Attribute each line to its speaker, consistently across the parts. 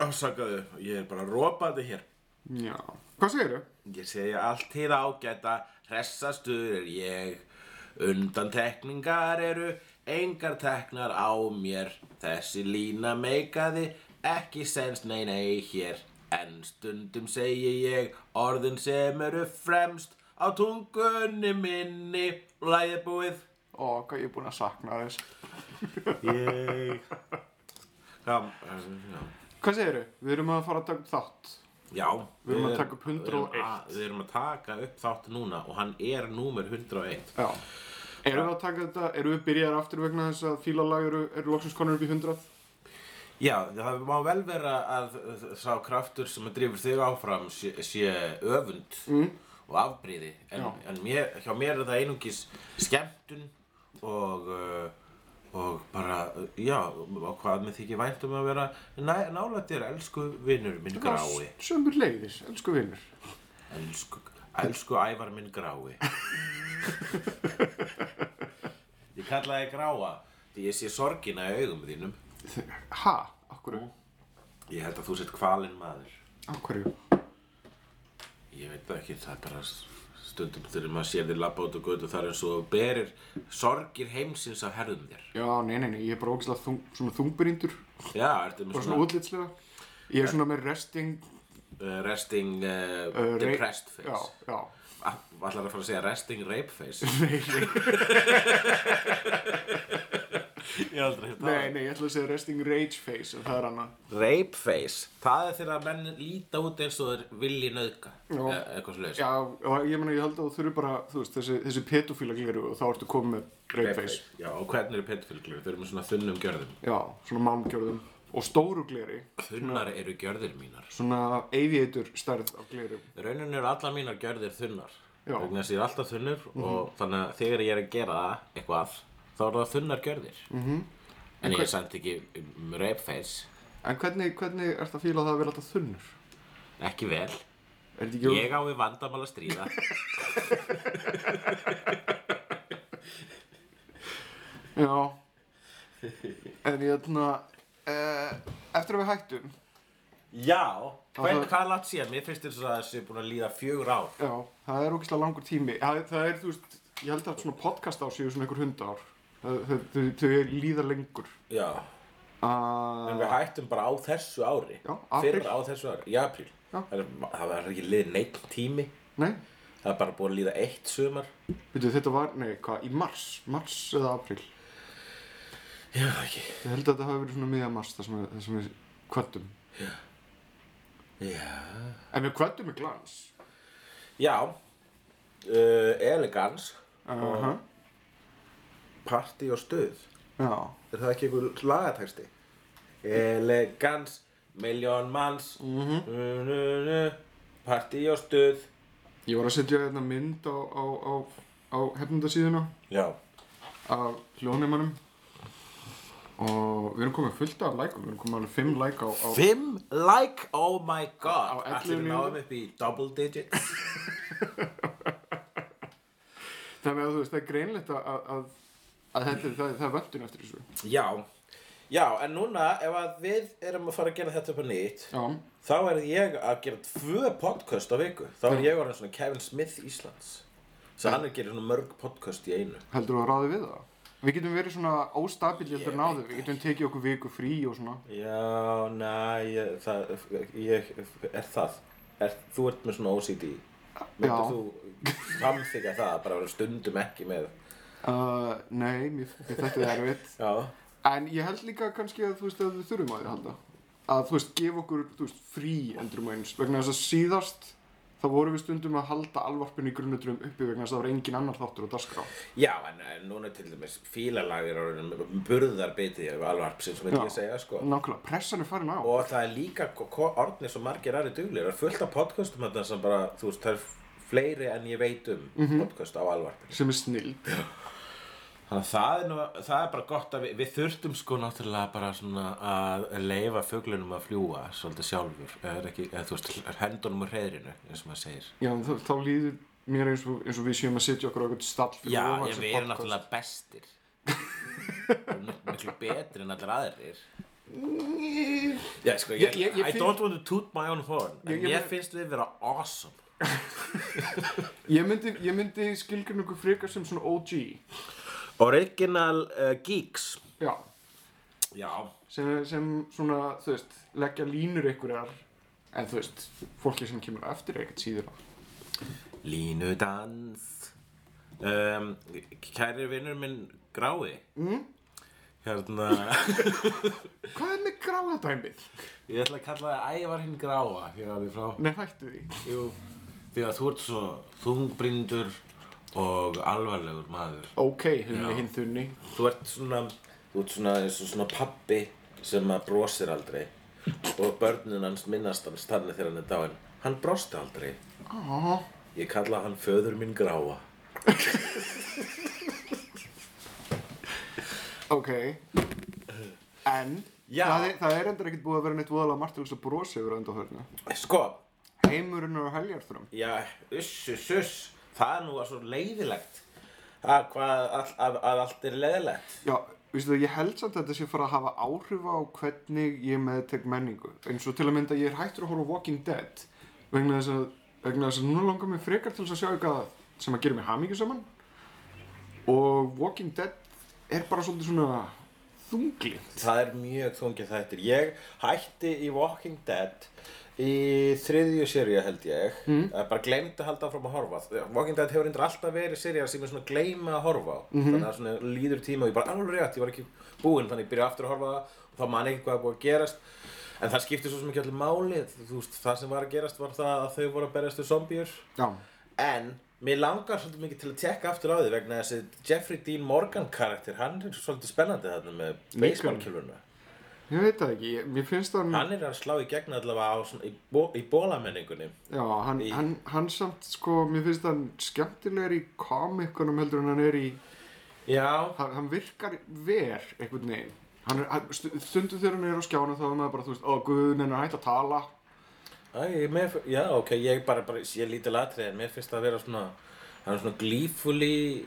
Speaker 1: Afsakaðu, ég er bara rópandi hér
Speaker 2: Já, hvað segir þau?
Speaker 1: Ég segja allt hið ágæta, hressastur er ég Undantekningar eru, engar teknar á mér Þessi lína meikaði, ekki sens nei nei hér En stundum segi ég orðin sem eru fremst Á tungunni minni, lægið búið
Speaker 2: Ó, hvað ég er búinn að sakna þess
Speaker 1: Ég Já, já,
Speaker 2: Hvað segir þau? Við erum að fara að taka upp þátt
Speaker 1: já
Speaker 2: Við erum að taka upp 101.
Speaker 1: Við erum að- Við erum að taka upp þátt núna og hann er númer 101
Speaker 2: Já Erum við að taka þetta, erum við byrjar aftur vegna þess að fílalag eru, eru loksins konur upp í 100?
Speaker 1: Já, það má vel vera að sá kraftur sem að drifur þig áfram sé, sé öfund og afbríði en,
Speaker 2: Mm. Já.
Speaker 1: en mér, hjá mér er það einungis skemmtun og, uh, og bara, uh, já, og hvað mér þykir vænt um að vera næ, nálættir elsku vinur minn grái
Speaker 2: Sömur leiðis, elsku vinnur
Speaker 1: Elsku, elsku ævar minn grái Ég kalla þig gráa því ég sé sorgina í augum þínum
Speaker 2: Ha? Akkur
Speaker 1: Ég held að þú sett kvalinn maður
Speaker 2: Akkurju?
Speaker 1: Ég veit það ekki, það er bara stundum þegar maður sér þér labba út og götu þar eins og þú berir sorgir heimsins á herðum þér.
Speaker 2: Já, nei, nei, nei, ég er bara ógislega þung, svona þungbyríndur
Speaker 1: Já, ertu með
Speaker 2: Bara svona
Speaker 1: svona
Speaker 2: útlitslega Ég er svona með resting
Speaker 1: uh, resting uh,
Speaker 2: uh, rei-
Speaker 1: depressed face.
Speaker 2: Já, já
Speaker 1: Ah, Ætlar að fara að segja resting rape face? Ég aldrei hefði
Speaker 2: Nei, nei, ég ætla að segja resting rage face en það er annað
Speaker 1: Rape face, það er þegar að menn líta út eins og þeir vilji nauðka.
Speaker 2: Já.
Speaker 1: Eh, Eitthvað svo leiðis.
Speaker 2: Já, og ég meina, ég held að þú þurfi bara, þú veist, þessi, þessi petofíla gleru og þá ertu komið með rape face.
Speaker 1: Já, og hvernig eru petfylglur? Þau eru með svona þunnum gjörðum.
Speaker 2: Já, svona málmgjörðum og stóru gleri,
Speaker 1: Þunnar eru gjörðir mínar.
Speaker 2: svona aviator stærð af gleri.
Speaker 1: rauninni eru allar mínar gjörðir þunnar
Speaker 2: Já.
Speaker 1: vegna þess að ég er alltaf þunnur og þannig að þegar ég er að gera það eitthvað þá eru það þunnar gjörðir -hmm. en ég er samt ekki um, rape face
Speaker 2: En hvernig, hvernig ert að fíla það að vera alltaf þunnur?
Speaker 1: ekki vel,
Speaker 2: Er þetta ekki...
Speaker 1: ég á við vandamál að stríða
Speaker 2: Já. En ég ætla, uh, eftir að við hættum,
Speaker 1: já, hvern,
Speaker 2: það-
Speaker 1: hvað er látt síðan mér finnst þess að það sé búin að líða fjögur ár
Speaker 2: já, það er ógislega langur tími. Það, það er, þú veist, ég held að svona podcast á séu svona einhver hundar ár. Þau- Þau þau- þau líða lengur.
Speaker 1: já,
Speaker 2: Uh,
Speaker 1: en við hættum bara á þessu ári
Speaker 2: Já, apríl.
Speaker 1: fyrir á þessu ári, í apríl
Speaker 2: Já.
Speaker 1: það er- það var ekki liðið neitt tími
Speaker 2: nei,
Speaker 1: það er bara búin að líða eitt sumar
Speaker 2: veitu, þetta var, nei, hvað, í mars, mars eða apríl.
Speaker 1: já, ekki
Speaker 2: Ég held að þetta hafi verið svona miðja mars þar sem við, þar sem við kvöttum.
Speaker 1: já
Speaker 2: En við kvöttum með glans.
Speaker 1: Já, uh, elegans,
Speaker 2: Uh -huh.
Speaker 1: party og stuð.
Speaker 2: Já.
Speaker 1: Er það ekki einhver lagatexti? Elegans, miljón manns, mm -hmm. party og stuð.
Speaker 2: Ég var að setja þetta mynd á, á, á, á hefnundasíðuna
Speaker 1: Já,
Speaker 2: af hljóðneimanum og við erum komið fullt af lækum, við erum komið alveg fimm læk á, á
Speaker 1: fimm like, oh my god.
Speaker 2: Á- á
Speaker 1: Ætlir
Speaker 2: 11
Speaker 1: við
Speaker 2: mínútum.
Speaker 1: náum upp í double digits.
Speaker 2: þannig að þú veist, það er greinlegt að, að, að, að þetta, það, það er vöntun eftir þessu.
Speaker 1: Já, já, en núna ef að við erum að fara að gera þetta upp að nýtt,
Speaker 2: Já,
Speaker 1: þá er ég að gera tvö podcast á viku. Þá er ég orðin svona Kevin Smith Íslands. Svo hann er að gera svona mörg podcast í einu.
Speaker 2: heldur þú að ráði við það? Við getum verið svona óstabili eftir náðu, við getum tekið okkur viku frí og svona.
Speaker 1: Já, næ, ég, það, ég, er það, er, þú ert með svona OCD, myndir
Speaker 2: Já.
Speaker 1: þú samþykja það að bara vera stundum ekki með
Speaker 2: Uh, nei, mér, mér þetta er erfitt.
Speaker 1: Já.
Speaker 2: En ég held líka kannski að þú veist að við þurfum að því að halda. Að þú veist, gefa okkur, þú veist, frí endurum eins. Vegna þess að síðast, þá vorum við stundum að halda alvarpinu í grunnutrum uppi vegna þess að það var engin annar þáttur á dagskrá.
Speaker 1: Já, en, en núna til dæmis fílalagir og burðarbitið af alvarpsin sem
Speaker 2: Já.
Speaker 1: ég segja sko.
Speaker 2: Nákvæmlega, pressan er farin á.
Speaker 1: Og það er líka ko- ko- orðnir svo margir aðri duglir. Það er fullt af podcastum þarna sem bara, þú veist, það er fleiri en ég veit um
Speaker 2: Mhm.
Speaker 1: podcast á alvarpinu.
Speaker 2: Sem er snild.
Speaker 1: Þannig að það er, nú, það er bara gott að við, við þurftum sko náttúrulega bara svona að leifa fuglunum að fljúa svolítið sjálfur. Eða, ekki, eða þú veist, hendunum úr hreðrinu, eins og maður segir.
Speaker 2: Já, en þá, þá líður mér eins og, eins og við séum að setja okkur á eitthvað stall fyrir
Speaker 1: Já,
Speaker 2: ofan
Speaker 1: ég
Speaker 2: sem
Speaker 1: við erum
Speaker 2: podcast.
Speaker 1: náttúrulega bestir. Við erum miklu betri en allir aðrir. Já, sko, ég,
Speaker 2: Mm. Ég- ég- ég
Speaker 1: I
Speaker 2: finn-
Speaker 1: don't want to toot my own horn En
Speaker 2: Ég-
Speaker 1: ég,
Speaker 2: ég-
Speaker 1: finnst við vera awesome
Speaker 2: Ég myndi, ég myndi skilgjörn okkur frekar sem svona OG.
Speaker 1: Original uh, geeks
Speaker 2: Já,
Speaker 1: Já,
Speaker 2: sem, sem svona, þú veist, leggja línur einhverjar, en þú veist, fólki sem kemur á eftir er ekkert síður á.
Speaker 1: línudans um, Kæri vinnur minn grái mm? Hérna
Speaker 2: Hvað er með gráða dæmið?
Speaker 1: Ég ætla að kalla það Ævar hinn gráa Hér alveg frá
Speaker 2: Nei, hættu því.
Speaker 1: Jú, því að þú ert svo þungbrindur og alvarlegur maður
Speaker 2: Ok, hunni hinn þunni.
Speaker 1: Þú ert svona, þú ert svona, eins og svona pappi sem að brosir aldrei og börnin hans minnast hans þannig þegar hann er dáinn. Hann brosti aldrei.
Speaker 2: Oh.
Speaker 1: Ég kalla hann föður minn gráa.
Speaker 2: Ok. En,
Speaker 1: Já.
Speaker 2: það er, það er endur ekkert búið að vera neitt voðalega margt til þess að brosa yfir enda þörna.
Speaker 1: Sko,
Speaker 2: Heimurinn er á heljarþröm.
Speaker 1: já, uss, uss, uss, það er nú að svo leiðilegt. Að hvað, all, að, að allt er leiðilegt.
Speaker 2: Já, veistu það, ég held samt að þetta sé fara að hafa áhrif á hvernig ég meðtek menningu. Eins og til að mynda ég er hættur að horfa á Walking Dead vegna þess að, vegna þess að núna langar mér frekar til þess að sjá eitthvað sem að gera mig hamingu saman og Walking Dead er bara svolítið svona þunglind.
Speaker 1: Það er mjög þungið þættir. Ég hætti í Walking Dead í þriðju seríu held ég. Mm. Bara gleymdi að halda áfram að horfa. Walking Dead hefur endur alltaf verið seríu sem ég svona gleyma að horfa á. Þannig að svona líður tíma og ég bara alveg rétt, ég var ekki búinn þannig ég byrja aftur að horfa á það og þá man ég ekki hvað er búið að gerast. En það skipti svo sem ekki allir máli. Þú veist, það sem var að gerast var það að þau voru að berjast við zombíur.
Speaker 2: Já,
Speaker 1: En mér langar svolítið mikið til að tekka aftur á því vegna þessi Jeffrey Dean Morgan karakter, hann er svolítið spennandi þarna með
Speaker 2: Lincoln.
Speaker 1: baseballkjöluna.
Speaker 2: ég veit það ekki, ég, mér finnst hann,
Speaker 1: Hann er að slá í gegn allavega á, svona, í, bó, í bólamenningunni.
Speaker 2: já, hann,
Speaker 1: Í-
Speaker 2: hann, hann samt sko, mér finnst hann skemmtilegur í komikunum heldur en hann er í
Speaker 1: Já,
Speaker 2: hann, hann virkar ver einhvern veginn hann er, hann, stu- stundum þegar hann er á skjánum þá er maður bara, þú veist, ó guðun en hann hætti að tala
Speaker 1: Æ, mér, fi- já, ok, ég bara, bara sé lítið latrið en mér finnst það að vera svona, hann er svona glífuli,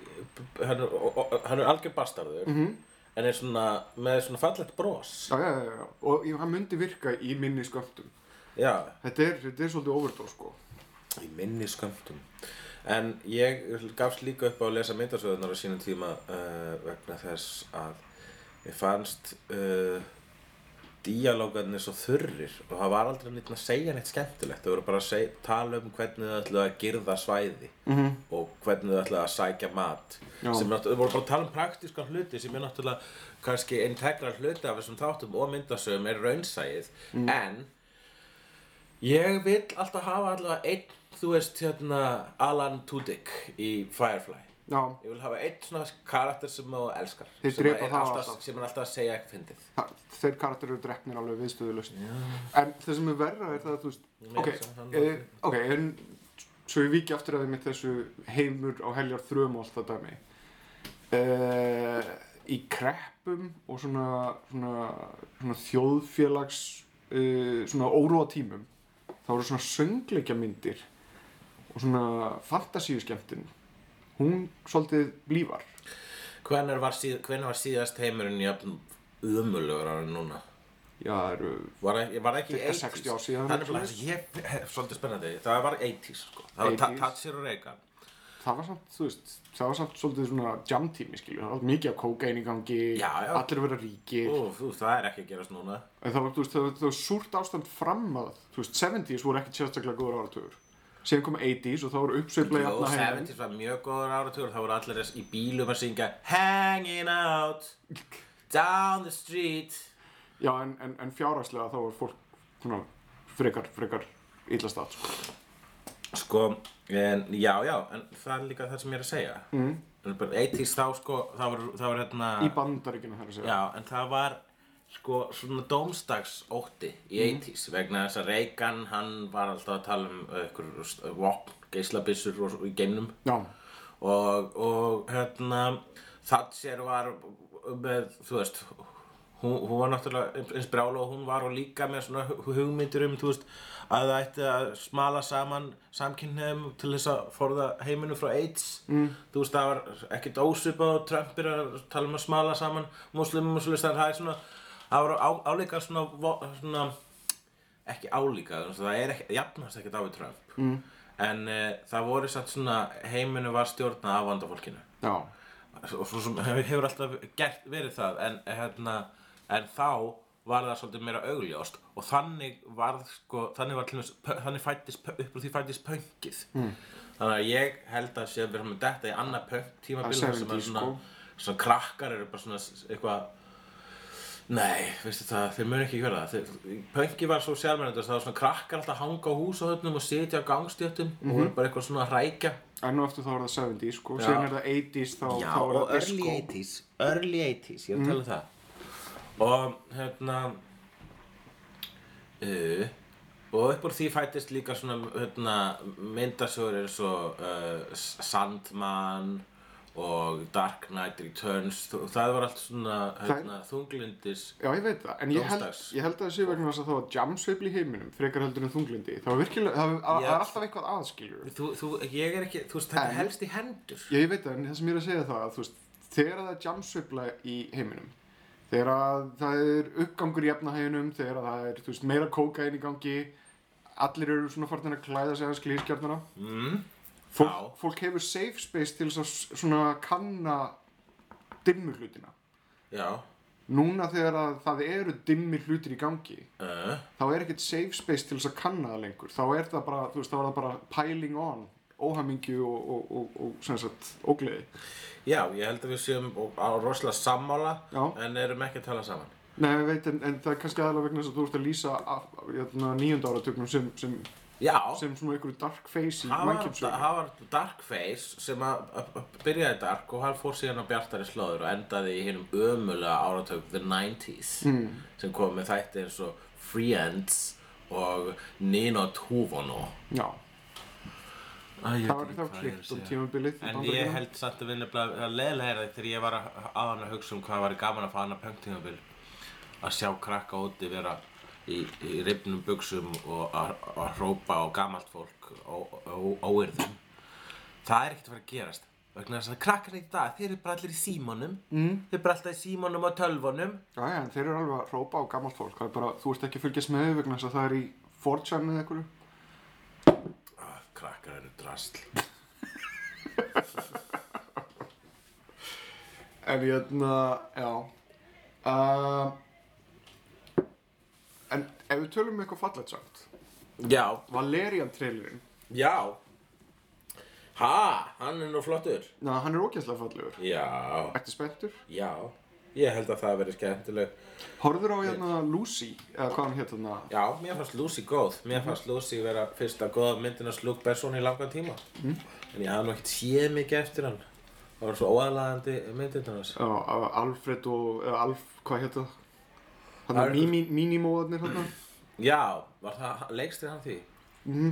Speaker 1: hann, er- o- o- hann er algjör bastarður, -hmm. en er svona, með svona fallegt bros.
Speaker 2: já, já, já, já, og ég- hann myndi virka í minni sköptum
Speaker 1: Já,
Speaker 2: þetta er, þetta er svolítið overdós sko
Speaker 1: í minni skömmtum. En ég gafst líka upp á að lesa myndasöðunar á sínum tíma uh, vegna þess að mér fannst uh, díalógarnir svo þurrir og það var aldrei neitt að segja neitt skemmtilegt. Það voru bara að seg, tala um hvernig þau ætlaðu að girða svæði -hmm. og hvernig þau ætlaðu að sækja mat.
Speaker 2: Já.
Speaker 1: Sem náttúrulega, þau voru bara að tala um praktíska hluti sem er náttúrulega kannski integral hluti af þessum þáttum og myndasöðum er raunsæið. En Ég vil alltaf hafa allavega einn, þú veist, hérna, Alan Tudyk í Firefly.
Speaker 2: já,
Speaker 1: Ég vil hafa einn svona karakter sem þú elskar.
Speaker 2: Þeir
Speaker 1: sem
Speaker 2: drepa
Speaker 1: er
Speaker 2: það
Speaker 1: alltaf.
Speaker 2: alltaf.
Speaker 1: Sem er alltaf að segja ekki fyndið.
Speaker 2: það, þeir karakterir eru drefnir alveg viðstöðulust en það sem er verra er það að þú veist,
Speaker 1: Mér
Speaker 2: ok,
Speaker 1: sem hann-
Speaker 2: e, ok en svo ég viki aftur að þeim með þessu heimur á heljar þröm og allt það dæmi uh, í kreppum og svona, svona, svona þjóðfélags uh, svona óróa tímum þá eru svona söngleikja myndir og svona fantasíuskemmtin hún svolítið blífar
Speaker 1: Hvenær var, síð, hvenær var síðast heimurinn jafn umulugur á hann núna?
Speaker 2: já, það eru
Speaker 1: Var, það- var það ekki
Speaker 2: Cirka 60 ár síðan,
Speaker 1: Það er
Speaker 2: eitthvað
Speaker 1: bara, ég, svolítið spennandi. Það var 80s, sko. Það
Speaker 2: 80s.
Speaker 1: var Tatsir og Reagan.
Speaker 2: það var samt, þú veist, það var samt svolítið svona jam tími, skilju, það var mikið af kókain í gangi,
Speaker 1: Já, já.
Speaker 2: allir að vera ríkir
Speaker 1: Ú, þú, það er ekki að gerast núna.
Speaker 2: en það var, þú veist, það var, það var súrt ástand fram að, þú veist, 70s voru ekkert sérstaklega góður áratugur síðan kom 80s og þá voru uppsveifla
Speaker 1: Jó,
Speaker 2: jafna heiðin
Speaker 1: 70s var mjög góður áratugur þá voru allir þess í bílum að syngja Hanging out Down the street
Speaker 2: Já, en, en, en fjárhagslega þá var fólk svona, frekar, frekar illa stað sko.
Speaker 1: Sko, en, já, já en það er líka það sem ég er að segja mm. 80s þá sko það var, það var hérna
Speaker 2: í bandaríkinu þar að segja
Speaker 1: Já, en það var sko svona dómstagsótti í 80s vegna þess að Reagan hann var alltaf að tala um ykkur vopn, geislabissur og, og í geimnum
Speaker 2: Já,
Speaker 1: og, og hérna Thatcher var með, þú veist hún, hún var náttúrulega eins- eins brjála og hún var og líka með svona hu- hugmyndir um þú veist, að það ætti að smala saman samkynniðum til þess að forða heiminu frá AIDS mm. þú veist það var ekkert ósvip á Trumpir að tala um að smala saman muslimum og svolítið það er svona það var á, álíka svona, vo- svona ekki álíka þannig að það er ekki, jafnast ekkert á við Trump mm. en e, það voru satt svona heiminu var stjórnað af vandafólkinu
Speaker 2: já,
Speaker 1: og svo sem hefur hefur alltaf gert, verið það en, hérna, en þá var það svolítið meira augljóst og þannig var sko, þannig var til dæmis pö- þannig fættist, upp úr því fættist pönkið mm. þannig að ég held að sé að við erum með detta í annað pönk tímabil þar
Speaker 2: Að
Speaker 1: sem að
Speaker 2: 70s,
Speaker 1: svona,
Speaker 2: sko.
Speaker 1: svona krakkar eru bara svona s- eitthvað Nei, veistu það, þeir munu ekki gera það þeir, Pönki var svo sjálfmennandi það var svona krakkar alltaf að hanga á húsahöfnum og sitja á gangstjötum og voru bara eitthvað svona að rækja
Speaker 2: enn og eftir þá var það 70s sko,
Speaker 1: Já.
Speaker 2: síðan er það 80s þá,
Speaker 1: Já,
Speaker 2: þá er
Speaker 1: og
Speaker 2: það
Speaker 1: early 80s Early 80s, ég er að tala um það Og hérna uh, Og upp úr því fættist líka svona hérna, myndasögur eins og uh, S- Sandman og Dark Knight Returns og það var allt svona hérna, þunglindis
Speaker 2: Já, ég veit það, en ég held,
Speaker 1: Dómsdags.
Speaker 2: ég held að það sé vegna þess að það var jamsveifli í heiminum, frekar heldur en þunglindi. Það var virkilega, það var,
Speaker 1: Já.
Speaker 2: það var alltaf eitthvað aðskiljur.
Speaker 1: Þú, þú, ég er ekki, þú veist, þetta
Speaker 2: En-
Speaker 1: helst í hendur
Speaker 2: Já, ég veit það, en það sem ég er að segja það, að, þú veist, þegar það er jamsveifla í heiminum, þegar að það er uppgangur í efnahæginum, þegar að það er, þú veist, meira kókain í gangi, allir eru svona farnir að klæða sig aðeins glískjarnara.
Speaker 1: mm, Já.
Speaker 2: Fólk, fólk hefur safe space til þess að s- svona kanna dimmu hlutina.
Speaker 1: Já
Speaker 2: Núna þegar að það eru dimmi hlutir í gangi,
Speaker 1: uh,
Speaker 2: þá er ekkert safe space til þess að kanna það lengur þá er það bara, þú veist, þá er það bara piling on óhamingju og, og, og, og sem sagt, ógleði
Speaker 1: Já, ég held að við séum á rosalega sammála
Speaker 2: Já.
Speaker 1: en erum ekki að tala saman
Speaker 2: Nei, ég veit, en, en það er kannski aðalega vegna þess að þú ert að lýsa af, jötna, nýjönda áratugnum sem, sem,
Speaker 1: Já,
Speaker 2: sem svona einhverju dark face í
Speaker 1: Það var-
Speaker 2: mannkjömsögu
Speaker 1: það var Darkface sem að, að, að byrjaði dark og hann fór síðan á bjartari slóður og endaði í hinnum ömulega áratök The 90s mm. sem kom með þætti eins og Friends og Nino Tuvono
Speaker 2: Já,
Speaker 1: Æ,
Speaker 2: það var, það var klikt um
Speaker 1: En
Speaker 2: tímabilið í
Speaker 1: ég
Speaker 2: Bandaríkjunum.
Speaker 1: held samt að vinna að leiðlega er það þegar ég var að, að hann að hugsa um hvað var gaman að fá hann að pöngtímabil að sjá krakka úti vera í, í rifnum buksum og að, að hrópa á gamalt fólk og óyrðum það er ekkert að fara að gerast vegna þess að krakkar í dag, þeir eru bara allir í símanum mm. þeir eru bara alltaf í símanum og tölvunum
Speaker 2: Já, já, en þeir eru alveg að rópa á gammalt fólk það er bara, þú ert ekki að fylgjast með því vegna þess að það er í 4chan eða einhverju
Speaker 1: ah, krakkar eru drasl
Speaker 2: En hérna, já uh, En ef við tölum um eitthvað fallet samt
Speaker 1: Já,
Speaker 2: Valerian trailerinn
Speaker 1: já Ha, hann er nú flottur
Speaker 2: Na, hann er ógæslega fallegur
Speaker 1: Já,
Speaker 2: Ertu spenntur?
Speaker 1: já Ég held að það veri skemmtileg
Speaker 2: Horður á hérna Lucy, eða hvað hann hétt hérna
Speaker 1: Já, mér fannst Lucy góð. Mér fannst Lucy vera fyrsta góða myndin að slúk Besson í langan tíma. En ég hafði nú ekkert séð mikið eftir hann. Það var svo óaðlagandi myndin hans.
Speaker 2: Já, uh, Alfred og, eða Alf, hvað hétt það? Hann
Speaker 1: Alfred.
Speaker 2: er mimi, mínimóðarnir hérna
Speaker 1: Já, var það leikstir hann því? Mm.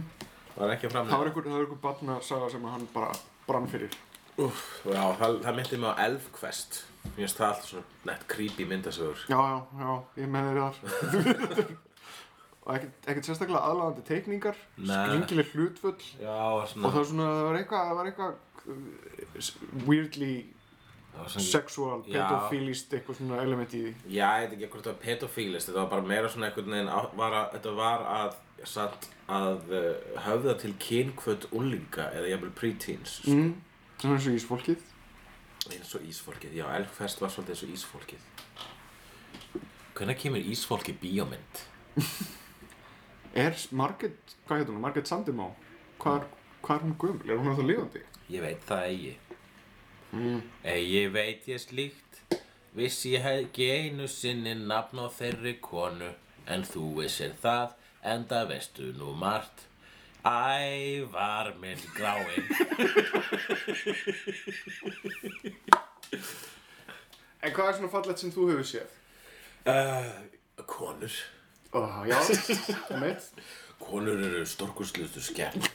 Speaker 1: Var ekki að
Speaker 2: Það var
Speaker 1: framlega?
Speaker 2: einhver, það var einhver barnasaga sem að hann bara brann fyrir
Speaker 1: Úff, já, það, það myndi mig á Elfquest. Mér finnst það alltaf svona nett creepy myndasögur.
Speaker 2: Já, já, já, ég með þeir þar Og ekkert, ekkert sérstaklega aðlagandi teikningar
Speaker 1: Nei.
Speaker 2: Skringileg hlutföll
Speaker 1: Já, var
Speaker 2: og
Speaker 1: svona...
Speaker 2: það var svona, það var eitthvað, það var eitthvað uh, weirdly
Speaker 1: Það var svona...
Speaker 2: sexual,
Speaker 1: Já.
Speaker 2: pedofilist eitthvað svona element í því
Speaker 1: Já, ég veit ekki hvort það var pedofílist. Þetta var bara meira svona einhvern veginn... á- Var að, þetta var að... Satt að uh, höfða til kynkvöld úlinga eða jafnvel preteens, sko.
Speaker 2: mm. það var eins og ísfólkið
Speaker 1: eins og Ísfólkið, já, Elfest var svolítið eins og Ísfólkið Hvenær kemur Ísfólkið bíómynd?
Speaker 2: er Margaret, hvað hétt hún, Margaret Sandimá hvað, er- hvað er hún gömul? Er hún alltaf lifandi?
Speaker 1: Ég veit það eigi. Eigi veit ég slíkt, vissi ég hef ekki einu sinni nafn á þeirri konu, en þú vissir það, enda veistu nú margt. Æ, var minn gráinn.
Speaker 2: En hvað er svona fallegt sem þú hefur séð?
Speaker 1: uh, konur.
Speaker 2: Oh, já, það mitt.
Speaker 1: Konur eru stórkustlustu skemmt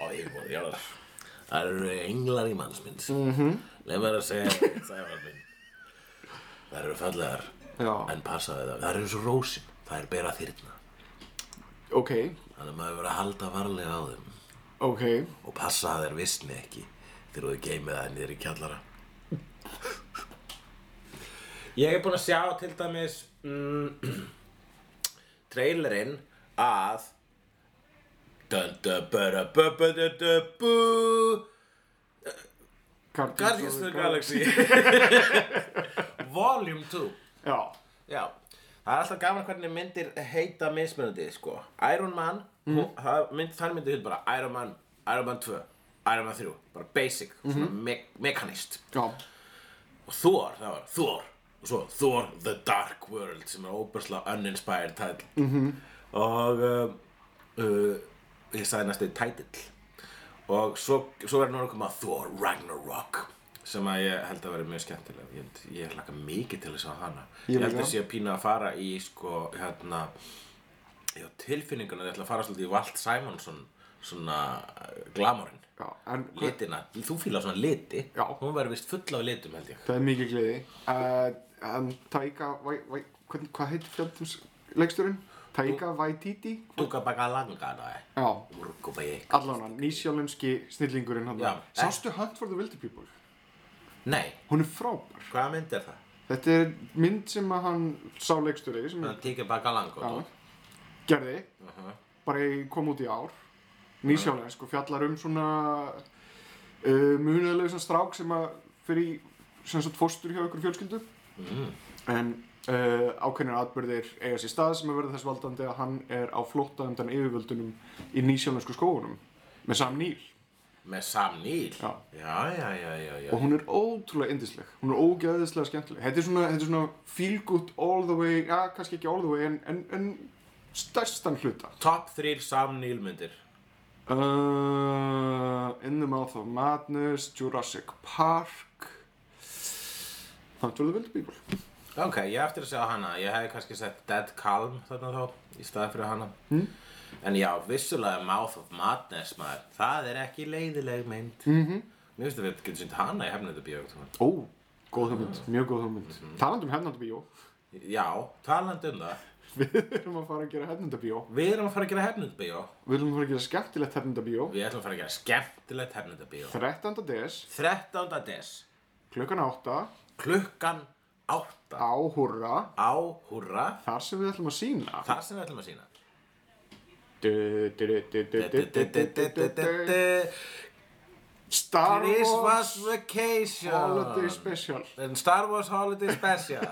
Speaker 1: á yfirborð jarðar. Það eru englar í mannsmynd. Mm -hmm. Leif að segja það var minn. Það eru fallegar,
Speaker 2: Já,
Speaker 1: en passaði það. Það eru eins og rósin, það er bera þyrna.
Speaker 2: ok,
Speaker 1: Þannig að maður verið að halda varlega á þeim
Speaker 2: ok.
Speaker 1: og passa að þeir visni ekki þegar þú geymið það niður í kjallara. Ég er búinn að sjá til dæmis mm, trailerinn að dun dun bara bu bu du du bu Guardians of the Galaxy Volume 2
Speaker 2: Já,
Speaker 1: Já, það er alltaf gaman hvernig myndir heita mismunandi, sko. Iron Man, mm. það mynd, þann myndi hitt bara Iron Man, Iron Man 2, Iron Man 3, bara basic, svona me mekanist.
Speaker 2: já,
Speaker 1: Og Thor, það var Thor, og svo Thor The Dark World, sem er óbærslega uninspired title. -hmm.
Speaker 2: Mhm.
Speaker 1: Og um, uh, ég sagði næstu title. Og svo, svo verður núna að koma Thor Ragnarok sem að ég held að vera mjög skemmtileg ég, ég hlaka mikið til þess að hana
Speaker 2: Ég
Speaker 1: ég held
Speaker 2: líka.
Speaker 1: að sé að pína að fara í sko hérna já, tilfinninguna, ég ætla að fara svolítið í Walt Simonsson svona eh, glamorinn,
Speaker 2: já, en hvað-
Speaker 1: litina þú fílar svona liti,
Speaker 2: Já.
Speaker 1: hún verður vist full af litum held ég
Speaker 2: það er mikið gleði. Uh, en Taika, væ, væ, hvern, hvað heitir fjandum leiksturinn? Taika Waititi?
Speaker 1: Duka baka langana
Speaker 2: Já,
Speaker 1: Urgupa ég
Speaker 2: allan hann, nýsjálfenski snillingurinn hann.
Speaker 1: Já. eh.
Speaker 2: Sástu Hunt for the Wilder People?
Speaker 1: Nei,
Speaker 2: Hún er frábær.
Speaker 1: hvaða mynd er það?
Speaker 2: Þetta er mynd sem að hann sá leiksturi sem er,
Speaker 1: Tíka baka langa
Speaker 2: já, gerði, bara í- kom út í ár. Nýsjálfensk og fjallar um svona uh, munuðlega strák sem að fyrir sem sagt fóstur hjá ykkur fjölskyldu.
Speaker 1: mm.
Speaker 2: En uh, ákveðnir atbyrðir eiga sér stað sem er verið þess valdandi að hann er á flótta undan yfirvöldunum í nýsjálfnesku skóunum með Sam Neill
Speaker 1: Með Sam Neill
Speaker 2: Já.
Speaker 1: já, já, já, já, já.
Speaker 2: og hún er ótrúlega yndisleg, hún er ógeðislega skemmtileg þetta er svona, þetta er svona feel good all the way, ja, kannski ekki all the way en, en, en stærstan hluta
Speaker 1: Top 3 Sam Neill myndir
Speaker 2: uh, In the Mouth of Madness Jurassic Park Hunt for the Wild People
Speaker 1: Ok, ég hef eftir að segja hana Ég hefði kannski sett Dead Calm þarna þá Í staði fyrir hana mm. En já, vissulega Mouth of Madness maður Það er ekki leiðileg mynd mm -hmm. Mér finnst að við getum sýnt hana í hefnöndu bíó
Speaker 2: Ó, góð hugmynd, mjög góð hugmynd mm -hmm. talandi um hefnandabíó
Speaker 1: Já, talandi um það
Speaker 2: við erum að fara að gera hefnandabíó
Speaker 1: Við erum að fara að gera hefnöndu bíó
Speaker 2: Við viljum fara að gera skemmtilegt hefnindabíó
Speaker 1: Við ætlum að fara að gera skemmtilegt hefnendabíó
Speaker 2: 13. des,
Speaker 1: 13. des
Speaker 2: klukkan 8
Speaker 1: klukkan 8
Speaker 2: á Hurra
Speaker 1: á Hurra
Speaker 2: þar sem við ætlum að sína
Speaker 1: þar sem við ætlum að sína
Speaker 2: Star Wars
Speaker 1: Christmas Vacation
Speaker 2: Holiday Special
Speaker 1: En Star Wars Holiday Special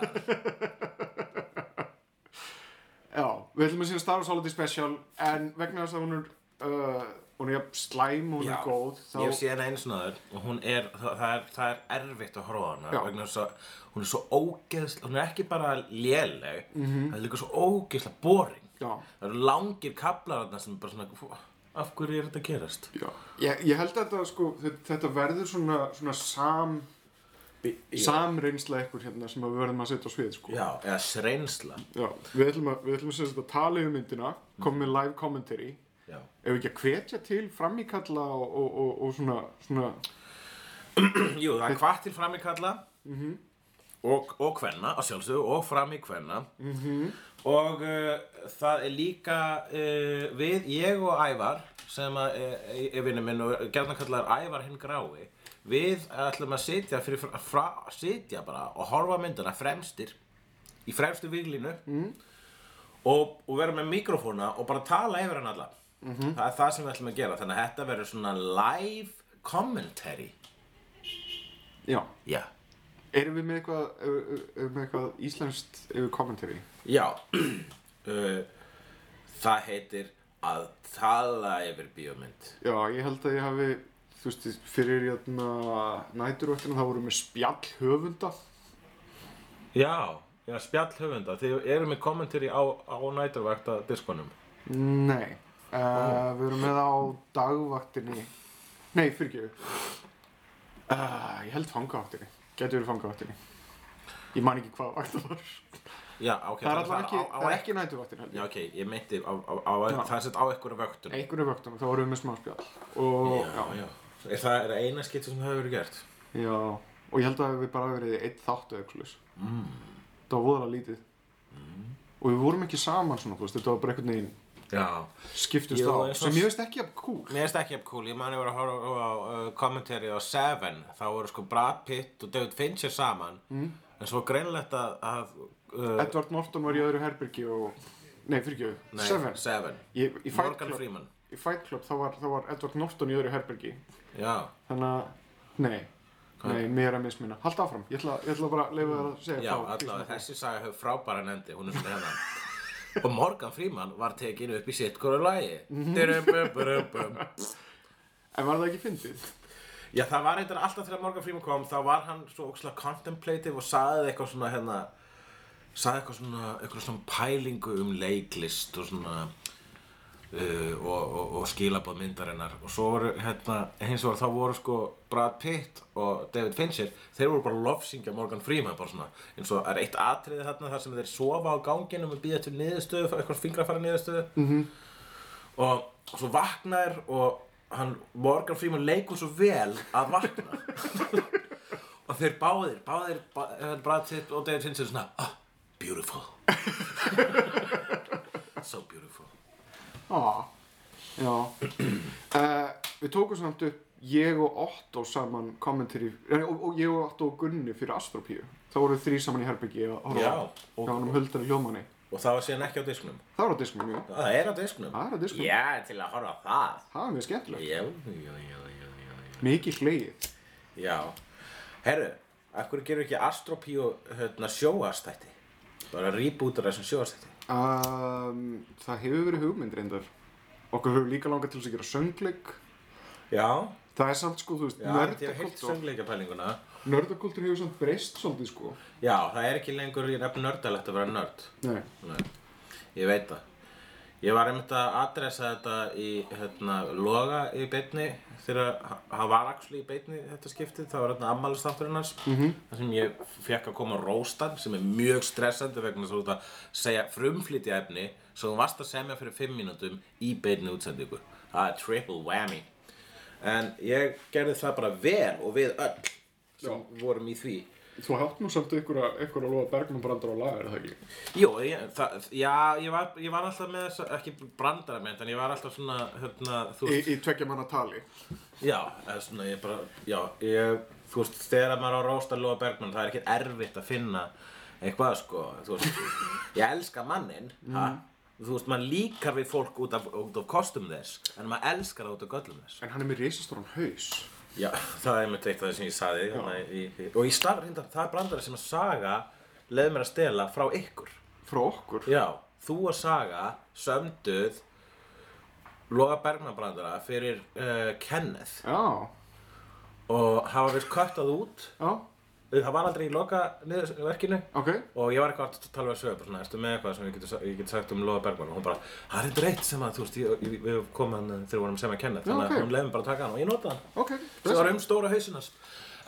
Speaker 2: Já, við ætlum að sína Star Wars Holiday Special en vegna þess að hún er uh, hún er jafn slæm og hún
Speaker 1: Já,
Speaker 2: er góð
Speaker 1: Ég hef
Speaker 2: þá,
Speaker 1: séð hana eins og náður og hún er, það, það er, það er erfitt að horfa á hana
Speaker 2: Já.
Speaker 1: vegna þess að hún er svo ógeðslega, hún er ekki bara léleg, mm -hmm.
Speaker 2: Mhm.
Speaker 1: það er líka svo ógeðslega boring.
Speaker 2: Já.
Speaker 1: Það eru langir kaplar þarna sem er bara svona, "Fú, af hverju er þetta að gerast?
Speaker 2: já, ég, ég held að þetta, sko, þetta, þetta verður svona, svona sam, samreynsla ykkur hérna sem að við verðum að setja á svið sko.
Speaker 1: Já, eða sreynsla.
Speaker 2: Já, við ætlum að, við ætlum að, sem sagt að tala um myndina, komum með live commentary,
Speaker 1: Já.
Speaker 2: ef við ekki að hvetja til framíkalla og, og, og, og svona, svona,
Speaker 1: Jú, það er hvað til fram í kalla Mhm. og, og kvenna, að sjálfsögðu, og fram í kvenna. Mhm. Og uh, það er líka uh, við, ég og Ævar, sem að, uh, er vinnu minn og gerðan kallar Ævar hinn grái, við ætlum að sitja, fyrir, fra, fra, sitja bara og horfa á myndina fremstir, í fremstu viglínu og, og vera með mikrofóna og bara tala yfir hann alla. Það er það sem við ætlum að gera, þannig að þetta verður svona live commentary.
Speaker 2: já,
Speaker 1: Já.
Speaker 2: erum við með eitthvað, erum erum við með eitthvað íslenskt yfir commentary?
Speaker 1: Já, uh, það heitir
Speaker 3: að tala yfir bíómynd
Speaker 2: Já, ég held að ég hafi, þú veist, fyrir jæna, næturvöktina þá vorum við spjall höfunda.
Speaker 1: Já, já, spjall höfunda. Þið eru með kommentari á, á næturvægt að diskonum.
Speaker 2: Nei, uh, við erum með á dagvaktinni. Nei, fyrir ekki. Uh, ég held fangavaktinni. Gæti verið fangavaktinni. Ég man ekki hvað vakt það var.
Speaker 1: Já, ok.
Speaker 2: Það er allavega
Speaker 3: á-
Speaker 2: ekki,
Speaker 3: á- á-
Speaker 2: það er ekki næturvaktin held
Speaker 1: Já,
Speaker 2: ég.
Speaker 1: ok, ég meinti á, á, á, á það er sett á einhverju vöktun.
Speaker 2: Einhverju vöktunum, þá vorum við með smá spjall. Og,
Speaker 1: Já, já. Er það er eina skipt sem það hefur verið gert?
Speaker 2: Já, og ég held að við bara hafi verið eitt þáttu eða eitthvað Mm. Það var voðalega lítið.
Speaker 1: Mm.
Speaker 2: Og við vorum ekki saman svona, þú veist, þetta var bara einhvern veginn
Speaker 1: Já.
Speaker 2: skiptust
Speaker 1: Jú,
Speaker 2: á,
Speaker 1: eins og-
Speaker 2: sem ég veist ekki að cool.
Speaker 1: Mér finnst ekki jafn cool, ég man ég var að horfa á uh, kommentari á Seven, þá voru sko Brad Pitt og David Fincher saman, mm. en svo greinlegt að, að uh,
Speaker 2: Edward Norton var í öðru herbergi og, nei, fyrir ekki,
Speaker 1: nei,
Speaker 2: Seven.
Speaker 1: Seven.
Speaker 2: Ég, í Fight
Speaker 1: Morgan
Speaker 2: Club,
Speaker 1: Freeman,
Speaker 2: í Fight Club þá, var, þá var Edward Norton í öðru herbergi,
Speaker 1: já,
Speaker 2: þannig að, nei, nei, mér er að mismina. Halda áfram, ég ætla, ég ætla bara að leifa þér að segja
Speaker 1: já,
Speaker 2: frá því sem
Speaker 1: allavega
Speaker 2: að-
Speaker 1: þessi saga hefur frábæran endi, hún er svona hennan. og Morgan Freeman var tekin upp í sitt hverju lagi. Durum, bum, burum, bum.
Speaker 2: En var það ekki fyndið?
Speaker 1: Já, það var eitthvað alltaf þegar Morgan Freeman kom, þá var hann svo ógslag contemplative og saði eitthvað svona, hérna, saði eitthvað svona, eitthvað svona pælingu um leiklist og svona, uh, og, og, og skilabóð myndarinnar. Og svo voru, hérna, hins vegar þá voru sko Brad Pitt og David Fincher, þeir voru bara lofsingja Morgan Freeman, bara svona, eins og það er eitt atriði þarna þar sem þeir sofa á ganginum og býða til niðurstöðu, eitthvað fingrafara niðurstöðu og svo vaknar og hann, Morgan Freeman leikur svo vel að vakna og þeir báðir báðir, báðir Brad Pitt og David Fincher svona, ah, beautiful so beautiful
Speaker 2: Ah, já. uh, við tókum samt upp ég og Otto saman kommentari, nei, og, og ég og Otto og Gunni fyrir Astropíu. Þá voru við þrý saman í herbergi að horfa
Speaker 1: Já,
Speaker 2: á
Speaker 1: og-
Speaker 2: og hann huldar í hljómanni.
Speaker 1: og það var síðan ekki á disknum
Speaker 2: Það var á disknum, jú.
Speaker 1: það er á disknum
Speaker 2: Það er á disknum.
Speaker 1: já, til að horfa á það
Speaker 2: Það var mjög skemmtilegt.
Speaker 1: já, já, já, já, já, já.
Speaker 2: Mikið hlegið.
Speaker 1: já. herru, af hverju gerur ekki Astropíu hérna, sjóastætti bara rebootar þessum sjóastætti
Speaker 2: Um, það hefur verið hugmynd reyndar. Okkur hefur líka langað til þess að gera söngleik.
Speaker 1: já,
Speaker 2: Það er samt sko, þú veist,
Speaker 1: já, þetta er heilt
Speaker 2: nördakultúr.
Speaker 1: söngleikapælinguna
Speaker 2: Nördakultúr hefur samt breyst svolítið sko.
Speaker 1: Já, það er ekki lengur jafn nördalegt að vera nörd.
Speaker 2: Nei.
Speaker 1: Nei, ég veit það. Ég var einmitt að adressa þetta í hérna, loga í beinni þegar hann var axli í beinni þetta skiptið, það var hérna ammælistátturinn hans -hmm. þar sem ég fekk að koma róstan sem er mjög stressandi vegna þess að þú ert að segja frumflytja efni sem þú varst að semja fyrir 5 mínútum í beinni útsendingu. Það er triple whammy. En ég gerði það bara vel og við öll sem vorum í því.
Speaker 2: Þú hatt nú samt ykkur að, ykkur að lofa Bergman brandar á lagar, er það ekki?
Speaker 1: Jú, ég, það, já, ég var, ég var alltaf með þess ekki brandara mynd, en ég var alltaf svona, hérna, þú
Speaker 2: Í,
Speaker 1: veist,
Speaker 2: í tveggja manna tali.
Speaker 1: já, eða svona, ég bara, já, ég, þú veist, þegar maður er á Rósta Lóa Bergmann, það er ekkert erfitt að finna eitthvað, sko, þú veist, ég elska mannin, ha, þú veist, maður líkar við fólk út af, út af kostum þess, en maður elskar það út af göllum þess.
Speaker 2: En hann er með risastóran haus.
Speaker 1: Já, það er einmitt eitt af það sem ég saði, hérna, í, í, og ég starf, hérna, það er brandara sem að saga, leið mér að stela frá ykkur.
Speaker 2: Frá okkur.
Speaker 1: Já, þú og Saga sömduð Loga Bergmanbrandara fyrir uh, Kenneth
Speaker 2: Já.
Speaker 1: og hafa vist köttað út
Speaker 2: Já.
Speaker 1: það var aldrei í loka niður, verkinu
Speaker 2: Ok.
Speaker 1: og ég var eitthvað að tala við að sögur bara svona, ertu með eitthvað sem ég get, ég get sagt um Loga Bergman og hún bara, það er eitthvað reitt sem að, þú veist, ég, ég, við komum hann þegar við vorum sem að Kenneth,
Speaker 2: Já,
Speaker 1: þannig
Speaker 2: ok.
Speaker 1: að hún leiði mig bara að taka hann og ég nota hann
Speaker 2: Ok.
Speaker 1: sem var um stóra hausinas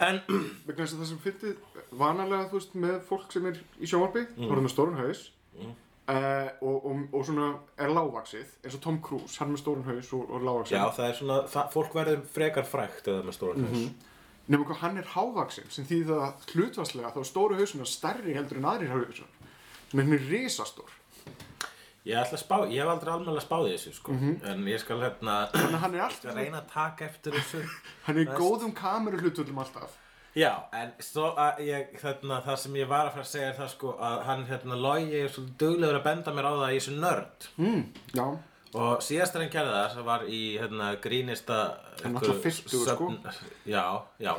Speaker 1: en,
Speaker 2: Vegna þess að það sem fyndið vanalega, þú veist, með fólk sem er í sjónvarpi, mm. hann er með stóran haus
Speaker 1: Mm.
Speaker 2: eh, og, og, og svona er lágvaksið, eins og Tom Cruise, hann er með stóran haus og, og lágvaksið.
Speaker 1: já, það er svona það, fólk verður frekar frækt eða með stóra haus
Speaker 2: Mhm. Nefnum hvað hann er hávaksinn, sem þýðir það að hlutvarslega þá er stóru hausuna stærri heldur en aðrir hausar. Sem er henni risastór.
Speaker 1: ég ætla að spá, ég hef aldrei almennilega spáði þessu sko,
Speaker 2: Mhm.
Speaker 1: en ég skal hérna
Speaker 2: Þannig að hann er
Speaker 1: Ég skal
Speaker 2: alltaf,
Speaker 1: reyna að taka eftir þessu
Speaker 2: hann er í góðum kameru hlutvöldum alltaf.
Speaker 1: Já, en svo að ég, þarna, það sem ég var að fara að segja er það sko að hann, hérna, logi er svolítið duglegur að benda mér á það að ég sé nörd
Speaker 2: Mm. Já.
Speaker 1: og síðast þegar hann gerði það, það var í, hérna, grínista
Speaker 2: Hann var sko.
Speaker 1: einhverju
Speaker 2: alltaf fimmtugur,
Speaker 1: söfn- Já, já,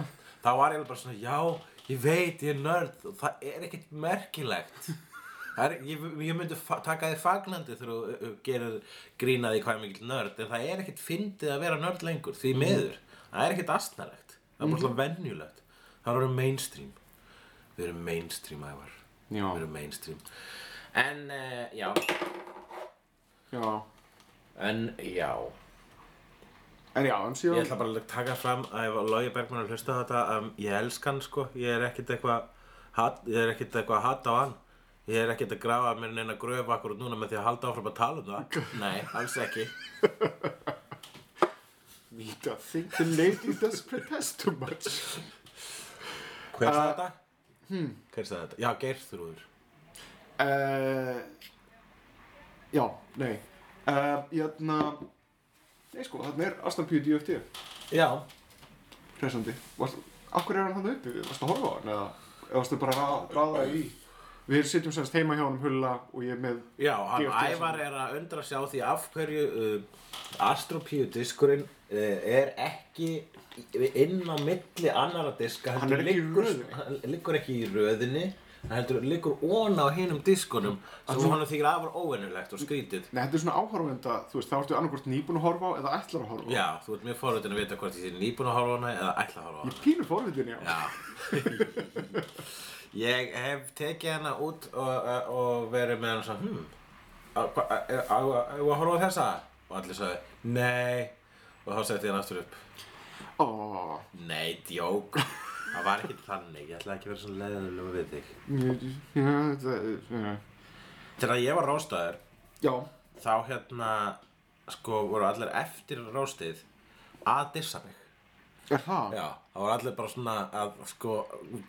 Speaker 1: þá var ég alveg bara svona, já, ég veit, ég er nörd og það er ekkert merkilegt Það er, ég, ég myndi fa- taka þér fagnandi þegar þú uh, uh, gerir grínaði hvað er mikill nörd en það er ekkert fyndið að vera nörd lengur
Speaker 2: Mhm.
Speaker 1: því miður, það er ekkert astnalegt það er bara svona venjulegt það eru mainstream við erum mainstream ævar
Speaker 2: Já.
Speaker 1: við erum mainstream en uh, já
Speaker 2: já.
Speaker 1: en já
Speaker 2: En já, en
Speaker 1: Ég
Speaker 2: síðan
Speaker 1: ætla bara að taka fram að ef Lógi Bergman er að hlusta á þetta, um, ég elska hann sko, ég er ekkert eitthvað hat- ég er ekkert eitthvað að hata á hann ég er ekkert að grafa mér neina gröf akkur út núna með því að halda áfram að tala um það Nei, alls ekki
Speaker 2: We don't think the lady does protest too much
Speaker 1: Hver sagði þetta? Uh, Hmm. Hver sagði þetta? Já, Geirþrúður
Speaker 2: uh, Já, nei uh, Jæna Nei sko, þarna er Aston P. DFT
Speaker 1: Já,
Speaker 2: Pressandi Varst, Akkur er hann hann uppi? Varstu að horfa á hann eða? Eða varstu bara að ra- ráða í? Við sitjum semst heima hjá hann hulla og ég er með
Speaker 1: já, hann
Speaker 2: DFT.
Speaker 1: ævar er að undra sjá því af hverju uh, Astropíu diskurinn uh, er ekki inn á milli annara diska
Speaker 2: Hann
Speaker 1: heldur
Speaker 2: er ekki í
Speaker 1: liggur-
Speaker 2: röðinni.
Speaker 1: hann liggur ekki í röðinni hann heldur liggur óna á hinum diskunum sem hann þykir afar óvenjulegt og skrítið
Speaker 2: Nei, þetta er svona áhorfenda, þú veist, þá ertu annarkvort nýbúin að horfa á eða ætlar að horfa á
Speaker 1: já, þú ert mjög forveitin að vita hvort ég sé nýbúin að horfa á hana eða ætla að horfa á
Speaker 2: Ég pínu forvitin, já.
Speaker 1: hana já ég hef tekið hana út og, og verið með hann svona hmm, á hva- á- á- á- á að horfa á þessa og allir sagði nei og þá setti ég hann aftur upp
Speaker 2: Ó,
Speaker 1: Nei, djók Það var ekki þannig, ég ætlaði ekki að vera svona leiðilega við þig
Speaker 2: ég- já, þetta er,
Speaker 1: Þegar ég var róstaður
Speaker 2: já,
Speaker 1: þá hérna sko voru allir eftir róstið að dissa mig
Speaker 2: er það?
Speaker 1: Já, það voru allir bara svona að sko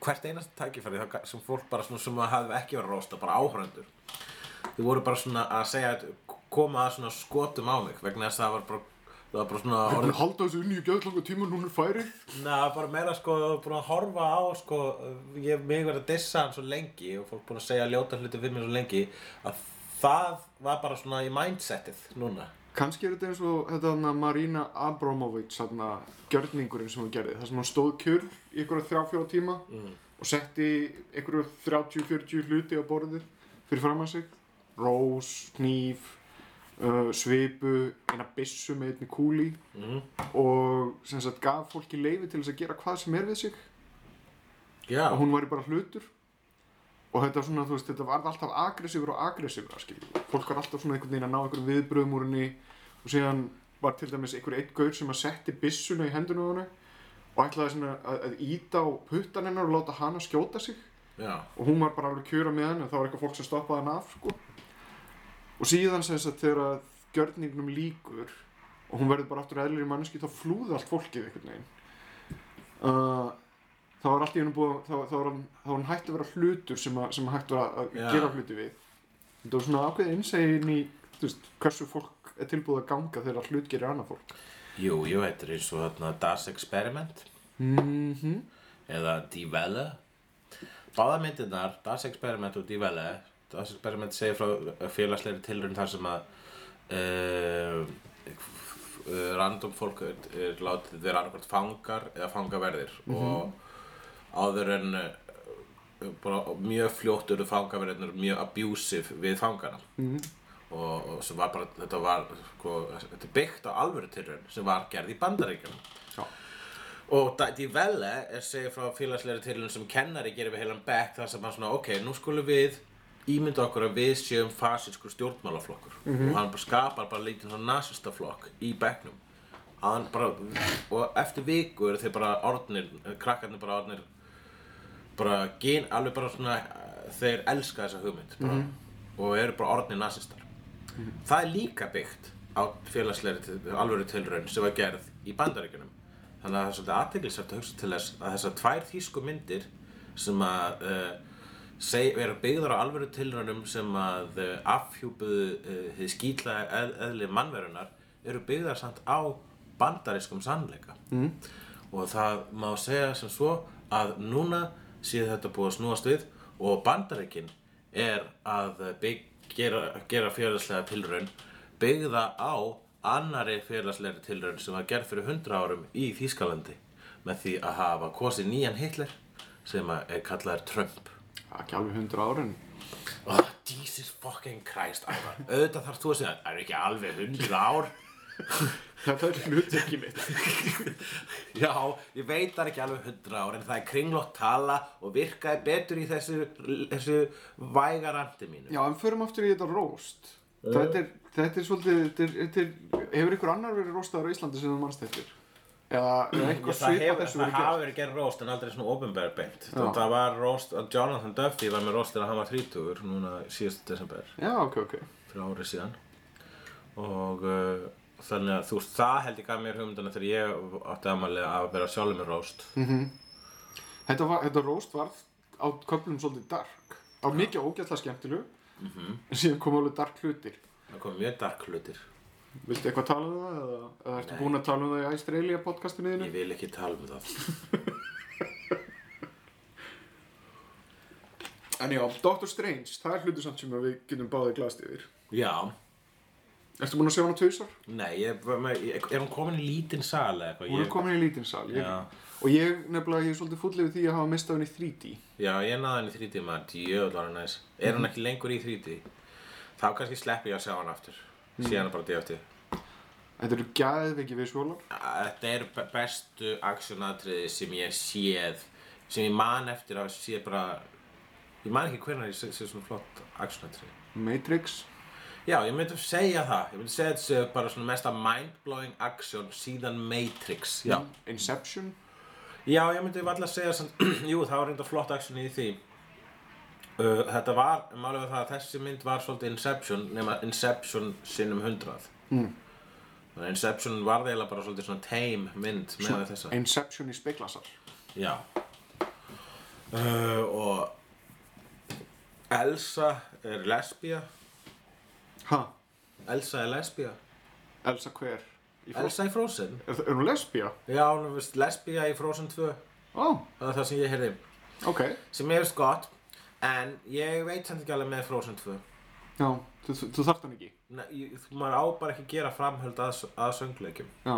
Speaker 1: hvert einast tækifæri þá ga- sem fólk bara svona sem að hafði ekki verið rósta bara áhörundur Þið voru bara svona að segja koma að svona skotum á mig vegna þess að það var bara það var bara svona
Speaker 2: Ég er búin
Speaker 1: orðið
Speaker 2: að halda þessu unni í gæðlanga tíma, núna er færið.
Speaker 1: Nei, það er bara meira sko, ég var búin að horfa á sko, ég hef mig verið að dissa hann svo lengi og fólk búin að segja ljóta hluti við mér svo lengi að það var bara svona í mindsetið núna.
Speaker 2: Kanski er þetta eins og þetta hana Marina Abramovic, hana, gjörningurinn sem hún gerði, þar sem hún stóð kjur í einhverja þrjá-fjóra tíma og setti einhverju 30-40 hluti á borðið fyrir fram að sig. Rós, hníf, uh, svipu, eina byssu með einni kúli
Speaker 1: Mm.
Speaker 2: og sem sagt gaf fólki leifi til þess að gera hvað sem er við sig.
Speaker 1: Já,
Speaker 2: að hún væri bara hlutur og þetta svona, þú veist, þetta varð alltaf agressífur og agressífur, skilju fólk var alltaf svona einhvern veginn að ná einhverjum viðbröðum úr henni og síðan var til dæmis einhver einn gaur sem að setti byssuna í hendunum á henni og ætlaði svona að, að íta á puttan hennar og láta hana skjóta sig
Speaker 1: já,
Speaker 2: og hún var bara alveg kjöra með henni og það var eitthvað fólk sem stoppaði hann af sko. og síðan sem þess að þegar að gjörningnum líkur og hún verður bara aftur eðlir í manneski þá flúði allt fólkið einhvern veginn uh, þá var allt í hennu búið þá, þá, var hann, þá var hann hægt að vera hlutur sem, að, sem hægt var að
Speaker 1: Já.
Speaker 2: gera hluti við þetta var svona ákveðið innsæðin í þú veist, hversu fólk er tilbúið að ganga þegar hlut gerir annað fólk
Speaker 1: jú, jú, þetta er eins og þarna Das Experiment
Speaker 2: mm
Speaker 1: eða Divelle. Báða myndirnar, Das Experiment og Divelle, Das Experiment segir frá félagsleiri tilraun þar sem að uh, eh, random fólk er, er látið vera annarkvæmt fangar eða fangaverðir og áður en eh, bara, mjög fljótt eru fangaverðirnir mjög abusive við fangana og, og sem var bara þetta var sko, þetta er byggt á alvöru tilraun sem var gerð í bandaríkjum
Speaker 2: Já.
Speaker 1: Og Dæti Velle er segið frá félagsleiri tilhjörnum sem kennari gerir við heilan bekk þar sem hann svona, ok, nú skulum við ímynda okkur að við séum fasískur stjórnmálaflokkur og hann bara skapar bara lítið svona nasistaflokk í bekknum að hann bara, og eftir viku eru þeir bara orðnir, krakkarnir bara orðnir bara gen, alveg bara svona eh, þeir elska þessa hugmynd bara, og eru bara orðnir nasistar það er líka byggt á félagsleiri til- alvöru tilraun sem var gerð í bandaríkunum þannig að það er svolítið aðteglisvært að hugsa til þess að þessar tvær þýsku myndir sem að uh, seg, eru byggðar á alvöru tilraunum sem að uh, afhjúpuðu uh, hið skýtla eð, eðli mannverunar eru byggðar samt á bandarískum sannleika mm. og það má segja sem svo að núna sé þetta búið að snúast við og bandaríkin er að bygg, gera, gera félagslega tilraun byggða á annari félagslega tilraun sem var gerð fyrir 100 árum í Þýskalandi með því að hafa kosið nýjan Hitler sem að er kallaður Trump
Speaker 2: ekki alveg 100 ára en
Speaker 1: og Oh, Jesus fucking Christ, Ævar auðvitað þarf þú að segja, það er ekki alveg 100 ár
Speaker 2: Þetta er hlutverkið mitt.
Speaker 1: Já, ég veit það er ekki alveg 100 ár en það er kringlótt tala og virkaði betur í þessu, þessu vægarandi mínu
Speaker 2: Já, en förum aftur í þetta róst. Þetta er, þetta er svolítið, þetta er, þetta er, hefur ykkur annar verið róstaður á Íslandi sem þú mannst eftir? Eða er eitthvað
Speaker 1: Mm, Sko, það
Speaker 2: svipað
Speaker 1: hefur,
Speaker 2: þessu
Speaker 1: það
Speaker 2: verið
Speaker 1: hafa
Speaker 2: gert?
Speaker 1: verið gerð roast en aldrei svona ofinbæri beint Þú- það var roast, að Jonathan Duffy var með roast þegar hann var 30 núna síðast desember
Speaker 2: Já, ok, ok.
Speaker 1: fyrir árið síðan og uh, þannig að þú veist það held ég gaf mér hugmyndana þegar ég átti aðmalið að vera sjálfur með roast
Speaker 2: Mm. Þetta, var, þetta róst varð á köflum svolítið dark. Á mikið ógætla skemmtilegu. En síðan kom alveg dark hlutir.
Speaker 1: það kom mjög dark hlutir
Speaker 2: Viltu eitthvað tala um það? Eða, eða ertu búinn að tala um það í Australia podcastinu þínu?
Speaker 1: ég vil ekki tala um það
Speaker 2: En já, Doctor Strange, það er hlutu samt sem við getum báðið glast yfir.
Speaker 1: já,
Speaker 2: Ertu búinn að sjá hana tvisar?
Speaker 1: nei, ég, var með- ég, er hún komin í lítinn sal eða eitthvað
Speaker 2: Hún er
Speaker 1: Ég-
Speaker 2: komin í lítinn sal. Ég,
Speaker 1: Já.
Speaker 2: og ég nefnilega, ég er svolítið fúll yfir því að hafa mistað henni í 3D.
Speaker 1: já, ég náði henni í 3D maður, djöðl var hann næs er hún ekki lengur í 3D þá kannski slepp ég að sjá hann aftur síðan er bara DFT
Speaker 2: Þetta eru gæðveiki visuálar.
Speaker 1: þetta er be- bestu aksjónatriði sem ég hef séð sem ég man eftir að sé bara ég man ekki hvernig ég sé, sé svona flott aksjónatriði
Speaker 2: Matrix.
Speaker 1: já, ég myndi að segja það ég myndi segja þetta sé bara svona mesta mindblowing aksjón síðan Matrix já,
Speaker 2: Inception.
Speaker 1: já ég myndi alltaf segja samt, jú, það var reynda flott aksjón í því uh, þetta var, málega það að þessi mynd var svolítið Inception nema Inception sinnum 100 mm. Inception var það eiginlega bara svolítið svona tame mynd með þessa
Speaker 2: Inception í speiklasar.
Speaker 1: Já uh, Og Elsa er lesbía
Speaker 2: Ha?
Speaker 1: Elsa er lesbía
Speaker 2: Elsa hver? Í Fro-
Speaker 1: Elsa í Frozen
Speaker 2: Er, er hún lesbía?
Speaker 1: Já, hún er vist lesbía í Frozen 2
Speaker 2: Ó,
Speaker 1: Það er það sem ég heyrði
Speaker 2: ok.
Speaker 1: Sem er skott En ég veit samt ekki alveg með Frozen 2
Speaker 2: Já, þú, þú, þú þarft hann ekki.
Speaker 1: Nei, ég- þú- maður á bara ekki að gera framhöld að, að söngleikjum
Speaker 2: Já.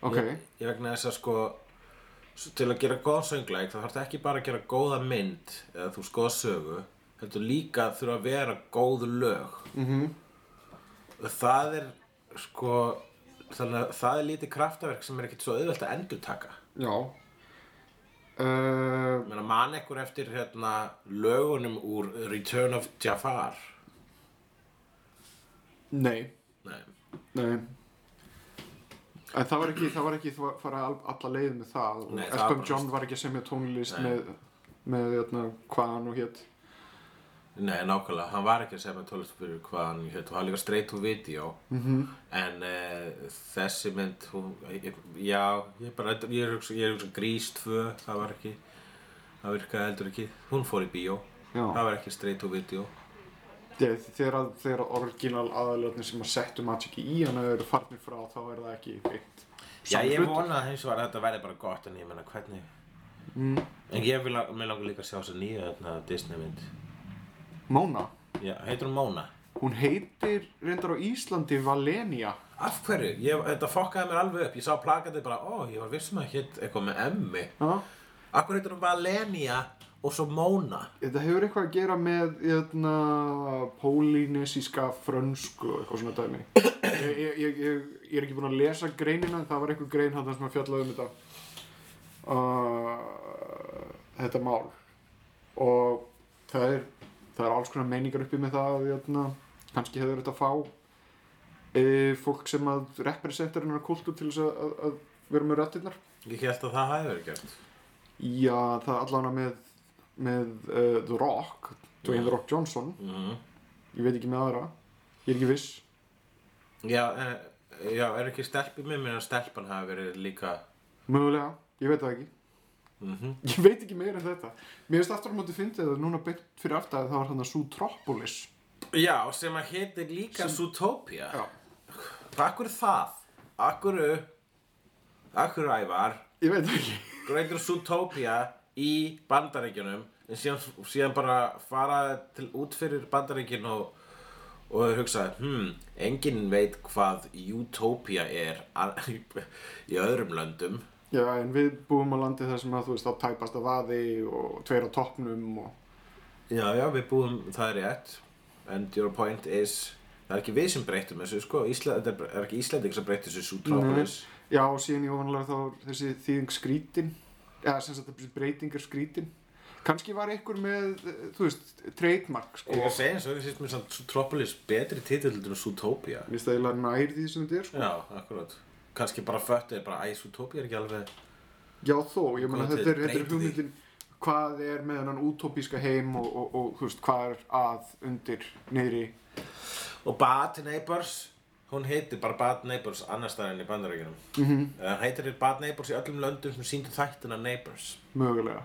Speaker 2: Ok.
Speaker 1: ég, ég vegna þess að sko s- til að gera góðan söngleik þá þarf ekki bara að gera góða mynd eða þú veist, góða sögu heldur líka þurfa að vera góð lög mm -hmm. það er sko þannig að það er lítið kraftaverk sem er ekkert svo auðvelt að endurtaka
Speaker 2: Já. Uh,
Speaker 1: Ég meina, man ekkur eftir hérna lögunum úr Return of Jafar
Speaker 2: nei.
Speaker 1: Nei.
Speaker 2: Nei En það var ekki, það var ekki þva- fara al- alla leið með það og
Speaker 1: Nei, það var
Speaker 2: S.B.M.
Speaker 1: bara-
Speaker 2: John var ekki að semja tónlist
Speaker 1: Nei.
Speaker 2: með, með jötna, hvað hann og hétt
Speaker 1: Nei, nákvæmlega, hann var ekki að segja með tólest fyrir hvað hann hétt og hann líka straight to video -hmm. en uh, þessi mynd hún, ég, já, ég bara ég er hugsa, ég er hugsa Grís 2, það var ekki það virkaði heldur ekki hún fór í bíó,
Speaker 2: Já.
Speaker 1: það var ekki straight to video
Speaker 2: þegar, að- þegar orginal aðalöfni sem að settu Magic í hann eru farnir frá þá er það ekki veitt
Speaker 1: Já,
Speaker 2: Sami
Speaker 1: ég
Speaker 2: hlutur.
Speaker 1: vona að hins vegar að þetta verði bara gott en ég menna hvernig en ég vil að, mig langar líka að sjá þess að nýja þarna Disney mynd
Speaker 2: Móna,
Speaker 1: já, heitir hún Móna?
Speaker 2: hún heitir reyndar á Íslandi Valenia
Speaker 1: Af hverju? Ég, þetta fokkaði mér alveg upp, ég sá plakatið bara, ó, ég var vissum að hétt eitthvað með emmi
Speaker 2: Já.
Speaker 1: Akkur heitir hún Valenia og svo Móna
Speaker 2: Þetta hefur eitthvað að gera með jötna, pólinesíska frönsku og eitthvað svona dæmi ég, ég, ég, ég, ég er ekki búinn að lesa greinina en það var eitthvað grein hann sem að fjallaði um þetta uh, þetta mál og það er það er alls konar meiningar uppi með það jötna, kannski hefur þetta að fá e, fólk sem að representar hennar kultúr til þess að, að, að vera með rættirnar
Speaker 1: Ég held að það hafi verið gert
Speaker 2: Já, það er allavega með, með uh, The Rock, Dwayne The Rock Johnson,
Speaker 1: mm.
Speaker 2: ég veit ekki með aðra, ég er ekki viss.
Speaker 1: já, eh, já, er ekki stelpi með mér að stelpan hafi verið líka
Speaker 2: Mögulega, ég veit það ekki.
Speaker 1: mm
Speaker 2: Ég veit ekki meira en þetta. Mér finnst aftur á móti fyndið að núna beint fyrir aftur að það var hann að Zootropolis.
Speaker 1: Já, sem að heitir líka Zootopia
Speaker 2: Já.
Speaker 1: Akkur það? Akkur Akkur ævar
Speaker 2: Ég veit það ekki.
Speaker 1: Greitur Zootopia í bandaríkjunum en síðan, síðan bara fara til út fyrir bandaríkin og, og hugsa hmm, enginn veit hvað Utopia er a- í öðrum löndum
Speaker 2: Já, en við búum á landi þar sem að þú veist að tæpast að vaði og tveir á toppnum og...
Speaker 1: Já, já, við búum, það er rétt And your point is Það er ekki við sem breytum þessu, sko Ísla, Það er ekki Íslanding sem breytum þessu Sútrápolis
Speaker 2: Já, og síðan í ofanlega þá þessi þýðing skrítin, eða sem sagt þessi breytingar skrítin. Kanski var einhver með, eh, þú veist, trademark, sko.
Speaker 1: Ég er að segja eins og það finnst mér samt Sútrápolis betri titill en Sútópía
Speaker 2: Mér finnst það eiginlega nær því sem þetta er, sko.
Speaker 1: Já, akkurat Kanski bara föttu er bara Æ, Sútópía er ekki alveg
Speaker 2: Já, þó, ég meina
Speaker 1: Hvað
Speaker 2: þetta er,
Speaker 1: þið
Speaker 2: þetta er
Speaker 1: breytið
Speaker 2: hugmyndin hvað er með hennan útópíska heim og, og, og þú veist, hvað er að undir niðri.
Speaker 1: Og Bad Neighbors Hún heitir bara Bad Neighbors annars staðar en í bandarækjunum mm -hmm. Hún heitir Bad Neighbors í öllum löndum sem síndu þættina Neighbors
Speaker 2: mögulega.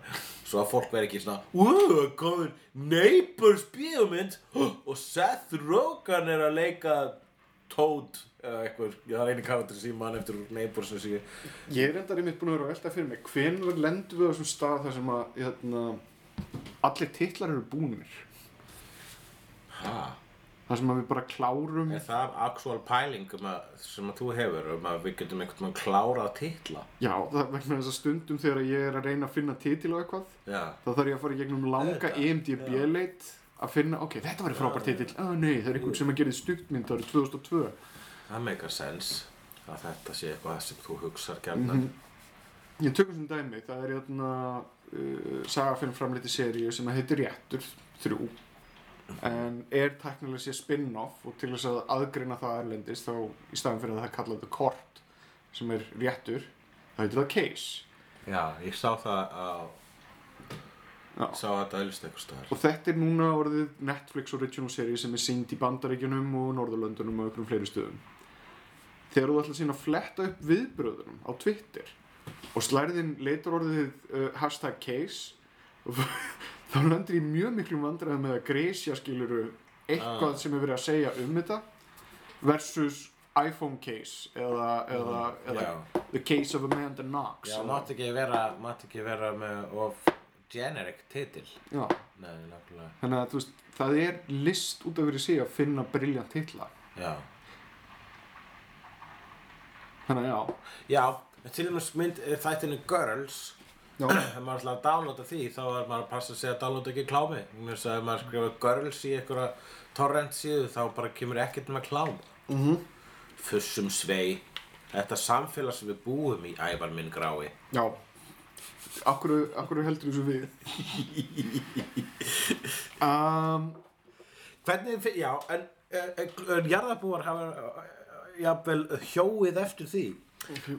Speaker 1: Svo að fólk verði ekki svona Wow, komin Neighbors bíómynd Og Seth Rogen er að leika Toad eða eitthvað Ég þarf einu karakter sem ég man eftir úr Neighbors sem ég...
Speaker 2: Ég er endar einmitt búin að vera að velta fyrir mig, hvenær lendum við á þessum stað þar sem að hérna, allir titlar eru búnir?
Speaker 1: Ha,
Speaker 2: Þar sem að við bara klárum,
Speaker 1: Er það actual pæling um að, sem að þú hefur um að við getum einhvern veginn klárað titla
Speaker 2: já, það er vegna þess að stundum þegar ég er að reyna að finna titil á eitthvað,
Speaker 1: Já
Speaker 2: þá þarf ég að fara í gegnum langa E IMDb-leit að finna, ok, þetta var frábær titill, að nei, það er einhvern sem að gerði stuktmynd árið 2002.
Speaker 1: Það meikar sens að þetta sé eitthvað sem þú hugsar gerna
Speaker 2: Ég tökum sem dæmi, það er játna uh, sagafilm framleiti seríu sem að heitir Réttur 3 en er teknilega sér spin-off og til þess að aðgrina það erlendis þá í staðan fyrir að það er kallað þetta kort sem er réttur þá heitir það case
Speaker 1: Já, ég sá það á
Speaker 2: Já.
Speaker 1: Sá þetta auðvist eitthvað staðar
Speaker 2: og þetta er núna orðið Netflix original seríu sem er sínd í Bandaríkjunum og Norðurlöndunum og einhverjum fleiri stöðum þegar þú ætlar síðan að fletta upp viðbröðunum á Twitter og slærðin leitar orðið uh, hashtag case þá landir ég í mjög miklum vandræðum með að Grecia skiluru eitthvað
Speaker 1: Ah.
Speaker 2: sem er verið að segja um þetta versus iPhone case eða, eða,
Speaker 1: Mhm.
Speaker 2: eða
Speaker 1: Já.
Speaker 2: the case of Amanda Knox
Speaker 1: Já,
Speaker 2: eða-
Speaker 1: mátt ekki vera, mátt ekki vera með of generic titil
Speaker 2: Já.
Speaker 1: Nei, nákvæmlega
Speaker 2: þannig að þú veist það er list út af verið sig að finna briljant titla
Speaker 1: Já
Speaker 2: þannig að já,
Speaker 1: Já, en til dæmis mynd eh, þættinu Girls
Speaker 2: Já.
Speaker 1: Ef maður ætlaði að downloada því þá var maður að passa að segja að downloada ekki klámi Mér veist að ef maður skrifa Girls í einhverja torrent síðu þá bara kemur ekkert með klám -hmm. Fussum svei Þetta samfélag sem við búum í ævar minn grái
Speaker 2: já. Akkur, akkur heldur þessu við um,
Speaker 1: Hvernig, fi- já, en, en, en, en jarðabúar hafa eh, eh, jafnvel hjóið eftir því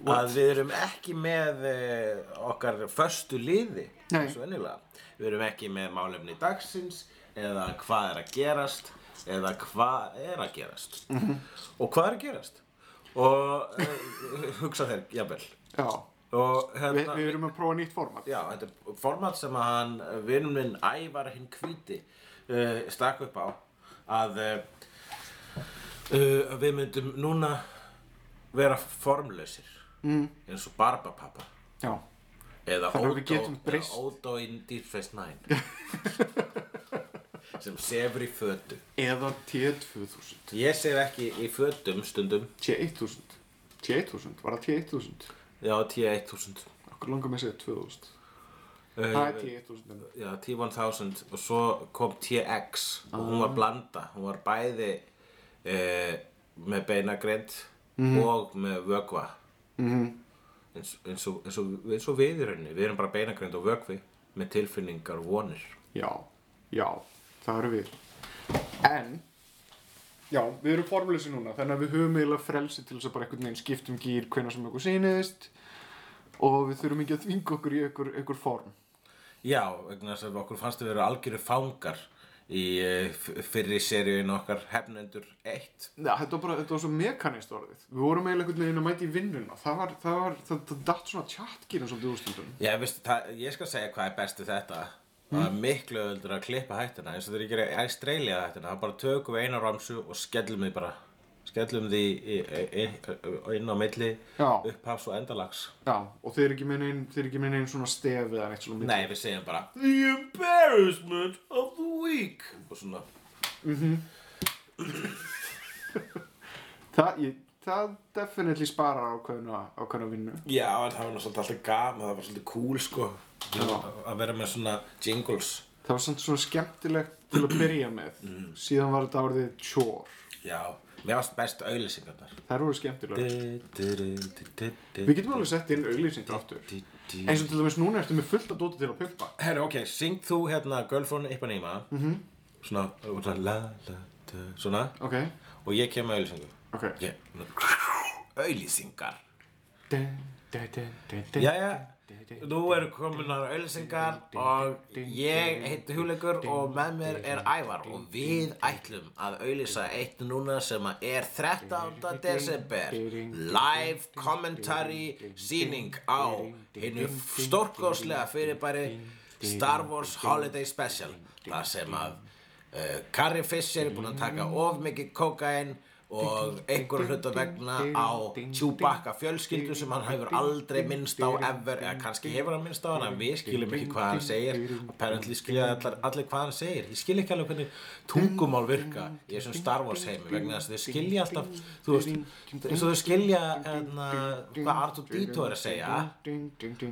Speaker 1: að við erum ekki með eh, okkar föstu liði
Speaker 2: Nei.
Speaker 1: eins og ennilega við erum ekki með málefni dagsins eða hvað er að gerast eða hvað er að gerast
Speaker 2: Mhm.
Speaker 1: og hvað er að gerast og eh, hugsa þeir jafnvel
Speaker 2: já,
Speaker 1: og
Speaker 2: Vi,
Speaker 1: hérna
Speaker 2: við erum að prófa nýtt format
Speaker 1: Já, þetta er format sem að hann, vinnum minn Ævar hinn hvíti, uh, stakk upp á að uh, uh, við myndum núna vera formlausir mm. eins og Barbapapa
Speaker 2: já,
Speaker 1: eða
Speaker 2: Þannig að við
Speaker 1: Ódó,
Speaker 2: getum
Speaker 1: eða
Speaker 2: breyst.
Speaker 1: Ódó in Deep Space Nine sem sefur í fötum.
Speaker 2: eða T2000
Speaker 1: Ég sef ekki í fötum stundum,
Speaker 2: T1000 T1000, var það T1000?
Speaker 1: já, T-1000.
Speaker 2: Okkur langar með að segja 2000
Speaker 1: Uh,
Speaker 2: Það er T1000 en-
Speaker 1: Já, T-1000 og svo kom TX og hún var blanda, hún var bæði eh, með beinagrind og með vögva -hmm. eins, eins, og, eins, og, eins og við í rauninni, við erum bara beinagrind og vögvi með tilfinningar og vonir
Speaker 2: Já, já, það eru við En Já, við erum formleysi núna Þannig að við höfum eiginlega frelsi til þess að bara einhvern veginn skiptum gýr hvenær sem okkur sýnist og við þurfum ekki að þvinga okkur í einhver, einhver form
Speaker 1: Já, vegna þess að okkur fannst við vera algjöru fangar í eh, f- fyrri seríun okkar hefnendur 1
Speaker 2: Já, þetta var bara, þetta var svo mekanist orðið Við vorum eiginlega einhvern veginn að mæta í vinnuna Það var, það var, það, það datt svona tjattgýrin svolítið úrstundum
Speaker 1: Já, veist, það, ég skal segja hvað er best við þetta Það er miklu öðuldur að klippa hættina eins og þegar ég gerir Australia hættina þá bara tökum við eina ramsu og skellum því bara skellum því í- í- í- inn á milli
Speaker 2: Já.
Speaker 1: upphafs og endalags
Speaker 2: Já, og þeir eru ekki með neinn, þeir eru ekki með neinn svona stef eða neitt svona
Speaker 1: Nei, við segjum bara The embarrassment of the week og svona
Speaker 2: Það, ég, það definitely sparar ákveðna, ákveðna vinnu.
Speaker 1: Já, en það var náttúrulega alltaf gaman það var svolítið cool sko að að vera með svona jingles
Speaker 2: það var samt svona skemmtilegt til að byrja með
Speaker 1: Mm.
Speaker 2: síðan var þetta orðið tjór
Speaker 1: Já, mér varst best auðlýsingarnar
Speaker 2: þær voru skemmtilega
Speaker 1: Við
Speaker 2: við getum alveg sett inn auglýsing aftur eins og til dæmis núna ertu með fullt að dóti til að pimpa
Speaker 1: Herru, ok, syng þú hérna Girlfriend Ipanema mm -hmm. Svona, svona, la, la, da, svona
Speaker 2: ok,
Speaker 1: Og ég kem með auðlýsingar
Speaker 2: ok
Speaker 1: yeah. Auðlýsingar Jæja,
Speaker 2: jæja
Speaker 1: nú eru kominar auðlýsingar og ég heiti Hugleikur og með mér er Ævar og við ætlum að auðlýsa eitt núna sem að er 13. desember live commentary síning á hinnu stórkoslega fyrirbæri Star Wars Holiday Special þar sem að uh, Carrie Fisher er búin að taka of mikið kókain og einhver hluta vegna á Chewbacca fjölskyldu sem hann hefur aldrei minnst á ever eða kannski hefur hann minnst á hann en við skiljum ekki hvað hann segir apparently skilja allir, allir hvað hann segir ég skilja ekki alveg hvernig tungumál virka í þessum Star Wars heimi vegna þess að þau skilja alltaf þú veist eins og þau skilja hérna, hvað R2-D2 er að segja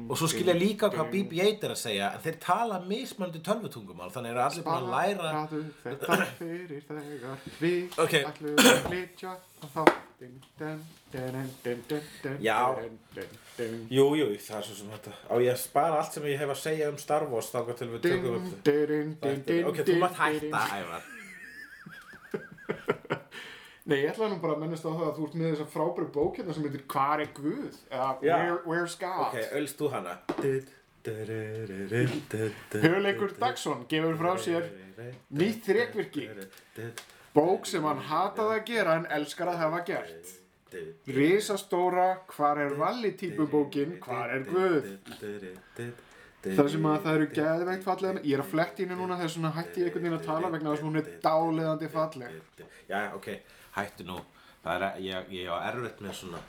Speaker 1: og svo skilja líka hvað BB-8 er að segja en þeir tala mismöndu tölvutungumál þannig eru allir búin að læra
Speaker 2: Sparaðu þetta fyrir þegar Við
Speaker 1: Ok.
Speaker 2: ætlum að flytja á þáttinn Dun, dun, dun, dun, dun, dun,
Speaker 1: Já.
Speaker 2: dun, dun, dun.
Speaker 1: Jú, jú, það er svo sem þetta Á ég að spara allt sem ég hef að segja um Star Wars þá til við
Speaker 2: Dun,
Speaker 1: tökum upp það
Speaker 2: dun, dun, dun,
Speaker 1: Ok, þú
Speaker 2: dun,
Speaker 1: mátt hætta,
Speaker 2: dun.
Speaker 1: Ævar
Speaker 2: Nei, ég ætla nú bara að mennast á það að þú ert með þessa frábæru bók hérna sem heitir Hvar er Guð? Eða
Speaker 1: Já.
Speaker 2: Where, Where's God?
Speaker 1: Ok, öllst þú hana
Speaker 2: Hugleikur Dagsson gefur frá sér nýtt þrekvirki Bók sem hann hataði að gera en elskar að hafa gert Risastóra Hvar er Valli típu bókin Hvar er Guð? Það sem að það eru geðveikt fallega Ég er að fletta í henni núna þegar svona hætti ég einhvern veginn að tala vegna þess að hún er dáleðandi falleg
Speaker 1: Já, ok, hættu nú Það er að, ég, ég á erfitt með svona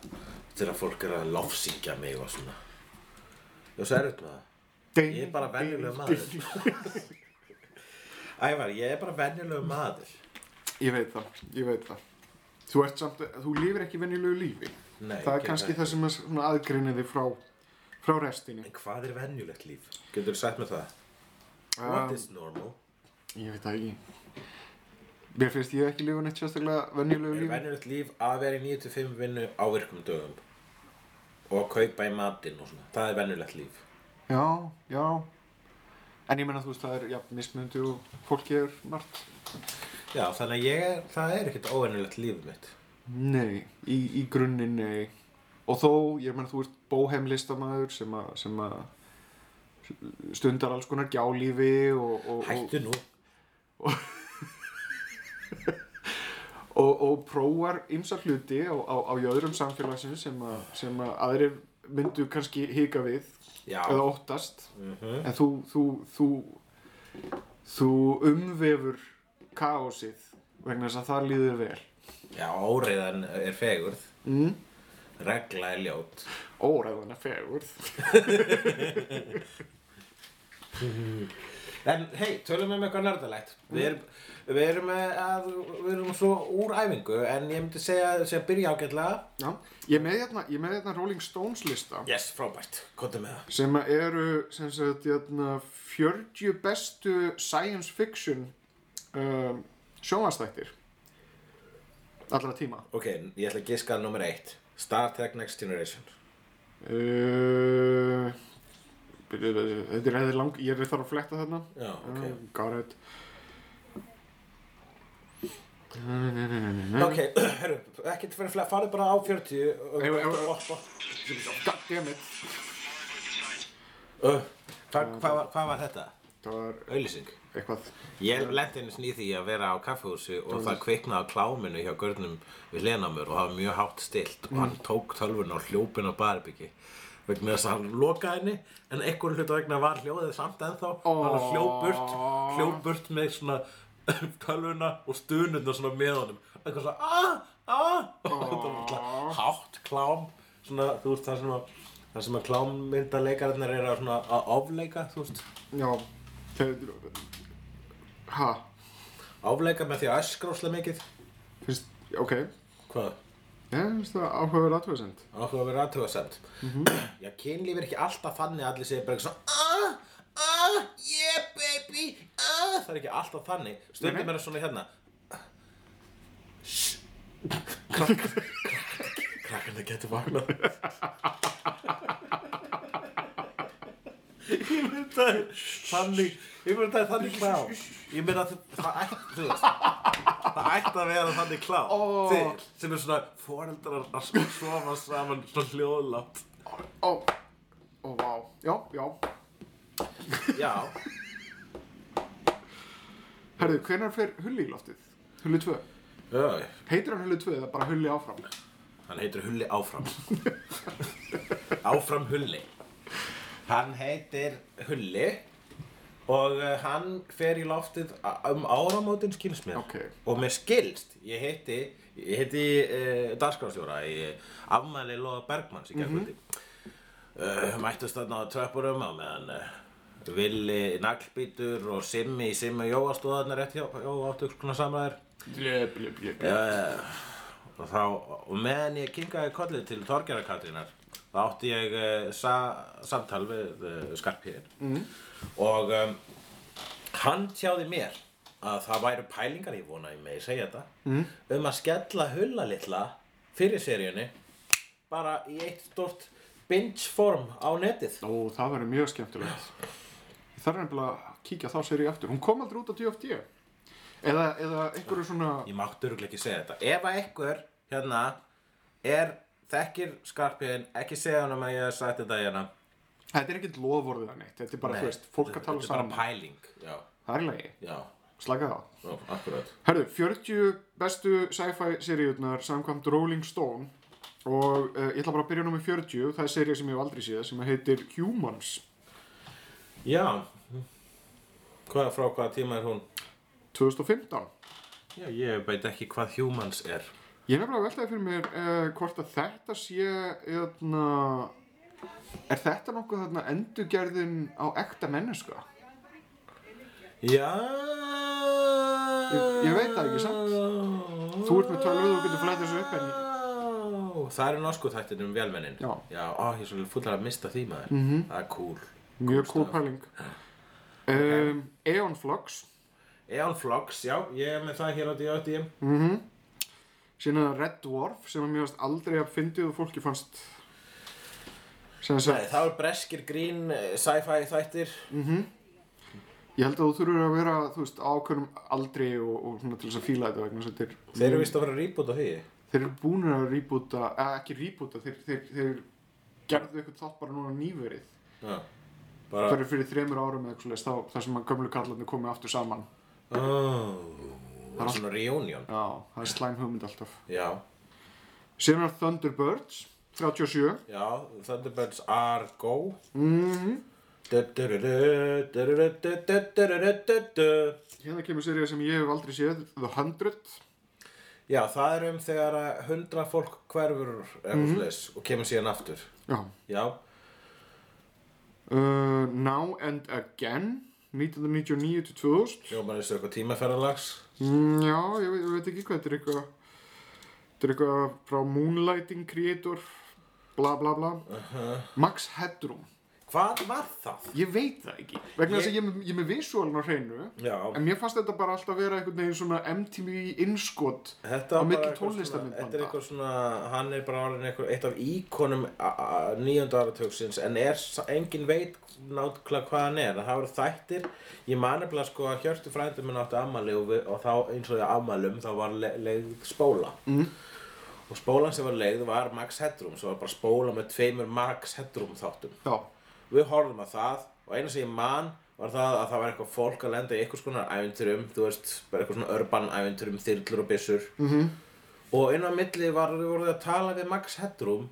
Speaker 1: Þegar fólk er að lofsingja mig og svona Ég á svo erfitt með það Ég er bara venjulegur maður Ævar, ég er bara venjulegur maður
Speaker 2: Ég veit það, ég veit það Þú ert samt, þú lifir ekki venjulegu lífi
Speaker 1: Nei,
Speaker 2: Það
Speaker 1: ég
Speaker 2: er kannski
Speaker 1: veit.
Speaker 2: það sem að svona aðgreinir þig frá frá restinni
Speaker 1: En hvað er venjulegt líf? Getur þú sagt með það?
Speaker 2: Um,
Speaker 1: What is normal?
Speaker 2: Ég veit það ekki Mér finnst ég ekki lifa neitt sérstaklega venjulegu
Speaker 1: Er
Speaker 2: lífi
Speaker 1: venjulegt líf að vera í 9-5 vinnu á virkum dögum og að kaupa í matinn og svona Það er venjulegt líf
Speaker 2: Já, já En ég menna þú veist það er, já, mismunandi og fólki er margt
Speaker 1: Já, þannig að ég er, það er ekkert óvenjulegt líf mitt
Speaker 2: Nei, í, í grunninn nei. Og þó, ég meina, þú ert bóheimlistamæður sem að, sem að stundar alls konar gjálífi og, og, og,
Speaker 1: Hættu nú
Speaker 2: og, og prófar ymsa hluti á, á, á jöðrum samfélagsins sem, að, sem að aðrir myndu kannski hika við
Speaker 1: Já.
Speaker 2: eða óttast
Speaker 1: Mhm.
Speaker 2: en þú, þú, þú, þú umvefur kaosið vegna þess að það líður vel.
Speaker 1: Já, óreiðan er fegurð
Speaker 2: Mm.
Speaker 1: Regla er ljót
Speaker 2: Óræðan er fegurð.
Speaker 1: En hei, tölum við um eitthvað nördalegt. Við erum, við erum, eh, að, við erum svo úr æfingu en ég myndi segja að segja að byrja ágætlega.
Speaker 2: Já, ég er með hérna, ég er með hérna Rolling Stones lista.
Speaker 1: Yes, frábært. Kontum með það.
Speaker 2: sem að eru sem sagt, jæna, 40 bestu science fiction um, sjónvastættir allra tíma
Speaker 1: Ok, ég ætla að giska að nummer eitt. Star Trek Next Generation.
Speaker 2: uh, þetta er hefði lang ég er þar að fletta þarna
Speaker 1: Já, ok.
Speaker 2: um, got it
Speaker 1: Mm-hmm. Ok, herru, ekkert fyrir flega, farið bara á 40 og
Speaker 2: Ef- ef-
Speaker 1: og- og-
Speaker 2: god damn it
Speaker 1: og- Hvað hva, hva hvað var þetta?
Speaker 2: það var
Speaker 1: Auðlýsing.
Speaker 2: eitthvað
Speaker 1: Ég lendi einu snýð því að vera á kaffehúsi og það kviknaði á kláminu hjá görnum við hlénamur og það var mjög hátt stilt og hann tók tölvun og hljópin á barbyggi vegna þess að hann lokaði henni en einhver hlut vegna var hljóðið samt ennþá hann
Speaker 2: Ó.
Speaker 1: hljópurt, hljópurt með svona tölvuna og stunurna svona með honum eitthvað svona aah, aah og þetta var svona hátt klám svona þú veist það sem að það sem að klámmyndaleikararnir eru að svona að ofleika þú veist
Speaker 2: já þeir ha
Speaker 1: ofleika með því að öskra óslega mikið
Speaker 2: finnst ok
Speaker 1: hvað?
Speaker 2: ég finnst það áhugaverð aðtöðsend
Speaker 1: áhuga að vera aðtöðasemt Já, kynlíf er ekki alltaf þannig að allir segja bara eitthvað svona "Ah, ah, yeah babe, upp í uh, það er ekki alltaf þannig
Speaker 2: Nei, nei.
Speaker 1: stundum er það svona hérna krakkarna getur vaknað ég myndi það er þannig ég myndi það er þannig klá ég myndi að það- það ætti þú veist það ætti að vera þannig klá
Speaker 2: Ó.
Speaker 1: Þið- sem er svona foreldrar að sofa saman svona hljóðlátt
Speaker 2: Ó, ó, vá, já, já.
Speaker 1: já
Speaker 2: Herðu, hvenær fer Hulli í loftið? Hulli 2.
Speaker 1: Öy.
Speaker 2: Heitir hann Hulli 2 eða bara Hulli áfram?
Speaker 1: hann heitir Hulli áfram áfram Hulli hann heitir Hulli og uh, hann fer í loftið a- um áramótin skilst mér
Speaker 2: Ok.
Speaker 1: og mér skilst ég heiti, ég heiti uh, dagskránstjóra í afmæli Lóa Bergmanns í gerkvöldi uh, mættust þarna á tröppurum á meðan uh, Villi naglbítur og Simmi í Simmi Jóastóðarnar rétt hjá, hjá áttu svona samræðir
Speaker 2: Blö, blö, blö, blö.
Speaker 1: Eh, og þá, og meðan ég kinkaði kollið til Þorgera Katrínar þá átti ég uh, sa, samtal við uh, skarpiðin mm. og um, hann tjáði mér að það væru pælingar ég vona ég megi segja þetta mm. um að skella hulla litla fyrir seríunni bara í eitt stort binge form á netið
Speaker 2: Ó, það verður mjög skemmtilegt. Ég þarf nefnilega að kíkja þá sér ég aftur. Hún kom aldrei út á DFD. Eða, eða einhverju svona...
Speaker 1: ég mátti örgulega ekki segja þetta ef að einhver hérna er þekkir skarpiðin ekki segja hann um að ég hef sagt þetta hérna
Speaker 2: Þetta er ekkert loforðið að neitt. Þetta er bara, þú veist, fólk að tala saman.
Speaker 1: Þetta er bara pæling, já,
Speaker 2: Það er í lagi.
Speaker 1: já,
Speaker 2: Slaka það á.
Speaker 1: já akkurat.
Speaker 2: Herðu, 40 bestu sci-fi seríurnar samkvæmt Rolling Stone og uh, ég ætla bara að byrja númer 40, það er seríu sem ég hef aldrei séð sem heitir Humans
Speaker 1: Já, hvað frá hvaða tíma er hún?
Speaker 2: 2015.
Speaker 1: Já, ég veit ekki hvað humans er.
Speaker 2: Ég er nefnilega að veltaði fyrir mér uh, hvort að þetta sé, eðna, er þetta nokkuð þarna endurgerðin á ekta menneska?
Speaker 1: Já,
Speaker 2: Ég- ég veit það ekki samt. Þú ert með tölvu, þú getur flætt þessu upp,
Speaker 1: en... Það eru norsku þættir um velmennin.
Speaker 2: Já. Mhm.
Speaker 1: Já, á, ég er svolítið fullar að mista því maður. Mm -hmm. Það er cool.
Speaker 2: Mjög cool pæling. Um, Aeon Flux,
Speaker 1: Eon Flocks, já, ég er með það hér á D.O.D.M.
Speaker 2: síðan er Red Dwarf sem að mér varst aldrei að fyndið og fólki fannst sem að
Speaker 1: Nei, það er breskir grín, eh, sci-fi þættir.
Speaker 2: Ég held að þú þurfur að vera, þú veist, á ákveðnum aldri og, og svona til þess að fíla þetta vegna þess að þeir,
Speaker 1: Þeir eru vist að vera rýbútt á því.
Speaker 2: þeir eru búinir að rýbúta, eða ekki rýbúta, þeir, þeir, þeir gerðu eitthvað þátt bara núna nýverið.
Speaker 1: Já, bara...
Speaker 2: Það eru fyrir þremur árum eða eitthvað leist þá, þar sem að gömlu kallarnir komið aftur saman.
Speaker 1: Oh, það er svona reunion
Speaker 2: Já, það er slæm hugmynd alltaf.
Speaker 1: Já,
Speaker 2: Síðan er Thunderbirds, 37.
Speaker 1: já, Thunderbirds are go Mhm. Du-du-du-du-du-du-du-du-du-du-du.
Speaker 2: Hérna kemur serið sem ég hef aldrei séð, The Hundred.
Speaker 1: Já, það er um þegar að hundra fólk hverfur mm og kemur síðan aftur
Speaker 2: Já.
Speaker 1: Já,
Speaker 2: Uh, Now and Again, 1999 til 2000.
Speaker 1: hljómar þessu eitthvað tímaferðalags
Speaker 2: Mm, Já, ég veit, ég veit ekki hvað, þetta er eitthvað Þetta er eitthvað frá Moonlighting Creator Bla bla bla Max Headroom
Speaker 1: Hvað var það?
Speaker 2: Ég veit það ekki Vegna þess
Speaker 1: Ég-
Speaker 2: að ég, er með- ég er með visuálin á hreinu
Speaker 1: Já,
Speaker 2: En mér fannst þetta bara alltaf vera einhvern veginn svona MTV innskot
Speaker 1: þetta
Speaker 2: á
Speaker 1: var
Speaker 2: milli
Speaker 1: bara eitthvað svona,
Speaker 2: tónlistarmyndbanda.
Speaker 1: Þetta er eitthvað svona, hann er bara orðin eitthvað, eitt af íkonum nýjönda áratugsins en er, sa- engin veit náttúrulega hvað hann er en það voru þættir, ég mani bara sko að Hjörtu frændi minn átti ammali og, við, og þá eins og ég ammalum þá var le, leið spóla mm. og spólan sem var leið var Max Headroom sem var bara spóla með tveimur Max Headroom þáttum
Speaker 2: Já,
Speaker 1: við horfum að það og eina sem ég man var það að það var eitthvað fólk að lenda í einhvers konar æventurum, þú veist, bara eitthvað svona urban æventurum, þyrlur og byssur -hmm. og inn á milli var við voruð að tala við Max Headroom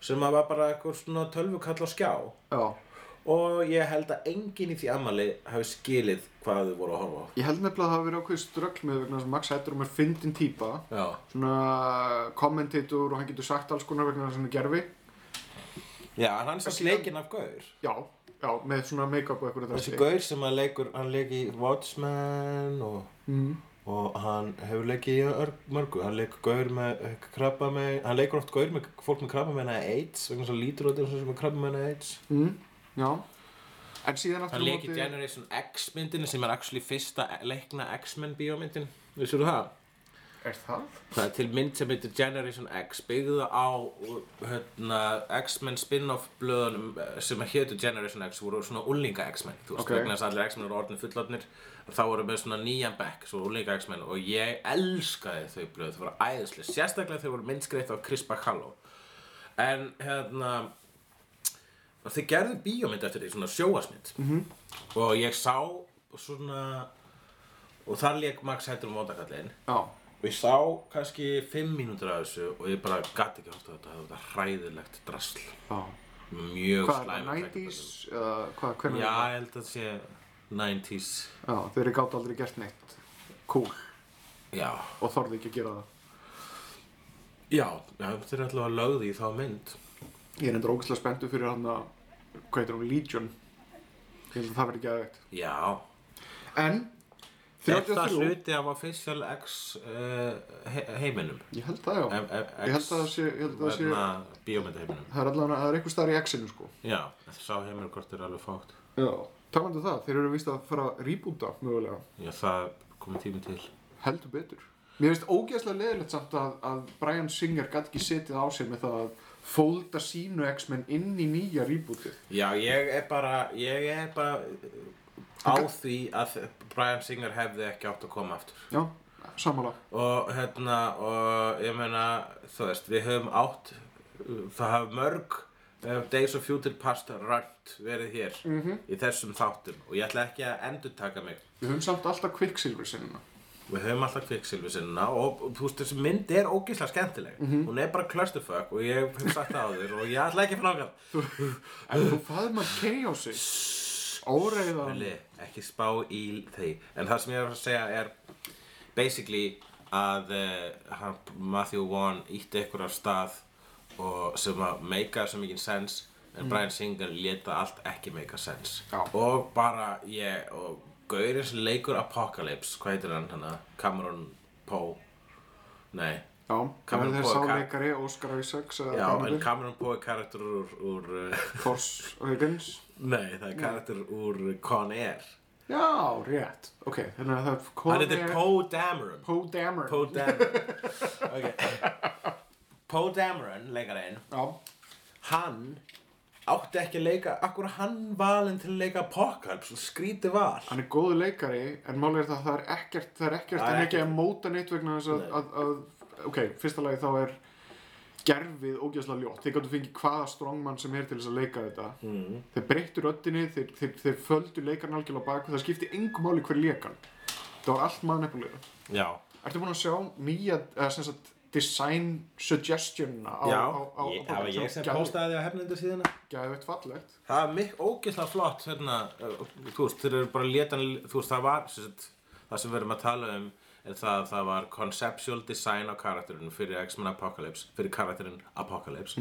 Speaker 1: sem að var bara eitthvað svona tölvukall á skjá
Speaker 2: já
Speaker 1: og ég held að enginn í því ammali hafi skilið hvað þau voru að horfa á
Speaker 2: Ég held nefnilega að það hafa verið ákveðið ströggl með vegna þess að Max Headroom er fyndin típa
Speaker 1: Já,
Speaker 2: Svona kommentator og hann getur sagt alls konar vegna þess að hann er gerfi
Speaker 1: Já en hann er svo sleikinn af gaur
Speaker 2: Já, já, með svona make-up og eitthvað
Speaker 1: Þessi gaur sem að leikur, hann leik í Watchmen og, mm. og hann hefur leikið í örg, mörgu, hann leikur gaur með eh, krabba með, hann leikur oft gaur með fólk með krabba með AIDS, vegna svo lítur út eins og sem er krabba með AIDS.
Speaker 2: mm, Já En síðan aftur
Speaker 1: Hann
Speaker 2: á
Speaker 1: leik í
Speaker 2: móti-
Speaker 1: Generation X myndinni sem er actually fyrsta leikna X-Men bíómyndin. Vissir þú það?
Speaker 2: Er það?
Speaker 1: Það er til mynd sem heitir Generation X byggða á hérna, X-Men spin-off blöðunum eh, sem hétu Generation X voru svona úlinga X-Men þú veist,
Speaker 2: Ok.
Speaker 1: vegna þess að allir X-Men eru orðin fullotnir þá voru með svona nýjan bekk, svo úlinga X-Men og ég elskaði þau blöð, þau voru æðislega sérstaklega þau voru myndskreitt af Chris Bacallo en hérna og þau gerðu bíómynd eftir því, svona sjóasmynd -hmm. og ég sá svona og þar lék Max Hedrum Vondakallin
Speaker 2: Já.
Speaker 1: og ég sá kannski fimm mínútur af þessu og ég bara gæti ekki horta þetta þetta var hræðilegt drasl
Speaker 2: Já.
Speaker 1: mjög
Speaker 2: Hvað er það,
Speaker 1: slæmur
Speaker 2: 90s?
Speaker 1: tæknibrellur.
Speaker 2: Eða hvað, hvernig?
Speaker 1: já, ég held að það sé 90s
Speaker 2: Já, þeir gátt aldrei gert neitt. Cool.
Speaker 1: já,
Speaker 2: Og þorði ekki að gera það.
Speaker 1: já, já þeir eru alltaf að lögði í þá mynd
Speaker 2: Ég er endur ógæslega spenntu fyrir hann að, hvað heitir hún, Legion. Ég held að það verði ekki aðeitt.
Speaker 1: já,
Speaker 2: En,
Speaker 1: er það
Speaker 2: 33,
Speaker 1: hluti af official X uh, he heiminum
Speaker 2: ég held það já.
Speaker 1: Em- em-
Speaker 2: Ég held
Speaker 1: X,
Speaker 2: að það sé, ég held að það sé,
Speaker 1: hérna, bíómyndaheiminum
Speaker 2: það er allavega, það er einhver staðar í X-inu sko.
Speaker 1: já, það sá heiminu hvort þeir eru alveg fátt
Speaker 2: Já. Talandu um það, þeir eru vist að fara að rýbúta mögulega.
Speaker 1: já, það komið tími til
Speaker 2: Heldur betur. Mér finnst ógeðslega leðilegt samt að, að Brian Singer gæti ekki setið á sér með það að fólda sínu X-Men inn í nýja rýbútið.
Speaker 1: Já, ég er bara, ég er bara uh, á því að Brian Singer hefði ekki átt að koma aftur.
Speaker 2: Já, samanlega.
Speaker 1: Og hérna, og ég meina, þú veist, við höfum átt, uh, það hafa mörg uh, Days of Future Past rönt verið hér í þessum þáttum og ég ætla ekki að endurtaka mig.
Speaker 2: Við höfum samt alltaf Quicksilver sinna.
Speaker 1: Við höfum alltaf kviksilfi sinna og og, þú veist, þessi mynd er ógeðslega skemmtileg. Hún er bara clusterfuck og ég hef sagt það á þér og ég ætla ekki að fnáka það.
Speaker 2: En þú faðum að chaosi. Óreiðan.
Speaker 1: Óli, ekki spá í því En það sem ég er að segja er Basically að uh, hann, Matthew Vaughn ítti ykkur af stað og sem að meika svo mikið sens en Brian Singer leta allt ekki meika sens
Speaker 2: Já.
Speaker 1: og bara ég og gaurinn sem leikur Apocalypse hvað heitir hann hana? Cameron Poe Nei,
Speaker 2: Já, það
Speaker 1: Cameron
Speaker 2: er
Speaker 1: Poe,
Speaker 2: þeir
Speaker 1: Ka-
Speaker 2: sáleikari Óskar Isaacs eða
Speaker 1: já, en
Speaker 2: Kamilur.
Speaker 1: Cameron Poe er karakter úr, úr uh,
Speaker 2: Thors Huggins.
Speaker 1: Nei, það er karakter úr Con Air
Speaker 2: Já, rétt. Ok, þannig að það er
Speaker 1: Hann heitir Poe Dameron
Speaker 2: Poe Dameron.
Speaker 1: Poe Dameron okay. Poe Dameron, leikarinn
Speaker 2: Já,
Speaker 1: hann átti ekki að leika akkur hann valinn til að leika Apocalypse og skríti val
Speaker 2: hann er góðu leikari en málið er það að það er ekkert, það er ekkert
Speaker 1: Það er
Speaker 2: en ekki að
Speaker 1: ekkert.
Speaker 2: móta neitt vegna þess að,
Speaker 1: Nei.
Speaker 2: að, að ok, fyrsta lagi þá er gerfið ógeðslega ljótt þeir gáttu fengið hvaða strongman sem er til þess að leika þetta
Speaker 1: Mhm.
Speaker 2: mm. þeir breyttu röddinni þeir, þeir, þeir földu leikarn algjörlega á bak og það skipti engum máli hver leikan það var allt maður nefnilega
Speaker 1: já,
Speaker 2: Ertu búin að sjá nýja, eða sem sagt design suggestionina á,
Speaker 1: já,
Speaker 2: á, á, á
Speaker 1: ég, það var ég sem postaði því á hefnendu síðuna
Speaker 2: gæðið fallegt
Speaker 1: það var mikk ógeðslega flott hérna, uh, þú veist, þeir eru bara létan þú veist, það var sem sagt, það sem við erum að tala um er það að það var conceptual design á karakterinu fyrir X-Men Apocalypse fyrir karakterinn Apocalypse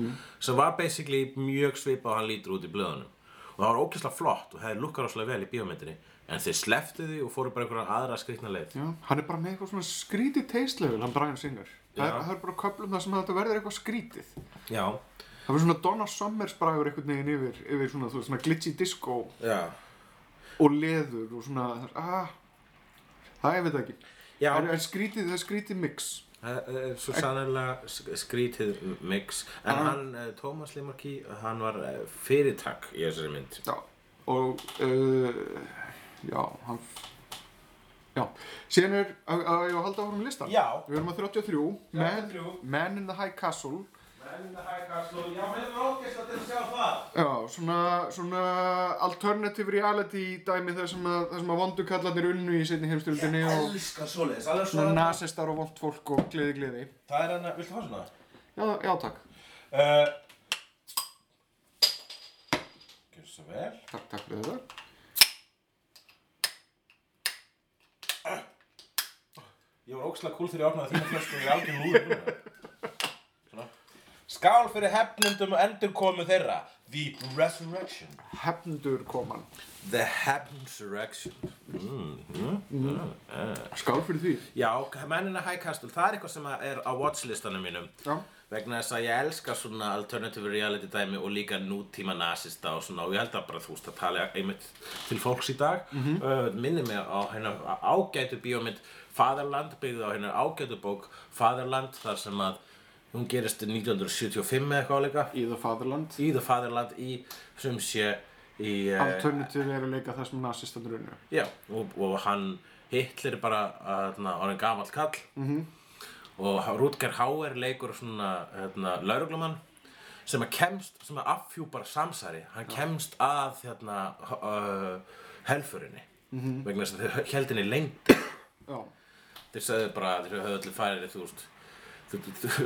Speaker 1: sem var basically mjög svipað og hann lítur út í blöðunum og það var ógeðslega flott og hefði lukkar áslega vel í bíómyndinni en þeir sleftu því og fóru bara einhverja aðra skrikna leið
Speaker 2: Já, hann er bara með eitthvað svona skrítið teistlefil, hann Brian Singer. Það er,
Speaker 1: Já.
Speaker 2: það er bara köflum það sem þetta verður eitthvað skrítið.
Speaker 1: já,
Speaker 2: Það verður svona Donna Summers bragur einhvern veginn yfir, yfir svona, þú veist, svona glitchy disco
Speaker 1: já
Speaker 2: og leður og svona, það er, ah, það er við það ekki.
Speaker 1: Já.
Speaker 2: Það er, er skrítið, það er skrítið mix.
Speaker 1: Það er svo sannlega sk- skrítið mix en
Speaker 2: Ah.
Speaker 1: hann, eh, Thomas Limarki hann var eh, fyrirtak í þessari mynd
Speaker 2: Já. Og, uh, já, hann, já. Síðan er, að að ég á að halda áfram með listan.
Speaker 1: Já.
Speaker 2: Við erum að 33, Man,
Speaker 1: 33.
Speaker 2: Man in the High Castle.
Speaker 1: Menn að hækka slú, já, menn að ógæst að sjá það.
Speaker 2: Já, svona, svona alternative reality dæmi þar sem að, þar sem að vondu kallarnir unnu í seinni heimstyrjöldinni og
Speaker 1: Elskar svoleiðis, alveg
Speaker 2: svona
Speaker 1: svona.
Speaker 2: nasistar og vond fólk og gleði gleði.
Speaker 1: Það er hann að, viltu fá svona?
Speaker 2: Já, já takk.
Speaker 1: Uh, Gjörðu svo vel.
Speaker 2: Takk, takk fyrir þetta.
Speaker 1: Ég var ógslag kúl þegar ég opnaði þínu flösku og ég er algjör húður núna. Svona. Skál fyrir hefnundum og endurkomu þeirra. The Resurrection
Speaker 2: hefndur koman
Speaker 1: The Hemsurrection
Speaker 2: skál fyrir því
Speaker 1: Já, mennina High Castle, það er eitthvað sem er á watchlistanum mínum
Speaker 2: Já.
Speaker 1: vegna þess að ég elska svona alternative reality dæmi og líka nútíma nasista og svona og ég held að bara þú veist að tala einmitt til fólks í dag mm -hmm. minni mig á hérna ágætu bíómynd Fatherland byggði á hérna ágætu bók Fatherland þar sem að hún gerist 1975 eða eitthvað líka
Speaker 2: í það fadurland
Speaker 1: í The Fatherland í sem sé í eh,
Speaker 2: alternativ er að leika það sem nazistandur unnu
Speaker 1: Já, og, og hann Hitler er bara aðna, orðin gamall kall -hmm. og Ha- Rutger Hauer leikur svona hérna, lauruglumann sem að kemst, sem að afhjúpar samsæri hann kemst að hérna, uh, helfurinni -hmm. vegna þess að þau held henni lengd
Speaker 2: já,
Speaker 1: þeir sagði bara að þeir höfðu allir farið þú veist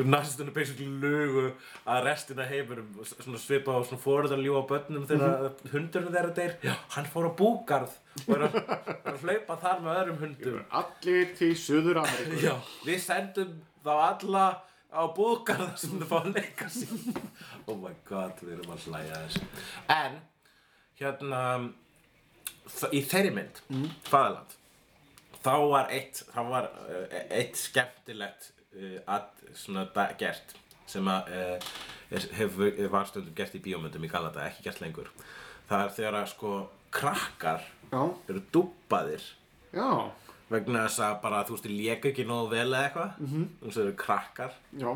Speaker 1: nasistunum basically lugu að restina heimurum svona svipa á svona fóruðan ljúa börnum þegar mm -hmm. hundurinn þeirra deyr Já. hann fór á búgarð og er að, er að hlaupa þar með öðrum hundum
Speaker 2: allir til Suður Ameríku
Speaker 1: Já. við sendum þá alla á búgarða sem þau fá að leika sín oh my god, við erum að hlæja þessu en hérna þ- í þeirri mynd, mm. Fæðaland þá var eitt þá var uh, eitt skemmtilegt uh, að svona da- gert sem að uh, er- hefur var stundum gert í bíómyndum í Galata ekki gert lengur það er þegar að sko krakkar
Speaker 2: já,
Speaker 1: eru dúbbaðir
Speaker 2: já,
Speaker 1: vegna þess að bara þú veist ég lék ekki nógu vel eða eitthvað mm
Speaker 2: Mhm.
Speaker 1: -hmm. þess að eru krakkar
Speaker 2: já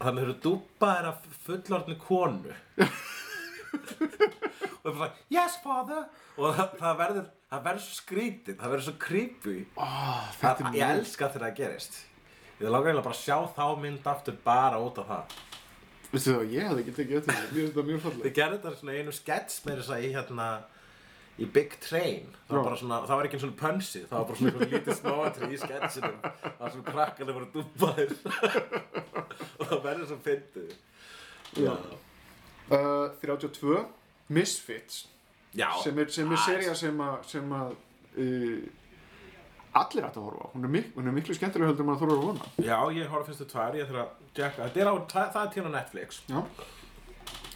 Speaker 1: þannig eru dúbbaðir af fullorðni konu og það er bara yes father og það, það verður það verður svo skrítið það verður svo creepy
Speaker 2: oh,
Speaker 1: Það,
Speaker 2: þetta er
Speaker 1: ég
Speaker 2: mjög
Speaker 1: elska þegar það gerist. Ég langar eiginlega bara að sjá þá mynd aftur bara út af það.
Speaker 2: Veistu það, ég hafði ekki tekið eftir þetta, mér finnst þetta mjög
Speaker 1: Þið
Speaker 2: fallið.
Speaker 1: gerðu þetta svona í einu skets með þess að í hérna í Big Train. Það var
Speaker 2: Já.
Speaker 1: bara svona, það var ekki eins og pönsi, það var bara svona eitthvað lítið snóatri í sketsinum. Það var svona krakkarnir voru dúbbaðir. og það verður svo fyndið. Já.
Speaker 2: Uh, 32, Misfits,
Speaker 1: Já.
Speaker 2: sem er, sem er
Speaker 1: Ah,
Speaker 2: seria sem að, sem að uh, allir ætti að horfa á. Hún er, mik hún er miklu skemmtilega heldur en maður þorður að vona.
Speaker 1: Já, ég horf fyrstu tvær, ég þarf að tjekka. Þetta er á, það, það er til á Netflix.
Speaker 2: Já. Uh,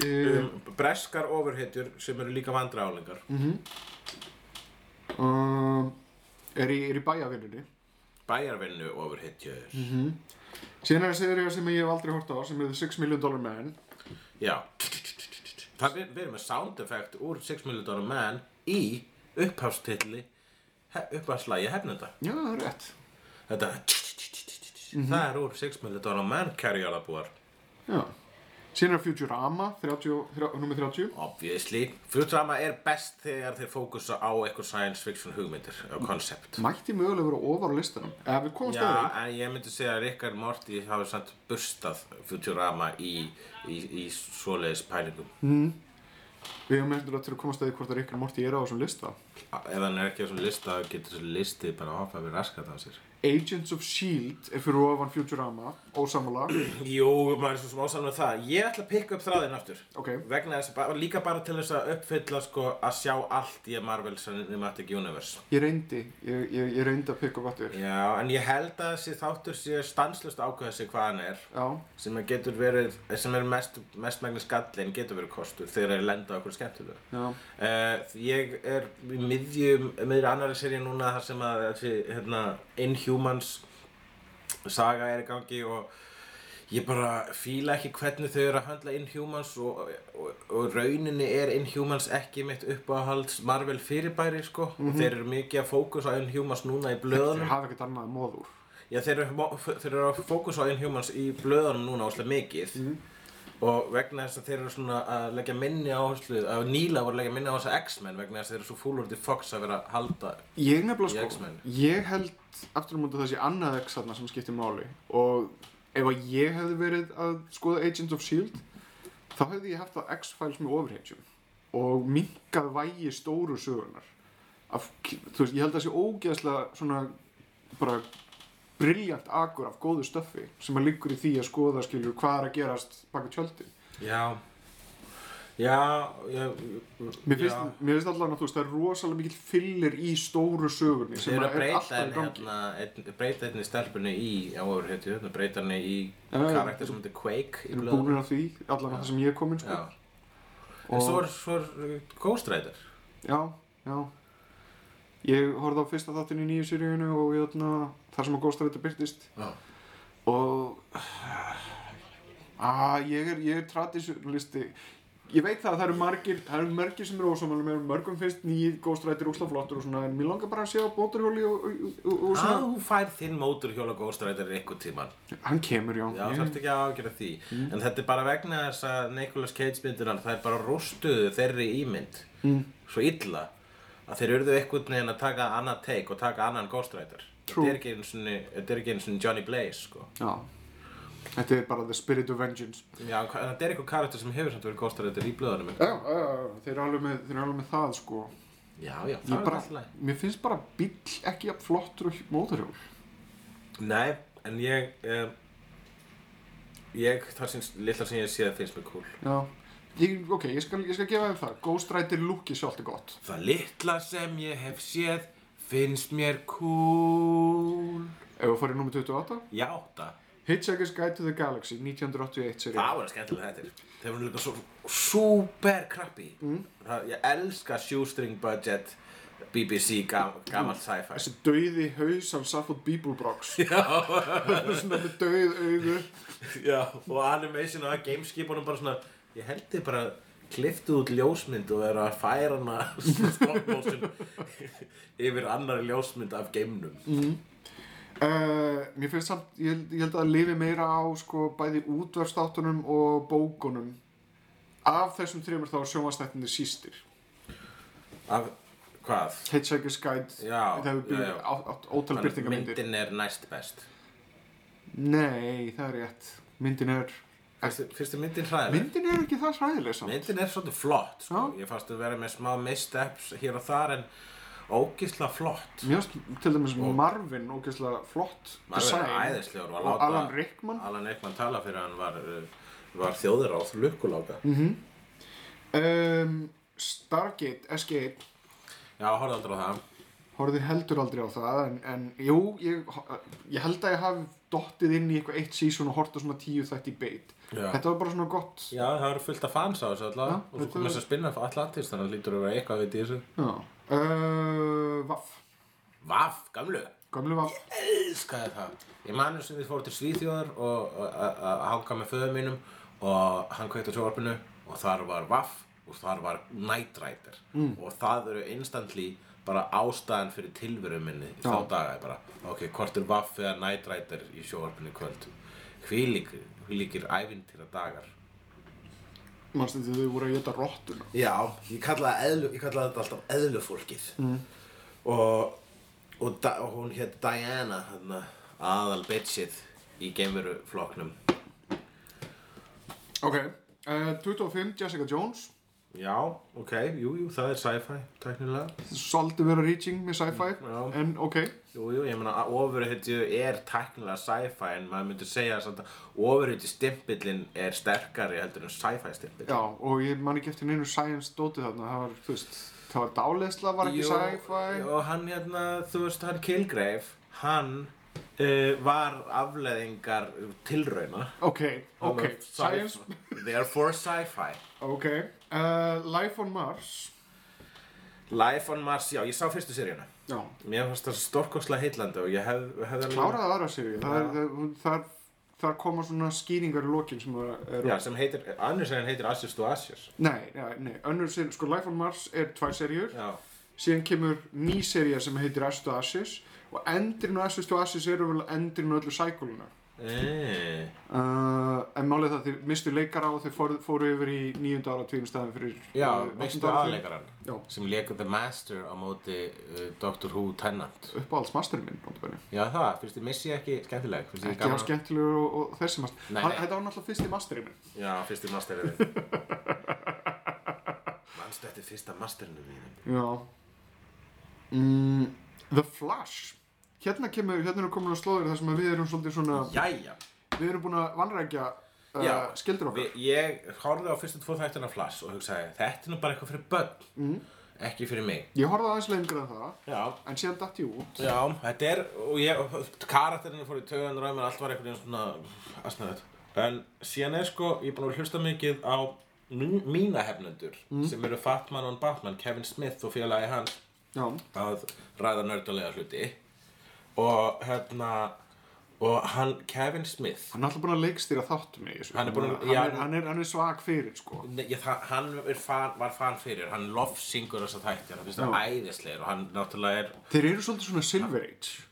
Speaker 1: Um, breskar ofurhetjur sem eru líka vandræðálingar.
Speaker 2: Mm. uh, er í, er í bæjavinninni.
Speaker 1: Bæjarvinnu ofurhetjur.
Speaker 2: Mm. Síðan er það seria sem ég hef aldrei hort á, sem er The 6 Million Dollar Man.
Speaker 1: Já Það við, við erum með sound effect úr 6 Million Dollar Man í upphafstilli upphafslægi hefnenda
Speaker 2: Já, það er rétt.
Speaker 1: Þetta Það er úr 6 Million Dollar Man kærjálabúar
Speaker 2: Já. Síðan er Futurama, 30, 30, nummer 30.
Speaker 1: Obviously Futurama er best þegar þeir fókusa á eitthvað science fiction hugmyndir og koncept
Speaker 2: Mætti mögulega vera ofar á listanum. Ef við komast
Speaker 1: Já,
Speaker 2: að því.
Speaker 1: en ég myndi segja að Rickard Morty hafi samt burstað Futurama í, í, í svoleiðis pælingum
Speaker 2: Við hefum eftir að komast að því hvort að Rick and Morty er á þessum lista.
Speaker 1: Ef hann er ekki á svona lista getur þessu listi bara að hoppa við raskat af sér
Speaker 2: Agents of S.H.I.E.L.D. E er fyrir ofan Futurama, ósamúla.
Speaker 1: Jú, maður er svo sem ásamlega það. Ég ætla að pikka upp þráðinn aftur.
Speaker 2: Ok.
Speaker 1: Vegna þess að bara, líka bara til þess að uppfylla sko að sjá allt í að Marvel Cinematic Universe.
Speaker 2: Ég reyndi, ég, ég, ég reyndi að pikka upp aftur.
Speaker 1: Já, en ég held að þessi þáttur sé stanslust ákveða sig hvað hann er.
Speaker 2: Já,
Speaker 1: Sem að getur verið, sem er mest, mest megnis gallin getur verið kostur þegar þeir lenda á okkur skemmtilegu.
Speaker 2: já,
Speaker 1: Uh, ég er í miðjum, miðjum annari seríu núna þar sem að þessi, hérna, Inhumans saga er í gangi og ég bara fíla ekki hvernig þau eru að handla Inhumans og, og, og rauninni er Inhumans ekki mitt uppáhalds Marvel fyrirbæri sko og þeir eru mikið að fókus á Inhumans núna í
Speaker 2: þeir
Speaker 1: blöðunum
Speaker 2: hafa ekkert annað en móður.
Speaker 1: Já, þeir eru, mo- f- þeir eru að fókusa á Inhumans í blöðunum núna óslega mikið
Speaker 2: Mhm.
Speaker 1: og vegna þess að þeir eru svona að leggja minni áherslu að Níla voru að leggja minni áherslu á X-Men vegna þess að þeir eru svo fúlur til Fox að vera að halda
Speaker 2: Ég
Speaker 1: Í
Speaker 2: nefnilega sko,
Speaker 1: X-Men.
Speaker 2: ég held aftur á mútu þessi annað X þarna sem skiptir máli og ef að ég hefði verið að skoða Agents of S.H.I.E.L.D. E þá hefði ég haft að X-Files með overheimtjum og minkað vægi stóru sögunar. Af, þú veist, ég held að það sé ógeðslega svona bara briljant akur af góðu stöffi sem að liggur í því að skoða skilur hvað er að gerast baka tjöldin.
Speaker 1: Já Já, já
Speaker 2: Mér
Speaker 1: já.
Speaker 2: finnst, mér finnst allan að þú veist, það er rosalega mikill fyllir í stóru sögurni
Speaker 1: Þeir
Speaker 2: sem
Speaker 1: eru
Speaker 2: að
Speaker 1: að
Speaker 2: er
Speaker 1: breyta
Speaker 2: alltaf í
Speaker 1: henni
Speaker 2: gangi.
Speaker 1: hérna, einn- breyta henni stelpunni í áhverfhetju, hérna breyta henni í
Speaker 2: Já, já.
Speaker 1: karakter sem heitir Quake í
Speaker 2: Við erum
Speaker 1: blöðunum.
Speaker 2: búinir að því, allan að það sem ég er komin sko.
Speaker 1: Já.
Speaker 2: Og-
Speaker 1: En svo er, svo er Ghost Rider.
Speaker 2: Já, já Ég horfði á fyrsta þáttinn í nýju seríunni og jötna, þar sem að Ghost Rider byrtist
Speaker 1: Já.
Speaker 2: og að ég er, ég er tradisjónlisti ég veit það að það eru margir það eru margir sem eru ósámála mér mörgum finnst nýjir Ghost Rider úsla flottur og svona en mér langar bara að sjá bóturhjóli og, og, og, og
Speaker 1: Að
Speaker 2: svona
Speaker 1: þú fær þinn móturhjóla Ghost Rider einhvern tíman.
Speaker 2: hann kemur já,
Speaker 1: Ah.
Speaker 2: Mm.
Speaker 1: Já, yeah. þarfst ekki að ágjöra því. En þetta er bara vegna þess að Nicolas Cage myndunar, það er bara rústuðu þeirri ímynd. Mm. Svo illa að þeir urðu einhvern veginn að taka annað take og taka annan Ghost Rider.
Speaker 2: True.
Speaker 1: Þetta er ekki einu sinni, þetta er ekki einu sinni Johnny Blaze, sko.
Speaker 2: já þetta er bara the spirit of vengeance
Speaker 1: Já, en hva- en þetta er eitthvað karakter sem hefur samt verið Ghost Rider í blöðunum.
Speaker 2: já, já, já, já, þeir eru alveg með, þeir eru alveg með það sko
Speaker 1: Já, já, það
Speaker 2: ég
Speaker 1: er alltaf
Speaker 2: bara,
Speaker 1: læg.
Speaker 2: mér finnst bara bíll ekki jafn flottur og móturhjól
Speaker 1: Nei, en ég, um, ég, það syns, litla sem ég sé það finnst mér cool.
Speaker 2: já, ég, ok, ég skal, ég skal gefa þeim það Ghost Rider looki sjálft er gott
Speaker 3: Það litla sem ég hef séð finnst mér cool.
Speaker 2: ef við farið nummer 28
Speaker 1: Já, það.
Speaker 2: Hitchhiker's Guide to the Galaxy 1981 seríu
Speaker 1: Það voru skemmtilega þetta. Þeir voru líka svo super krabbi. Mm. Það, ég elska shoestring budget BBC gam, gamalt sci-fi.
Speaker 2: þessi dauði haus af Safford Beeblebrox já svona með dauð augu
Speaker 1: Já, og animation og gameskipunum bara svona, ég held þið bara kliftu út ljósmynd og eru að færa hana stop motion yfir annari ljósmynd af geimnum.
Speaker 2: uh, mér finnst samt, ég, held- ég held að það lifi meira á sko bæði útverfstáttunum og bókunum af þessum þreymur þá er sjónvastættinni sístir
Speaker 1: Af, hvað?
Speaker 2: Hitchhiker's Guide
Speaker 1: Já,
Speaker 2: það
Speaker 1: já,
Speaker 2: hefur
Speaker 1: já.
Speaker 2: byrjað ótal
Speaker 1: Þannig að
Speaker 2: byrtingamyndir
Speaker 1: myndin er næst best.
Speaker 2: Nei, það er rétt. Myndin er...
Speaker 1: Fyrstu, fyrstu myndin hræðileg.
Speaker 2: Myndin er ekki það hræðileg samt.
Speaker 1: Myndin er svolítið flott, sko.
Speaker 2: Já.
Speaker 1: Ég fannst að vera með smá missteps hér og þar en ógisla flott.
Speaker 2: Mér finnst til dæmis Marvin ógeðslega flott
Speaker 1: Maður Sko-
Speaker 2: design.
Speaker 1: er æðislegur og að
Speaker 2: Og
Speaker 1: láta
Speaker 2: Alan Rickman.
Speaker 1: Alan Rickman tala fyrir hann var, uh, var þjóðuráð lukkuláka.
Speaker 2: Mhm. Um, Stargate, SG1.
Speaker 1: Já, horfði aldrei á það.
Speaker 2: Horfði heldur aldrei á það, en, en jú, ég, ég held að ég hafi dottið inn í eitthvað eitt season og horta svona tíu þætti í beit.
Speaker 1: Já.
Speaker 2: Þetta var bara svona gott.
Speaker 1: Já, það eru fullt af fans á þessu allavega
Speaker 2: Já,
Speaker 1: og svo
Speaker 2: þetta
Speaker 1: kom
Speaker 2: er-
Speaker 1: þess að spinna af Atlantis þannig að lítur að vera eitthvað veit í þessu.
Speaker 2: Já. Uh, vaff.
Speaker 1: Vaff, gamlu!
Speaker 2: Gamlu vaff.
Speaker 1: elskaði það ég manu sem þið fóru til Svíþjóðar og og- að að hanga með föðu mínum og hann kveikti á sjóvarpinu og þar var Vaff og þar var Knight Rider og það eru instantly bara ástæðan fyrir tilveru minni í þá daga ég bara, ok, hvort er Vaff eða Knight Rider í sjóvarpinu í kvöld hvílíkir, hvílíkir ævintýra dagar
Speaker 2: Manstu því þau voru að geta rottuna.
Speaker 1: Já, ég kallaði, eðlu, ég kallaði þetta alltaf eðlufólkið mm. og, og, da, og hún hétt Diana hana, aðal bitchið í geimveruflokknum
Speaker 2: Ok. Uh, 25, Jessica Jones.
Speaker 1: Já, ok, jú, jú, það er sci-fi tæknilega
Speaker 2: Svolítið vera reaching með sci-fi,
Speaker 1: Mm, já.
Speaker 2: en ok.
Speaker 1: Jú, jú, ég meina ofurhetju er tæknilega sci-fi en maður myndi segja samt að ofurhetju stimpillin er sterkari heldur en sci-fi stimpill
Speaker 2: Já, og ég man ekki eftir neinu science dótið þarna, það var, þú veist, það var dáleysla, var ekki sci-fi.
Speaker 1: og hann hérna, þú veist, hann Kilgrave hann uh, var afleðingar tilrauna
Speaker 2: Ok, ok,
Speaker 1: Alveg
Speaker 2: science,
Speaker 1: sci- Therefore sci-fi
Speaker 2: ok. Uh, Life on Mars,
Speaker 1: Life on Mars, já, ég sá fyrstu seríuna
Speaker 2: já,
Speaker 1: Mér fannst það stórkostlega heillandi og ég hef, hef
Speaker 2: kláraði aðra séu, það er, það- þar, þar koma svona skýringar í lokin sem það eru.
Speaker 1: Já, sem heitir, annars serið heitir Asjus to Asjus
Speaker 2: Nei, já, nei, önnur sér, sko Life on Mars er tvær serjur,
Speaker 1: Já,
Speaker 2: síðan kemur ný serja sem heitir Ashes to Ashes og endurinn á Ashes to Ashes eru vel endurinn á öllu sækuluna.
Speaker 1: eeeeh
Speaker 2: Uh, en málið það, þeir mistu leikara og þeir fóru, fóru yfir í nýjunda ára tvíum staðin fyrir
Speaker 1: Já,
Speaker 2: uh,
Speaker 1: veistu
Speaker 2: áttunda áratuginn.
Speaker 1: aðleikaran
Speaker 2: Já.
Speaker 1: sem leikur The Master á móti uh, Doctor Who Tennant
Speaker 2: uppáhaldsmasterinn minn notabene.
Speaker 1: Já, það, finnst þið missi ekki skemmtileg Finnst þið
Speaker 2: ekki á
Speaker 1: gaman að-
Speaker 2: skemmtilegur og, og þessi master
Speaker 1: Nei,
Speaker 2: Hann-
Speaker 1: nei.
Speaker 2: þetta var náttúrulega fyrsti masterinn minn
Speaker 1: Já, finnst þið masterið þinn Manstu eftir fyrsta masterinu mínum
Speaker 2: já mm, The Flash hérna kemur, hérna erum komin á slóðir þar sem að við erum svolítið svona,
Speaker 1: Jæja
Speaker 2: við erum búin að vanrækja uh,
Speaker 1: Já,
Speaker 2: skildur okkar
Speaker 1: Vi, ég horfði á fyrstu tvo þættina Flash og hugsaði, þetta er nú bara eitthvað fyrir börn, ekki fyrir mig.
Speaker 2: ég horfði aðeins lengra en það
Speaker 1: Mm. Já,
Speaker 2: en síðan datt ég út
Speaker 1: já, þetta er, og ég, karakterinu fór í töðan ræmur, allt var einhvern veginn svona, asnaðið. En síðan er sko, ég er búinn að vera að hlusta mikið á mín, mína hefnendur sem eru Fatman og Batman, Kevin Smith og félagi hans
Speaker 2: já,
Speaker 1: að ræða nördulega hluti og hérna og hann, Kevin Smith
Speaker 2: hann er alltaf búin að leikstýra þáttum í þessu
Speaker 1: Hann er búinn að-
Speaker 2: hann,
Speaker 1: já.
Speaker 2: er, hann, er, hann er svag fyrir sko
Speaker 1: Nei, ég, það, hann er far, var fan fyrir, hann lofsingur þessa þættir, hann finnst það æðislegur og hann náttúrulega er
Speaker 2: þeir eru svolítið svona Silver Age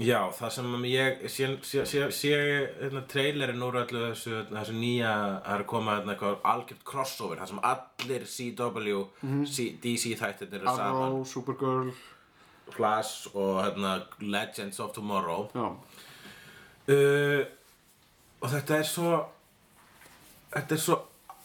Speaker 1: Já, það sem ég sé, sé, sé, sé hérna, trailerinn úr öllu þessu, hérna, þessu nýja það er að koma hérna, eitthvað algjört crossover það sem allir CW C, DC þættirnir eru saman
Speaker 2: Arrow, Supergirl
Speaker 1: Flash og hérna, Legends of Tomorrow
Speaker 2: já,
Speaker 1: uh, og þetta er svo þetta er svo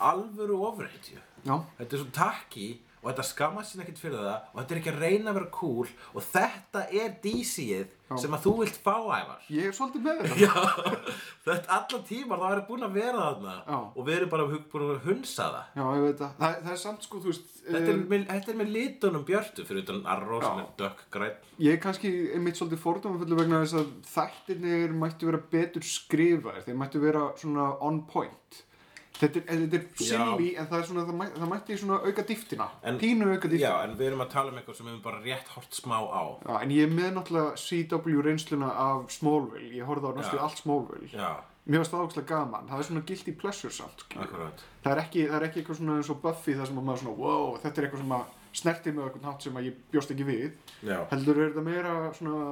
Speaker 1: alvöru ofreitju
Speaker 2: já,
Speaker 1: þetta er svo takki og þetta skammast sín ekkert fyrir það og þetta er ekki að reyna að vera cool og þetta er DC-ið sem að þú vilt fá ævar
Speaker 2: ég er svolítið með þetta
Speaker 1: Já, þetta allan tímar það er búin að vera þarna
Speaker 2: Já.
Speaker 1: og við erum bara hug- búin að hunsa það
Speaker 2: já, ég veit það, það, það er samt sko, þú veist
Speaker 1: Þetta er,
Speaker 2: eh,
Speaker 1: með, þetta er með litunum björtu fyrir utan Arró sem
Speaker 2: Já.
Speaker 1: er dökkgræn
Speaker 2: Ég er kannski einmitt svolítið fordómafullu vegna þess að þættirnir mættu vera betur skrifaðir, þeir mættu vera svona on point. Þetta er, en þetta er silly en það, er svona, það, mæ, það mætti svona auka dýftina,
Speaker 1: En-
Speaker 2: pínu auka
Speaker 1: Já,
Speaker 2: dýftina.
Speaker 1: en við erum að tala um eitthvað sem við erum bara rétt hort smá á
Speaker 2: Já, en ég er með náttúrulega CW reynsluna af Smallville, ég horfði á næstu
Speaker 1: Já.
Speaker 2: allt Smallville.
Speaker 1: Já,
Speaker 2: Mér varst það ákslega gaman, það er svona guilty pleasure samt, skilur.
Speaker 1: akkurat
Speaker 2: Það er ekki, það er ekki eitthvað svona eins og Buffy þar sem að maður svona, wow, þetta er eitthvað sem að snertir með eitthvað nátt sem að ég bjóst ekki við.
Speaker 1: Já,
Speaker 2: Heldur er þetta meira svona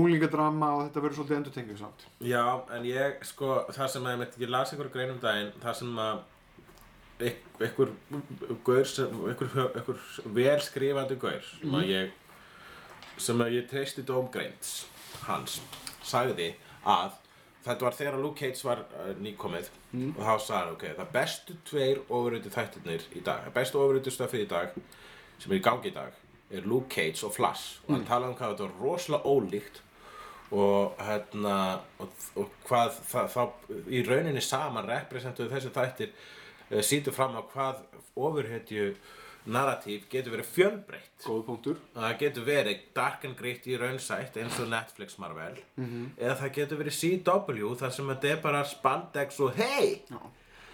Speaker 2: unglingadrama og þetta verður svolítið endurtengið samt.
Speaker 1: Já en ég sko það sem að ég, mitt- ég las einhver grein um daginn það sem að eik- einhver gaur sem einhver, einhver vel skrifandi gaur sem að ég sem að ég treysti dómgreins hans sagði að þetta var þegar Luke Cage var uh, nýkomið og þá sagði hann ok, það bestu tveir ofuröyti þættirnir í dag það bestu ofuröyti stöfið í dag sem er í gangi í dag er Luke Cage og Flash og hann talaði um hvað þetta var rosalega ólíkt og hérna og, og hvað það, þá í rauninni saman representuðu þessi þættir uh, sýndu fram á hvað ofurhetju narratíf getur verið fjölbreytt
Speaker 2: Góð punktur.
Speaker 1: Það getur verið dark and gritty raunsætt eins og Netflix Marvel
Speaker 2: Mhm.
Speaker 1: eða það getur verið CW þar sem þetta er bara spandex og hei,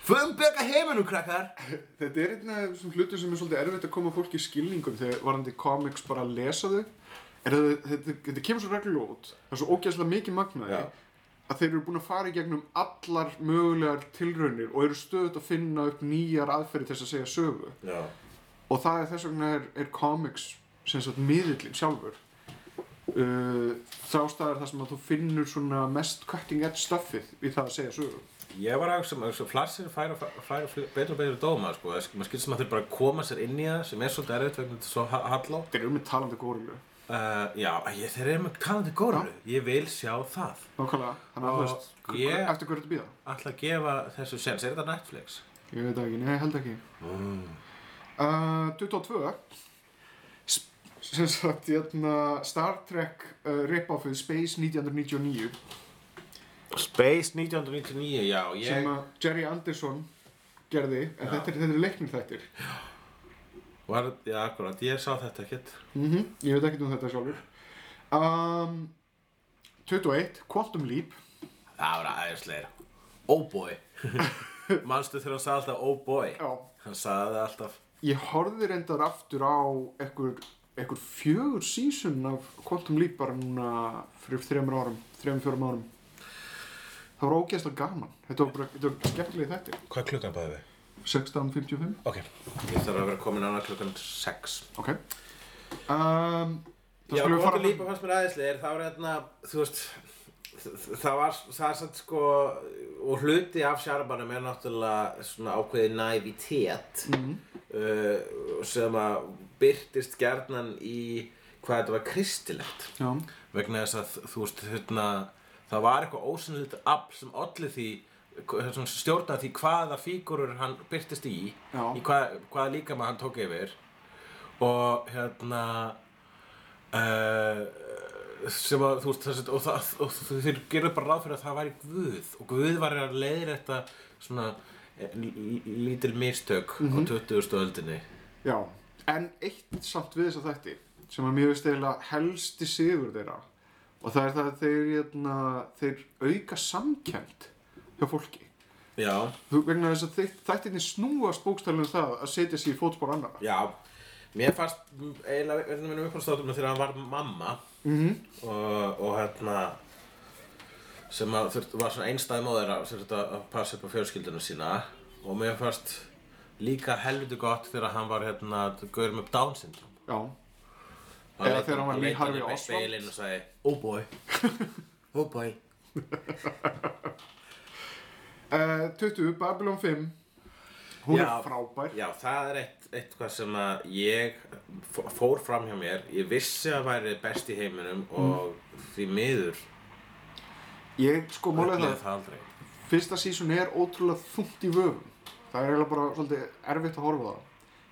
Speaker 1: fumböka heiminum krakkar
Speaker 2: Þetta er einn af þessum hlutum sem er svolítið erfitt að koma fólki í skilningum þegar varandi komiks bara að lesa þau. Er að þau- Þetta, þetta kemur svo reglulega út, það er svo ógæslega mikið magnaði
Speaker 1: Já.
Speaker 2: að þeir eru búin að fara í gegnum allar mögulegar tilraunir og eru stöðut að finna upp nýjar aðferði til þess að segja sögu.
Speaker 1: Já,
Speaker 2: Og það er þess vegna er, er komiks sem sagt miðillinn sjálfur. Uh, þástæðar þar sem að þú finnur svona mest cutting edge stuffið í það að segja sögu.
Speaker 1: ég var að hugsa maður, flassir færa, færa, færa betur og betur dóma sko, Það- maður skilst sem að þeir bara koma sér inn í það sem er svolítið erfitt vegna þetta er svo ha- halló
Speaker 2: Þeir eru með talandi górilu.
Speaker 1: uh, Já, ég, þeir eru með talandi góru, ég vil sjá það
Speaker 2: Nákvæmlega, þannig að þú
Speaker 1: Og
Speaker 2: veist,
Speaker 1: ég-
Speaker 2: yeah. eftir hverju þetta býða?
Speaker 1: Ætla að gefa þessu sens, er þetta Netflix?
Speaker 2: Ég veit það ekki, nei, held ekki. Mm. Uh, 22. S- Sem sagt, hérna, Star Trek uh, rip-offið Space 1999
Speaker 1: Space 1999, já, ég
Speaker 2: sem að Jerry Anderson gerði, en þetta er, þetta er leiknir þættir.
Speaker 1: var, já, akkurat, ég sá þetta ekkert
Speaker 2: -hmm. Ég veit ekkert um þetta sjálfur. Um, 21. Quantum Leap.
Speaker 1: Það var aðeinsleir Oh boy Manstu þegar hann sagði alltaf oh boy
Speaker 2: Já.
Speaker 1: Hann sagði það alltaf
Speaker 2: Ég horfði reyndar aftur á einhver, einhver fjögur sísun af Quantum Leap bara núna fyrir þremur árum, þremur fjórum árum. Það var ógeðslega gaman. Þetta var, bara, þetta var skemmtilega þetta.
Speaker 1: Hvað er klukkan bæði við?
Speaker 2: 16.55.
Speaker 1: Ok Ég þarf að vera komin annað klukkan 6
Speaker 2: Ok. Um, það
Speaker 1: Já,
Speaker 2: skulum við
Speaker 1: Góndi
Speaker 2: fara...
Speaker 1: Lípa fannst mér aðeinsleir Það var hérna, þú veist Það var, það er satt sko Og hluti af sjarmanum er náttúrulega Svona ákveði naivitet
Speaker 2: Mhm.
Speaker 1: mm uh, Sem að byrtist gerðnan í Hvað þetta var kristilegt
Speaker 2: Já,
Speaker 1: vegna þess að þú veist hérna, það var eitthvað ósynlít afl sem olli því sem stjórnaði því hvaða fígurur hann byrtist í,
Speaker 2: Já.
Speaker 1: í hvað, hvaða líkama hann tók yfir og hérna uh, sem að þú veist þess að og, það, og þau- þeir gerðu bara ráð fyrir að það væri Guð og Guð var að leiðir þetta svona eh, l- l- lítil mistök á 20. öldinni
Speaker 2: já. En eitt samt við þess að þætti sem að mér veist eiginlega helsti sigur þeirra og það er það að þeir, hérna, þeir auka samkjönd hjá fólki.
Speaker 1: já,
Speaker 2: Þú- vegna þess að þe- þættinni snúast bókstæðlega um það að setja sig í fótspor annara
Speaker 1: já mér fannst mm, eiginlega einn af minnum uppáhaldsþáttum þegar hann var mamma -hmm. og, og hérna sem að þurft, var svona einstæð móðir að, sem þurfti að að passa upp á fjölskyldunum sína og mér fannst líka helviti gott þegar hann var hérna gaur með Down syndrom
Speaker 2: Já, Eða þegar hann var Lee Harvey
Speaker 1: Hann leit inn
Speaker 2: Oswald.
Speaker 1: í speilinn og sagði Oh boy, oh boy
Speaker 2: uh, 20, Babylon 5 Hún
Speaker 1: Já.
Speaker 2: er frábær
Speaker 1: Já, það er eitt, eitthvað sem að ég fó- fór fram hjá mér Ég vissi að væri best í heiminum og því miður
Speaker 2: Ég sko málega
Speaker 1: upplifði
Speaker 2: það,
Speaker 1: það aldrei
Speaker 2: fyrsta sísun er ótrúlega þungt í vöfum Það er eiginlega bara svolítið erfitt að horfa á það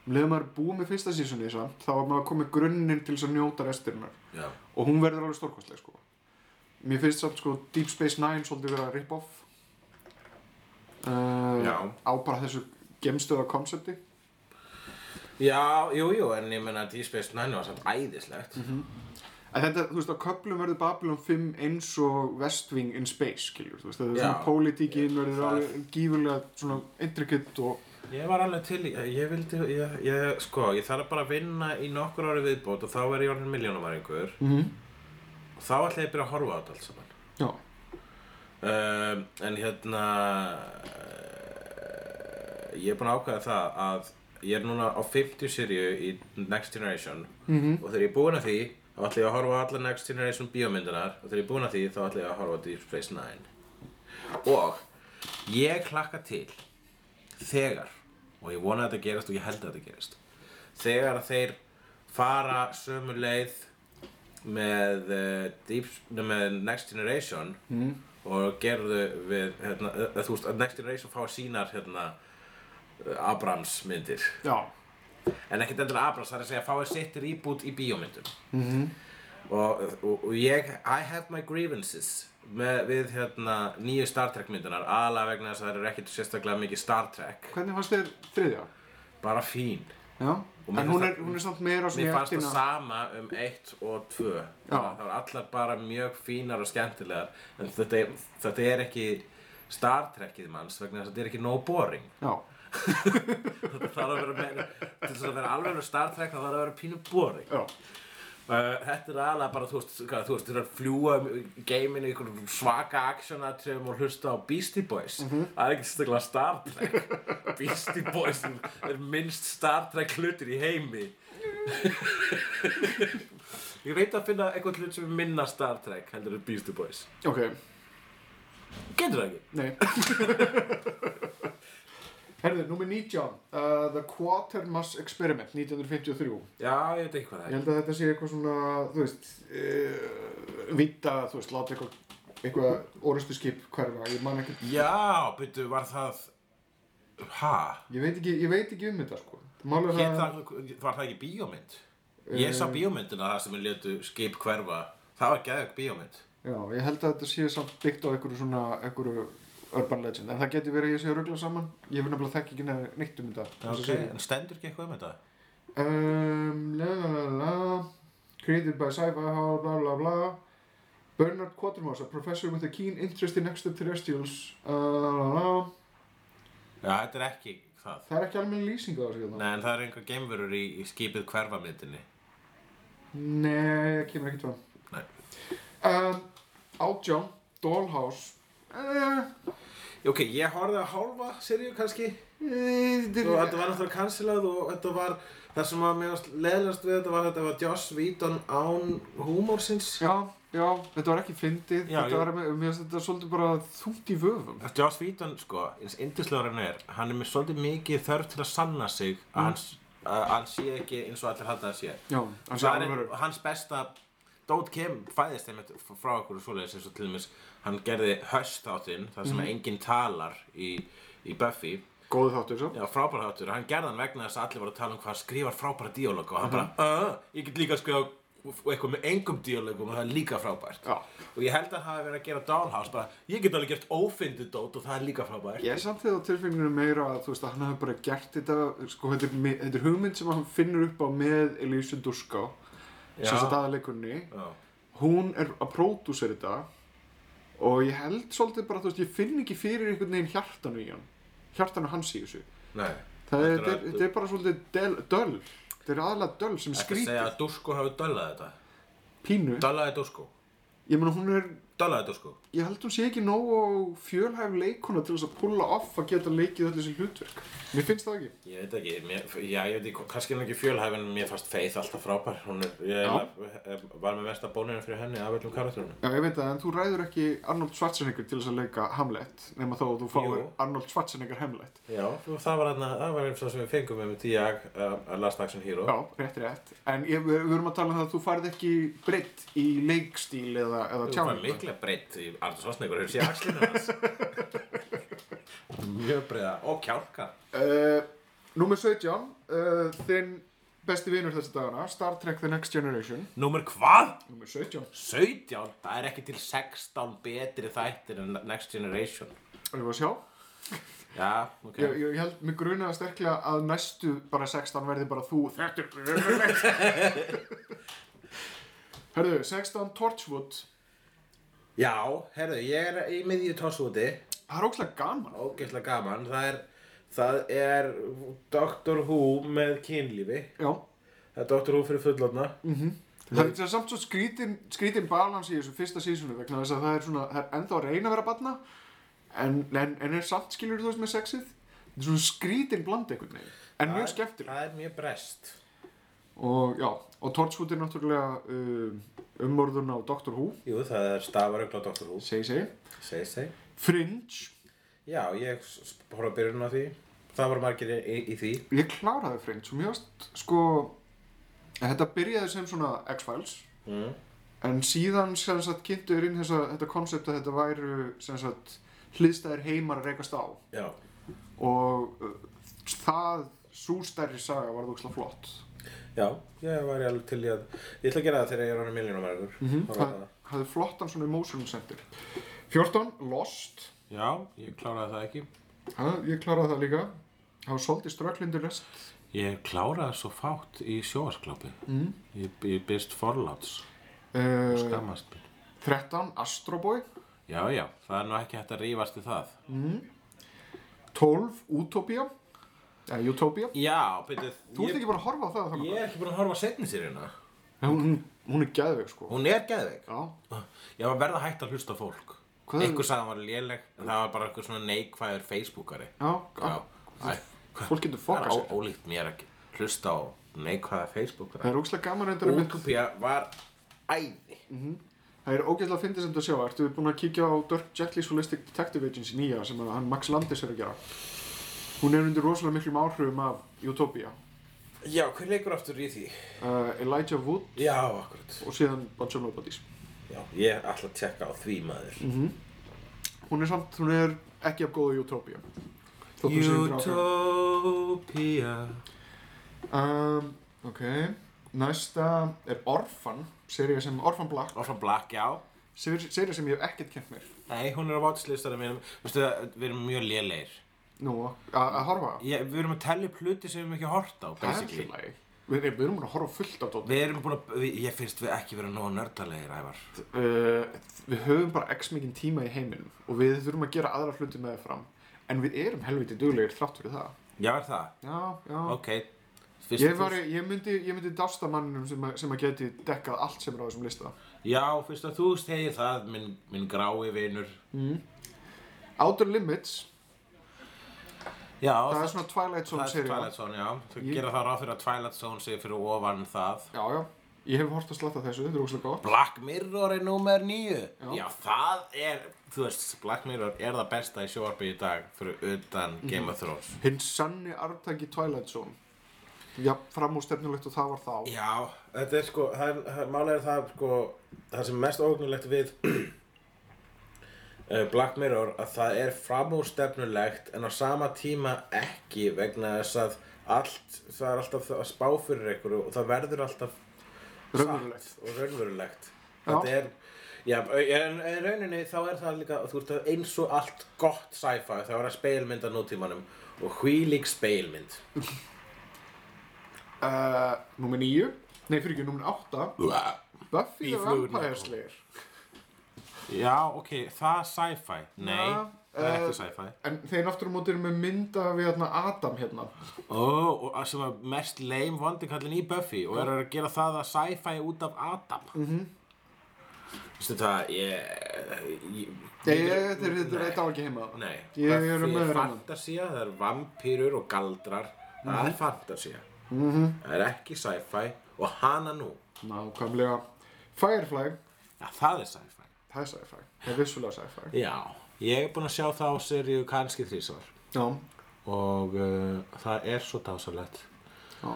Speaker 2: Um leið og maður er búið með fyrsta sísunni samt, þá er maður komið grunninn til þess að njóta resturinnar
Speaker 1: Já,
Speaker 2: og hún verður alveg stórkostleg sko mér finnst samt sko Deep Space Nine svolítið vera rip-off
Speaker 1: Já.
Speaker 2: uh, á bara þessu gemstöða konsepti
Speaker 1: Já jú, jú, en ég meina Deep Space Nine var samt æðislegt
Speaker 2: en þetta, þú veist, á köplum verður Babylon 5 eins og West Wing in Space skiljur, þú veist, þetta er
Speaker 1: Já.
Speaker 2: svona pólitíkin verður
Speaker 1: Það-
Speaker 2: alveg gífurlega svona intricate og,
Speaker 1: Ég var alveg til, í- ég vildi, ég, ég, sko, ég þarf bara að vinna í nokkur ári viðbót og þá verði ég orðin miljónumæringur
Speaker 2: Mhm.
Speaker 1: og þá ætla ég að byrja að horfa á þetta allt saman
Speaker 2: já,
Speaker 1: Um, en hérna eh, ég er búinn að ákveða það að ég er núna á 50 seríu í Next Generation -hmm. og þegar ég er búinn að því þá ætla ég að horfa á alla Next Generation bíómyndunar og þegar ég er búinn að því þá ætla ég að horfa á Deep Space Nine og ég klakka til þegar og ég vona að þetta gerist og ég held að þetta gerist þegar að þeir fara sömu leið með, uh, deep, nei, með Next Generation mm. og gerðu við hérna, eh, þú veist að Next Generation fá sínar hérna, eh, Abrams myndir
Speaker 2: já,
Speaker 1: en ekkert endur Abrams það er að segja fáið sitt reboot í bíómyndum mm -hmm. og, og, og ég I have my grievances með, við hérna, nýju Star Trek myndunar aðalega vegna þess að það eru ekkert sérstaklega mikið Star Trek
Speaker 2: hvernig fannst þér þriðja?
Speaker 1: bara fín
Speaker 2: já,
Speaker 1: mér
Speaker 2: en hún
Speaker 1: finnst
Speaker 2: er,
Speaker 1: það-
Speaker 2: hún er samt meira
Speaker 1: Mér
Speaker 2: svona
Speaker 1: fannst það sama um 1 og 2 Það var allar bara mjög fínar og skemmtilegar En þetta, er- þetta er ekki Star Trekið manns vegna þess að þetta er ekki no boring
Speaker 2: já,
Speaker 1: Þetta þarf að vera meira Til þess að vera alveg Star Trek það þarf að vera pínu boring
Speaker 2: já,
Speaker 1: Uh, þetta er aðalega bara, þú veist, hvað, þú veist, þú veist, fljúa um geiminu í einhverjum svaka aksjónatriðum og hlusta á Beastie Boys. Það er ekki staklega Star Trek. Beastie Boys er minnst Star Trek hlutir í heimi. Ég reyndi að finna eitthvað hlut sem er minna Star Trek heldur en Beastie Boys.
Speaker 2: ok,
Speaker 1: Getur það ekki?
Speaker 2: nei herðu, nummer 19 uh, The Quatermass Experiment 1953
Speaker 1: Já, ég veit ekki hvað það
Speaker 2: Ég
Speaker 1: er.
Speaker 2: held að þetta sé eitthvað svona, þú veist, uh, vita, þú veist, láta eitthvað, eitthvað orustu skip hverfa, ég man ekki,
Speaker 1: Já, byrju, var það... Ha?
Speaker 2: ég veit ekki, ég veit ekki um þetta, sko. Málega
Speaker 1: Hét
Speaker 2: það,
Speaker 1: það, var það ekki bíómynd? Ég sá bíómyndina það sem við letu skip hverfa. Það var geðug bíómynd.
Speaker 2: já, ég held að þetta sé samt byggt á einhverju svona, einhverju urban legend, en það geti verið að ég sé að ruggla saman, ég hef nefnilega þekki ekki nefn- neitt um þetta. þessa seríu.
Speaker 1: En stendur ekki eitthvað um þetta?
Speaker 2: Um, la la la la, created by sci-fi, how, bla bla bla, Bernard Quatermass, a professor with a keen interest in extraterrestrials, uh, la la la,
Speaker 1: Já, þetta er ekki það.
Speaker 2: það er ekki alveg lýsing á þessu hérna.
Speaker 1: Nei, en það eru einhver geimverur í, í skipið hverfa myndinni.
Speaker 2: Nei, það kemur ekkert fram.
Speaker 1: Nei.
Speaker 2: Um, átján, Dollhouse. Uh,
Speaker 1: Ok, ég horfði að hálfa seríu kannski. Og þetta
Speaker 2: uh,
Speaker 1: var náttúrulega cancelað og þetta var... Það sem var mjög leðlast við þetta var þetta var Joss Whedon án húmórsins.
Speaker 2: já, já, þetta var ekki fyndið.
Speaker 1: Já,
Speaker 2: Þetta
Speaker 1: já.
Speaker 2: var, mér mér finnst þetta svolítið bara þungt í vöfum.
Speaker 1: Joss Whedon, sko, eins yndislegur hann er, hann er með svolítið mikið þörf til að sanna sig
Speaker 2: Mm.
Speaker 1: að, hans, að hann sé ekki eins og allir halda að hann sé.
Speaker 2: Já, hann sé
Speaker 1: Það er
Speaker 2: alveg
Speaker 1: hans besta Dót Kim fæðist einmitt frá okkur svoleiðis eins og til dæmis hann gerði höst þáttinn þar
Speaker 2: Mm.
Speaker 1: sem enginn talar í, í Buffy
Speaker 2: góðu þáttur svo.
Speaker 1: Já, frábæra þáttur, hann gerði hann vegna þess að allir voru að tala um hvað hann skrifar frábæra díóloga og hann bara,
Speaker 2: Mm-hmm.
Speaker 1: öh, ég get líka að skrifa eitthvað með engum díólogum og það er líka frábært
Speaker 2: Já.
Speaker 1: og ég held að hann hafi verið að gera Dollhouse bara, ég get alveg gert ófyndið dót og það er líka frábært
Speaker 2: Ég er samt þegar á tilfenginu meira að þú veist að hann hafi bara gert þetta, sko þetta er, mi- þetta er hugmynd sem hann finnur upp á með Elísu Durská, sem
Speaker 1: Já.
Speaker 2: satt aðalekunni.
Speaker 1: Já.
Speaker 2: Hún er að pródúsera þetta og ég held svolítið bara, þú veist, ég finn ekki fyrir einhvern veginn hjartanu í hann hjartanu hans í þessu
Speaker 1: Nei.
Speaker 2: það er,
Speaker 1: Þetta
Speaker 2: þetta
Speaker 1: er
Speaker 2: er, þetta er bara svolítið del, döl þetta er aðalega döl sem
Speaker 1: Ekki að
Speaker 2: er
Speaker 1: segja
Speaker 2: skrítið
Speaker 1: að Dusko hafi döllað þetta.
Speaker 2: pínu,
Speaker 1: Döllaði Dusko.
Speaker 2: ég meina hún er
Speaker 1: Döllaði Dusko.
Speaker 2: ég held hún sé ekki nógu fjölhæf leikuna til þess að pulla off að geta leikið öll þessi hlutverk mér finnst það ekki
Speaker 1: Ég veit ekki, mér, já, ég veit ekki, kannski er hún ekki fjölhæf en mér fannst Faith alltaf frábær. Hún er, ég eiginlega var með mesta bóninu fyrir henni af öllum karakterunum.
Speaker 2: Já, ég veit það, en þú ræður ekki Arnold Schwarzenegger til þess að leika Hamlet nema þá að þú fáir
Speaker 1: Jú.
Speaker 2: Arnold Schwarzenegger Hamlet
Speaker 1: Já, og það var hérna, það var eins og sem við fengum með Diag, uh, Last Action Hero.
Speaker 2: Já, rétt, rétt. En ég, við við erum að tala um það að þú farið ekki breytt í leikstíl eða, eða
Speaker 1: Það var
Speaker 2: tjáning.
Speaker 1: mikla breytt í Arnur Svarsnegur, hefur séð axlina hans. Mjög breyða. Og kjálka.
Speaker 2: Uh, númer 17, uh, þinn besti vinur þessa dagana, Star Trek The Next Generation.
Speaker 1: Númer hvað?
Speaker 2: Númer 17.
Speaker 1: 17? Það er ekki til 16 betri þættir en Next Generation.
Speaker 2: Og ég var að sjá.
Speaker 1: Já, ok.
Speaker 2: Ég, ég held, mig grunaði sterklega að næstu bara 16 verði bara þú. Þetta er grunnulegt. Herðu, 16 Torchwood.
Speaker 1: Já, herðu, ég er í miðju tossúti.
Speaker 2: Það er ógslag gaman.
Speaker 1: Ógeðslega gaman. Það er, það er Doctor Who með kynlífi.
Speaker 2: Já.
Speaker 1: Það er Doctor Who fyrir fullorna.
Speaker 2: Það er- það er samt svo skrítin, skrítin balans í þessu fyrsta sísonu vegna þess að það er svona, það er ennþá að reyna að vera batna en, en, en er samt skilur þú veist með sexið það er svona skrítin bland einhvern veginn en mjög skemmtileg
Speaker 1: Það er mjög brest.
Speaker 2: og já, og Torchwood er náttúrulega um, umorðun á Doctor Who
Speaker 1: Jú, það er stafarögl á Doctor Who.
Speaker 2: segi segi,
Speaker 1: Seg, seg.
Speaker 2: Fringe
Speaker 1: Já, ég s- s- horfði að byrjun á því. Það voru margir í, í, í því.
Speaker 2: ég kláraði Fringe og mjög sko en þetta byrjaði sem svona X-Files
Speaker 1: Mm.
Speaker 2: en síðan sem sagt kynntu er inn þessa, þetta koncept að þetta væru sem sagt hliðstæðir heimar að reykast á
Speaker 1: Já.
Speaker 2: og uh, það svo stærri saga var það flott
Speaker 1: Já, ég var ég alveg til í að... Ég ætla að gera það þegar ég er hann miljónum erður. Mm
Speaker 2: það hafði flottan svona emotion center 14, Lost
Speaker 1: Já, ég kláraði það ekki.
Speaker 2: ha, ég kláraði það líka það var svolítið ströklindur lest
Speaker 1: Ég kláraði svo fátt í sjóasklápi. Mm. Ég, ég byrst forláts.
Speaker 2: uh,
Speaker 1: Skammast mér.
Speaker 2: 13, Astro Boy
Speaker 1: Já, já, það er nú ekki hægt að rífast í það.
Speaker 2: 12, Utopia eða Utopia
Speaker 1: Já, betur,
Speaker 2: Eh, þú ert
Speaker 1: ég,
Speaker 2: ekki bara að horfa á það þannig
Speaker 1: ég er ekki búin að horfa á setni sér hérna.
Speaker 2: hún, hún, hún er gæðveg sko
Speaker 1: Hún er geðveik.
Speaker 2: já,
Speaker 1: Ég var verða hægt að hlusta á fólk.
Speaker 2: Hvað er-
Speaker 1: Einhver sagði að hann var léleg, en það var bara einhver svona neikvæður Facebookari.
Speaker 2: já, Ah.
Speaker 1: Já,
Speaker 2: já.
Speaker 1: æ,
Speaker 2: fólk getur
Speaker 1: það
Speaker 2: fokka
Speaker 1: er
Speaker 2: sér
Speaker 1: ó- ólíkt mér að hlusta á neikvæða Facebookara.
Speaker 2: það er ógæslega gaman reyndar að mynd
Speaker 1: Útopía var æði.
Speaker 2: Það er ógeðslega fyndið sem þú sjá, ertu búin að kíkja á Dirk Gently's Holistic Detective Agency nýja sem að hann Max Landis er að gera Hún er undir rosalega miklum áhrifum af Utopia
Speaker 1: Já, hver leikur aftur í því?
Speaker 2: uh, Elijah Wood
Speaker 1: Já, akkurat.
Speaker 2: og síðan Bunch of Nobodies
Speaker 1: Já, ég ætla að tjekka á því maður.
Speaker 2: Hún er samt, hún er ekki af góðu Utopia Þótt hún sé undir áhrifum.
Speaker 1: Utopía.
Speaker 2: um, Ok, næsta er Orphan, serið sem Orphan Black
Speaker 1: Og frá Black, já.
Speaker 2: Serið sem ég hef ekkert kent mér
Speaker 1: Nei, hún er á vátslistanum mínum. Veistu það, við erum mjög lélegir.
Speaker 2: Nú, a- að horfa á.
Speaker 1: Ég, við erum að tellja upp hluti sem við erum ekki hort á,
Speaker 2: Það er
Speaker 1: basically.
Speaker 2: allt í lagi. Við við erum búin að horfa á fullt af tótt
Speaker 1: Við erum búin að, við- ég finnst við ekki vera nóg nördalegir, Ævar.
Speaker 2: uh, við höfum bara x mikinn tíma í heiminum og við þurfum að gera aðra hluti með það fram en við erum helviti duglegir þrátt fyrir það
Speaker 1: Já, er það?
Speaker 2: já, já
Speaker 1: Ok. Fyrst
Speaker 2: Hm. ég,
Speaker 1: þú-
Speaker 2: var, ég, myndi, ég myndi dásta manninum sem, að- sem að geti dekkað allt sem er á þessum lista
Speaker 1: Já, fyrst að þú stegir það, minn, minn grái vinur.
Speaker 2: Outer Limits,
Speaker 1: Já,
Speaker 2: það er svona Twilight Zone
Speaker 1: það er
Speaker 2: serían.
Speaker 1: Twilight Zone, já. Þú
Speaker 2: Ég-
Speaker 1: gera það ráð fyrir að Twilight Zone sé fyrir ofan það.
Speaker 2: já, já, ég hef hort að slatta þessu, þetta er óslega gott
Speaker 1: Black Mirror er númer nýju. Já. það er, þú veist, Black Mirror er það besta í sjóarbi í dag fyrir utan Game of Thrones.
Speaker 2: hinn sanni arftæki Twilight Zone já, fram úr stefnulegt og það var þá
Speaker 1: Já, þetta er sko, það er, það- málið er það sko, það sem er mest ógnulegt við eh, Black Mirror að það er framúrstefnulegt en á sama tíma ekki vegna þess að allt, það er alltaf að spá fyrir einhverju og það verður alltaf
Speaker 2: raunverulegt
Speaker 1: satt og raunverulegt.
Speaker 2: Já.
Speaker 1: Þetta er, já, en en í rauninni þá er það líka, þú veist, að eins og allt gott sci-fi, það var að speilmynda nútímanum og hvílík speilmynd.
Speaker 2: uh, númer 9, nei fyrir ekki, númer 8
Speaker 1: Blah. Í
Speaker 2: Buffy the
Speaker 1: flugurnar.
Speaker 2: Vampire Slayer
Speaker 1: Já, ok, það er sci-fi. Nei,
Speaker 2: Já,
Speaker 1: það er
Speaker 2: eh,
Speaker 1: ekki sci-fi.
Speaker 2: En þeir aftur á móti eru með mynda við hérna, Adam hérna.
Speaker 1: Ó, og að sem er mest leim vondi kallin í Buffy og er að gera það að sci-fi út af Adam. Mm
Speaker 2: Mhm.
Speaker 1: -hmm. Vistu það, ég... ég,
Speaker 2: Ég, ég, þeir þetta er eitthvað ekki heima.
Speaker 1: Nei,
Speaker 2: Ég er
Speaker 1: Buffy
Speaker 2: með
Speaker 1: er
Speaker 2: hérna.
Speaker 1: fantasía, það er vampýrur og galdrar. Það
Speaker 2: Mhm.
Speaker 1: er fantasía. -hmm. Það er ekki sci-fi og hana nú.
Speaker 2: Nákvæmlega. Firefly,
Speaker 1: Já, það er sci-fi.
Speaker 2: það er sci-fi. Það er vissulega sci-fi.
Speaker 1: Já, ég er búinn að sjá það á seríu kannski þrísvar.
Speaker 2: Já.
Speaker 1: og uh, það er svo dásalegt
Speaker 2: Já.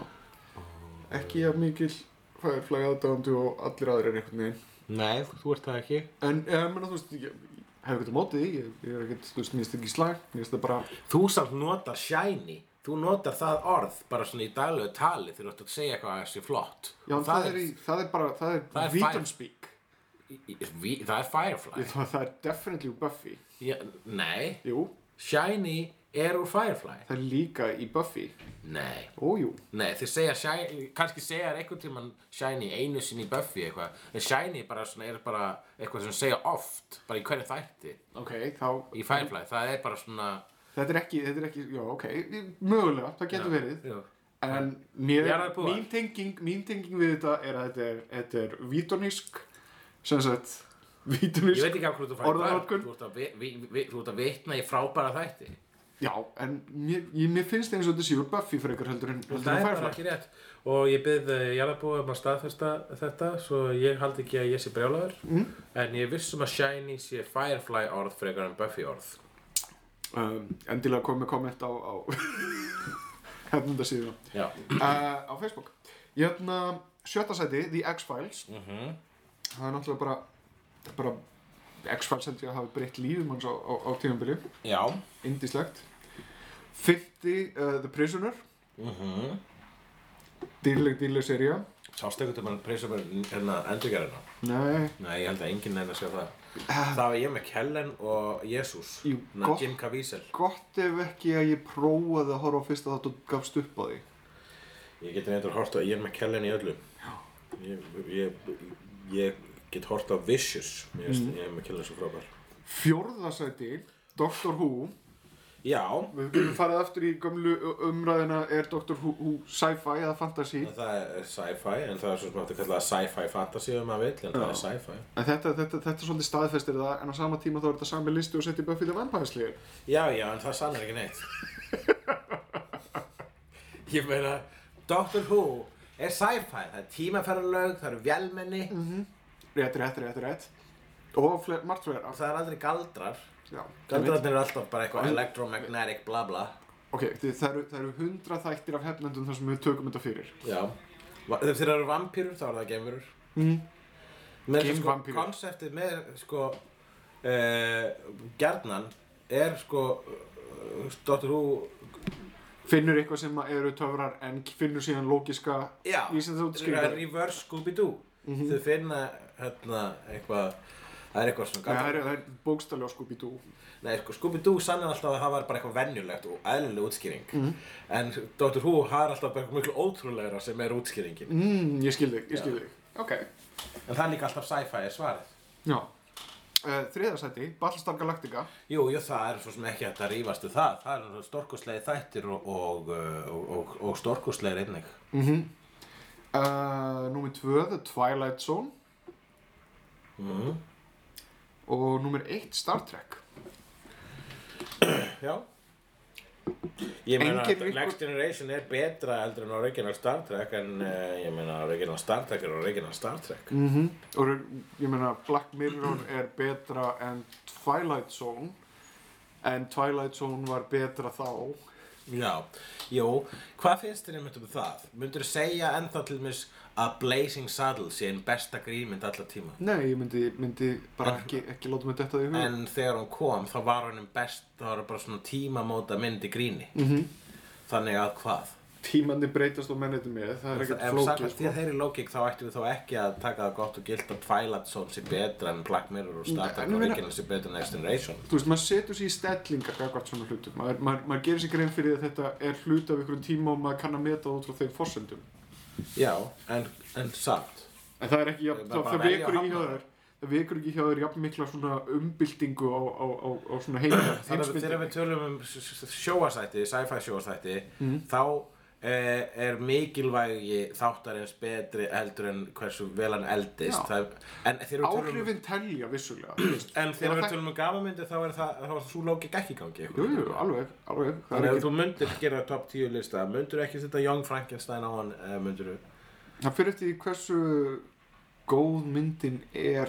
Speaker 2: Ekki jafn mikil Firefly aðdáðandi og allir aðrir er einhvern veginn.
Speaker 1: Nei, þú ert það ekki
Speaker 2: En, ég menna, þú veist, ég ég hef ekkert á móti því. Ég, ég er ekkert, þú veist, mér finnst ekki í slag. Mér finnst það bara,
Speaker 1: Þú samt notar shiny Þú notar það orð bara svona í daglegu tali þegar þú ert að segja eitthvað að það sé flott
Speaker 2: já,
Speaker 1: Og
Speaker 2: það, það, er, í, það er bara, það er,
Speaker 1: Það er
Speaker 2: Vitam
Speaker 1: Fire-
Speaker 2: speak.
Speaker 1: í- í- vi- það er Firefly
Speaker 2: Ég, það, það er definitely Buffy.
Speaker 1: Já, Nei,
Speaker 2: Jú,
Speaker 1: shiny er úr Firefly
Speaker 2: það er líka í Buffy.
Speaker 1: Nei,
Speaker 2: Ójú.
Speaker 1: nei, þeir segja shiny kannski segja einhvern tímann shiny einu sinni í Buffy eitthvað en shiny bara svona, er bara eitthvað sem segja oft bara í hverju þætti
Speaker 2: Ok, þá,
Speaker 1: í Firefly það er bara svona
Speaker 2: þetta er ekki, þetta er ekki, já, ok, mögulega, það getur verið.
Speaker 1: já.
Speaker 2: En mér,
Speaker 1: Jarðarbúar.
Speaker 2: mín, tenging, mín tenging við þetta er að þetta er, þetta er vítonísk, sem sagt,
Speaker 1: Ég
Speaker 2: vítonísk,
Speaker 1: veit ekki af hverju þú færi
Speaker 2: Orðanotkun.
Speaker 1: Þú ert að, vi- vi- vi- þú ert að vitna í frábæra þætti
Speaker 2: já, en mér, ég, mér finnst eins og þetta séu Buffy frekar heldur en, heldur
Speaker 1: Það
Speaker 2: en
Speaker 1: er bara
Speaker 2: Firefly.
Speaker 1: ekki rétt Og ég byrð jarðabúið um að staðfesta þetta Svo ég haldi ekki að ég sé brjálaður mm. En ég er viss um að Shiny sé Firefly orð frekar en Buffy orð
Speaker 2: Um, endilega komið komment á, á hefnundasíðuna.
Speaker 1: Já
Speaker 2: uh, á Facebook hérna, sjötta sæti, The X-Files
Speaker 1: Mm. Mhm.
Speaker 2: það er náttúrulega bara, bara X-Files held ég að hafa breytt lífum hans á, á, á tímanbili
Speaker 1: Já
Speaker 2: indislegt 50, uh, The Prisoner dýrleg, dýrleg seria
Speaker 1: Sástu einhvern veginn preysum hérna endurgerðina
Speaker 2: nei,
Speaker 1: Nei, ég held að enginn neina sé það Það var ég með Kellen og Jesus
Speaker 2: Jú,
Speaker 1: Na,
Speaker 2: gott.
Speaker 1: Jim Caviezel
Speaker 2: gott ef ekki að ég prófaði að horfa á fyrsta þátt og gafst upp á því
Speaker 1: Ég geti neitt að horta, ég er með Kellen í öllu Ég, ég, ég get horta á Vicious Ég, mm. ég er með Kellen svo frábær
Speaker 2: fjórða sæti, Doctor Who
Speaker 1: Já,
Speaker 2: við getum farið aftur í gömlu umræðina er Doctor Who, Who sci-fi eða fantasy
Speaker 1: það er sci-fi en það er svo sem hægt að kalla það sci-fi fantasy ef maður vill, en það er sci-fi
Speaker 2: En þetta, þetta, þetta svolítið staðfestir það, en á sama tíma þá er þetta sami listi og setja í Buffy the Vampire Slayer.
Speaker 1: Já, já, en það sannar ekki neitt Ég meina, Doctor Who er sci-fi, það er tímaferðalög, það eru vélmenni
Speaker 2: Mhm. Rétt, rétt, rétt, rétt. Og fler, margt fleira.
Speaker 1: það er aldrei galdrar
Speaker 2: Já. einmitt.
Speaker 1: Galdrarnir eru alltaf bara eitthvað electromagnetic bla bla
Speaker 2: Ok, þið- það eru, það eru hundra þættir af hefnendum þar sem við tökum þetta fyrir.
Speaker 1: Já Þegar þeir eru vampýrur þá eru það geimurur
Speaker 2: Mhm.
Speaker 1: mm. Með sko,
Speaker 2: Geimvampírur.
Speaker 1: konseptið með sko uh, gjarnan er sko uh, Dr. Who
Speaker 2: Finnur eitthvað sem að eru töfrar en finnur síðan lógiska
Speaker 1: Já,
Speaker 2: vísindaútskýringar.
Speaker 1: reverse Scooby-Doo
Speaker 2: Mhm.
Speaker 1: Þau finna hérna eitthvað Það er eitthvað svona
Speaker 2: Nei, það
Speaker 1: galdrar
Speaker 2: er, það er bókstalli á Scooby-Doo.
Speaker 1: Nei, sko, Scooby-Doo sannir alltaf að það var bara eitthvað venjulegt og eðlileg útskýring
Speaker 2: Mhm.
Speaker 1: En Dr. Who það er alltaf bara eitthvað miklu ótrúlegra sem er útskýringin
Speaker 2: Mm, ég skil þig, ég skil þig. Ok.
Speaker 1: En það er líka alltaf sci-fi er svarið
Speaker 2: Já. Uh, Þriðasæti, Battlestar Galactica.
Speaker 1: Jú, jú, það er svo sem ekki hægt að rífast við það. Það eru storkuslegir þættir og, og, uh, og, og, og storkuslegir einnig.
Speaker 2: Uh, númer 2, The Twilight Zone og númer 1, Star Trek
Speaker 1: Já. Ég meina
Speaker 2: Engir
Speaker 1: að
Speaker 2: vikur-
Speaker 1: Next Generation er betra heldur en Original Star Trek en uh, ég meina Original Star Trek er Original Star Trek.
Speaker 2: mm -hmm. og ég meina Black Mirror er betra en Twilight Zone en Twilight Zone var betra þá
Speaker 1: Já. Jú, hvað finnst þér einmitt um það? Myndur þú segja ennþá til mis að Blazing Saddles sé einn besta grímynd alla tíma?
Speaker 2: nei, ég myndi, myndi bara ekki, ekki láta mig detta því hug
Speaker 1: En þegar hún kom þá var hann best, þá var bara svona tímamóta mynd í gríni. -hmm. Þannig að hvað?
Speaker 2: tímandi breytast og menniti með það er ekkert
Speaker 1: Ef
Speaker 2: flókið
Speaker 1: samkvæmt
Speaker 2: sko.
Speaker 1: þér þeirri lógík þá ættum við þá ekki að taka það gott og gilt að Twilight Zone sé betra en Black Mirror og Star
Speaker 2: Nei,
Speaker 1: Trek
Speaker 2: en ég
Speaker 1: og
Speaker 2: meina-
Speaker 1: Original sé betra en Next Generation.
Speaker 2: þú veist, maður setur sér í stellingar gagvart svona hlutum maður, maður, maður gerir sér grein fyrir að þetta er hlut af einhverjum tíma og maður kann að meta það út frá þeim forsendum
Speaker 1: Já, en, en samt.
Speaker 2: En það er ekki jafn,
Speaker 1: Bara
Speaker 2: það
Speaker 1: velja
Speaker 2: vekur
Speaker 1: og
Speaker 2: ekki hjá
Speaker 1: hafna.
Speaker 2: þér vekur ekki hjá þér jafn mikla svona umbyltingu á, á, á, á svona heim,
Speaker 1: Þannig að þegar við
Speaker 2: heimsmyndinni
Speaker 1: tölum um s- s- s- sjóasætti, sci-fi sjóasætti,
Speaker 2: Mhm.
Speaker 1: þá eh, er mikilvægi þáttarins betri eldur en hversu vel hann eldist.
Speaker 2: Já.
Speaker 1: Það, en þegar við tölum,
Speaker 2: áhrifin telja vissulega þú veist.
Speaker 1: en þegar
Speaker 2: Þegar
Speaker 1: við
Speaker 2: það-
Speaker 1: tölum um gafamyndi þá er það, þá er svo lókik ekki í gangi.
Speaker 2: jú, jú, alveg, alveg það
Speaker 1: Þannig
Speaker 2: er
Speaker 1: að ef
Speaker 2: ekki,
Speaker 1: þú myndir gera top 10 lista, myndir ekki setja Young Frankenstein á hann, eða myndir
Speaker 2: það fyrir eftir því hversu góð myndin er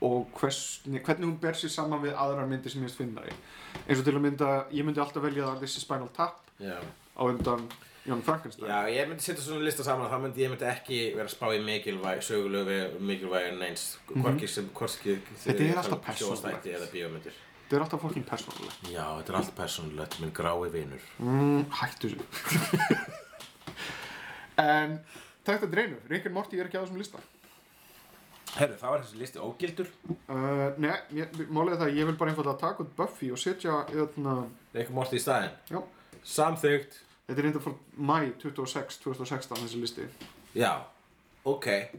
Speaker 2: og hvers, hvernig hún ber sér saman við aðra myndir sem ég finnst finnari eins og til að mynda, ég myndi alltaf velja að þessi Spinal Tap
Speaker 1: Já.
Speaker 2: á undan Jón Frankenstein
Speaker 1: Já, ég myndi setja svona lista saman, þá myndi ég myndi ekki vera að spá í mikilvæg, sögulegu mikilvæg en eins, hvorki sem, hvorki
Speaker 2: Mhm. Þetta er alltaf persónulegt.
Speaker 1: Sjóastætti eða bíómyndir.
Speaker 2: þetta er alltaf fólkin persónuleg
Speaker 1: Já, þetta er allt persónulegt, minn grái vinur.
Speaker 2: mm, hættu þessu en þetta dreinu, Rick and Morty er ekki á þessum lista
Speaker 1: Herru, þá er þessi listi ógildur.
Speaker 2: uh, nei, ég- málið er það, að ég vil bara einfalda taka út Buffy og setja eðna,
Speaker 1: Reykjum Morty í staðinn.
Speaker 2: já,
Speaker 1: Samþygt.
Speaker 2: þetta er enda frá mæ 26, 2016 þessi listi
Speaker 1: Já, ok.
Speaker 2: Er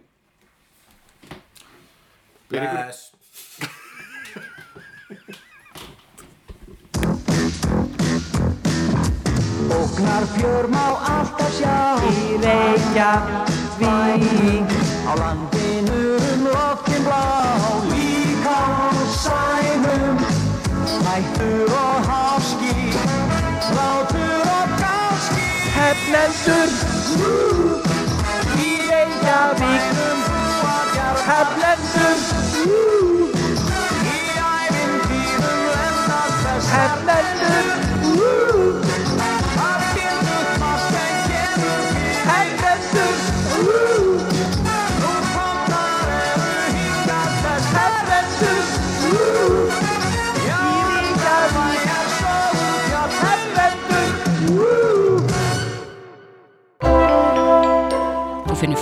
Speaker 2: ykkur-
Speaker 1: Bless.
Speaker 4: Ógnar fjör má alltaf sjá Í reykja vík Á landinu um loftin blá Líka á sænum Hættur og háski Látur og gáski Heflendur Í reykja vík Heflendur Í ævintýrum lenda þess Heflendur Heflendur Woo!
Speaker 5: Þú finnir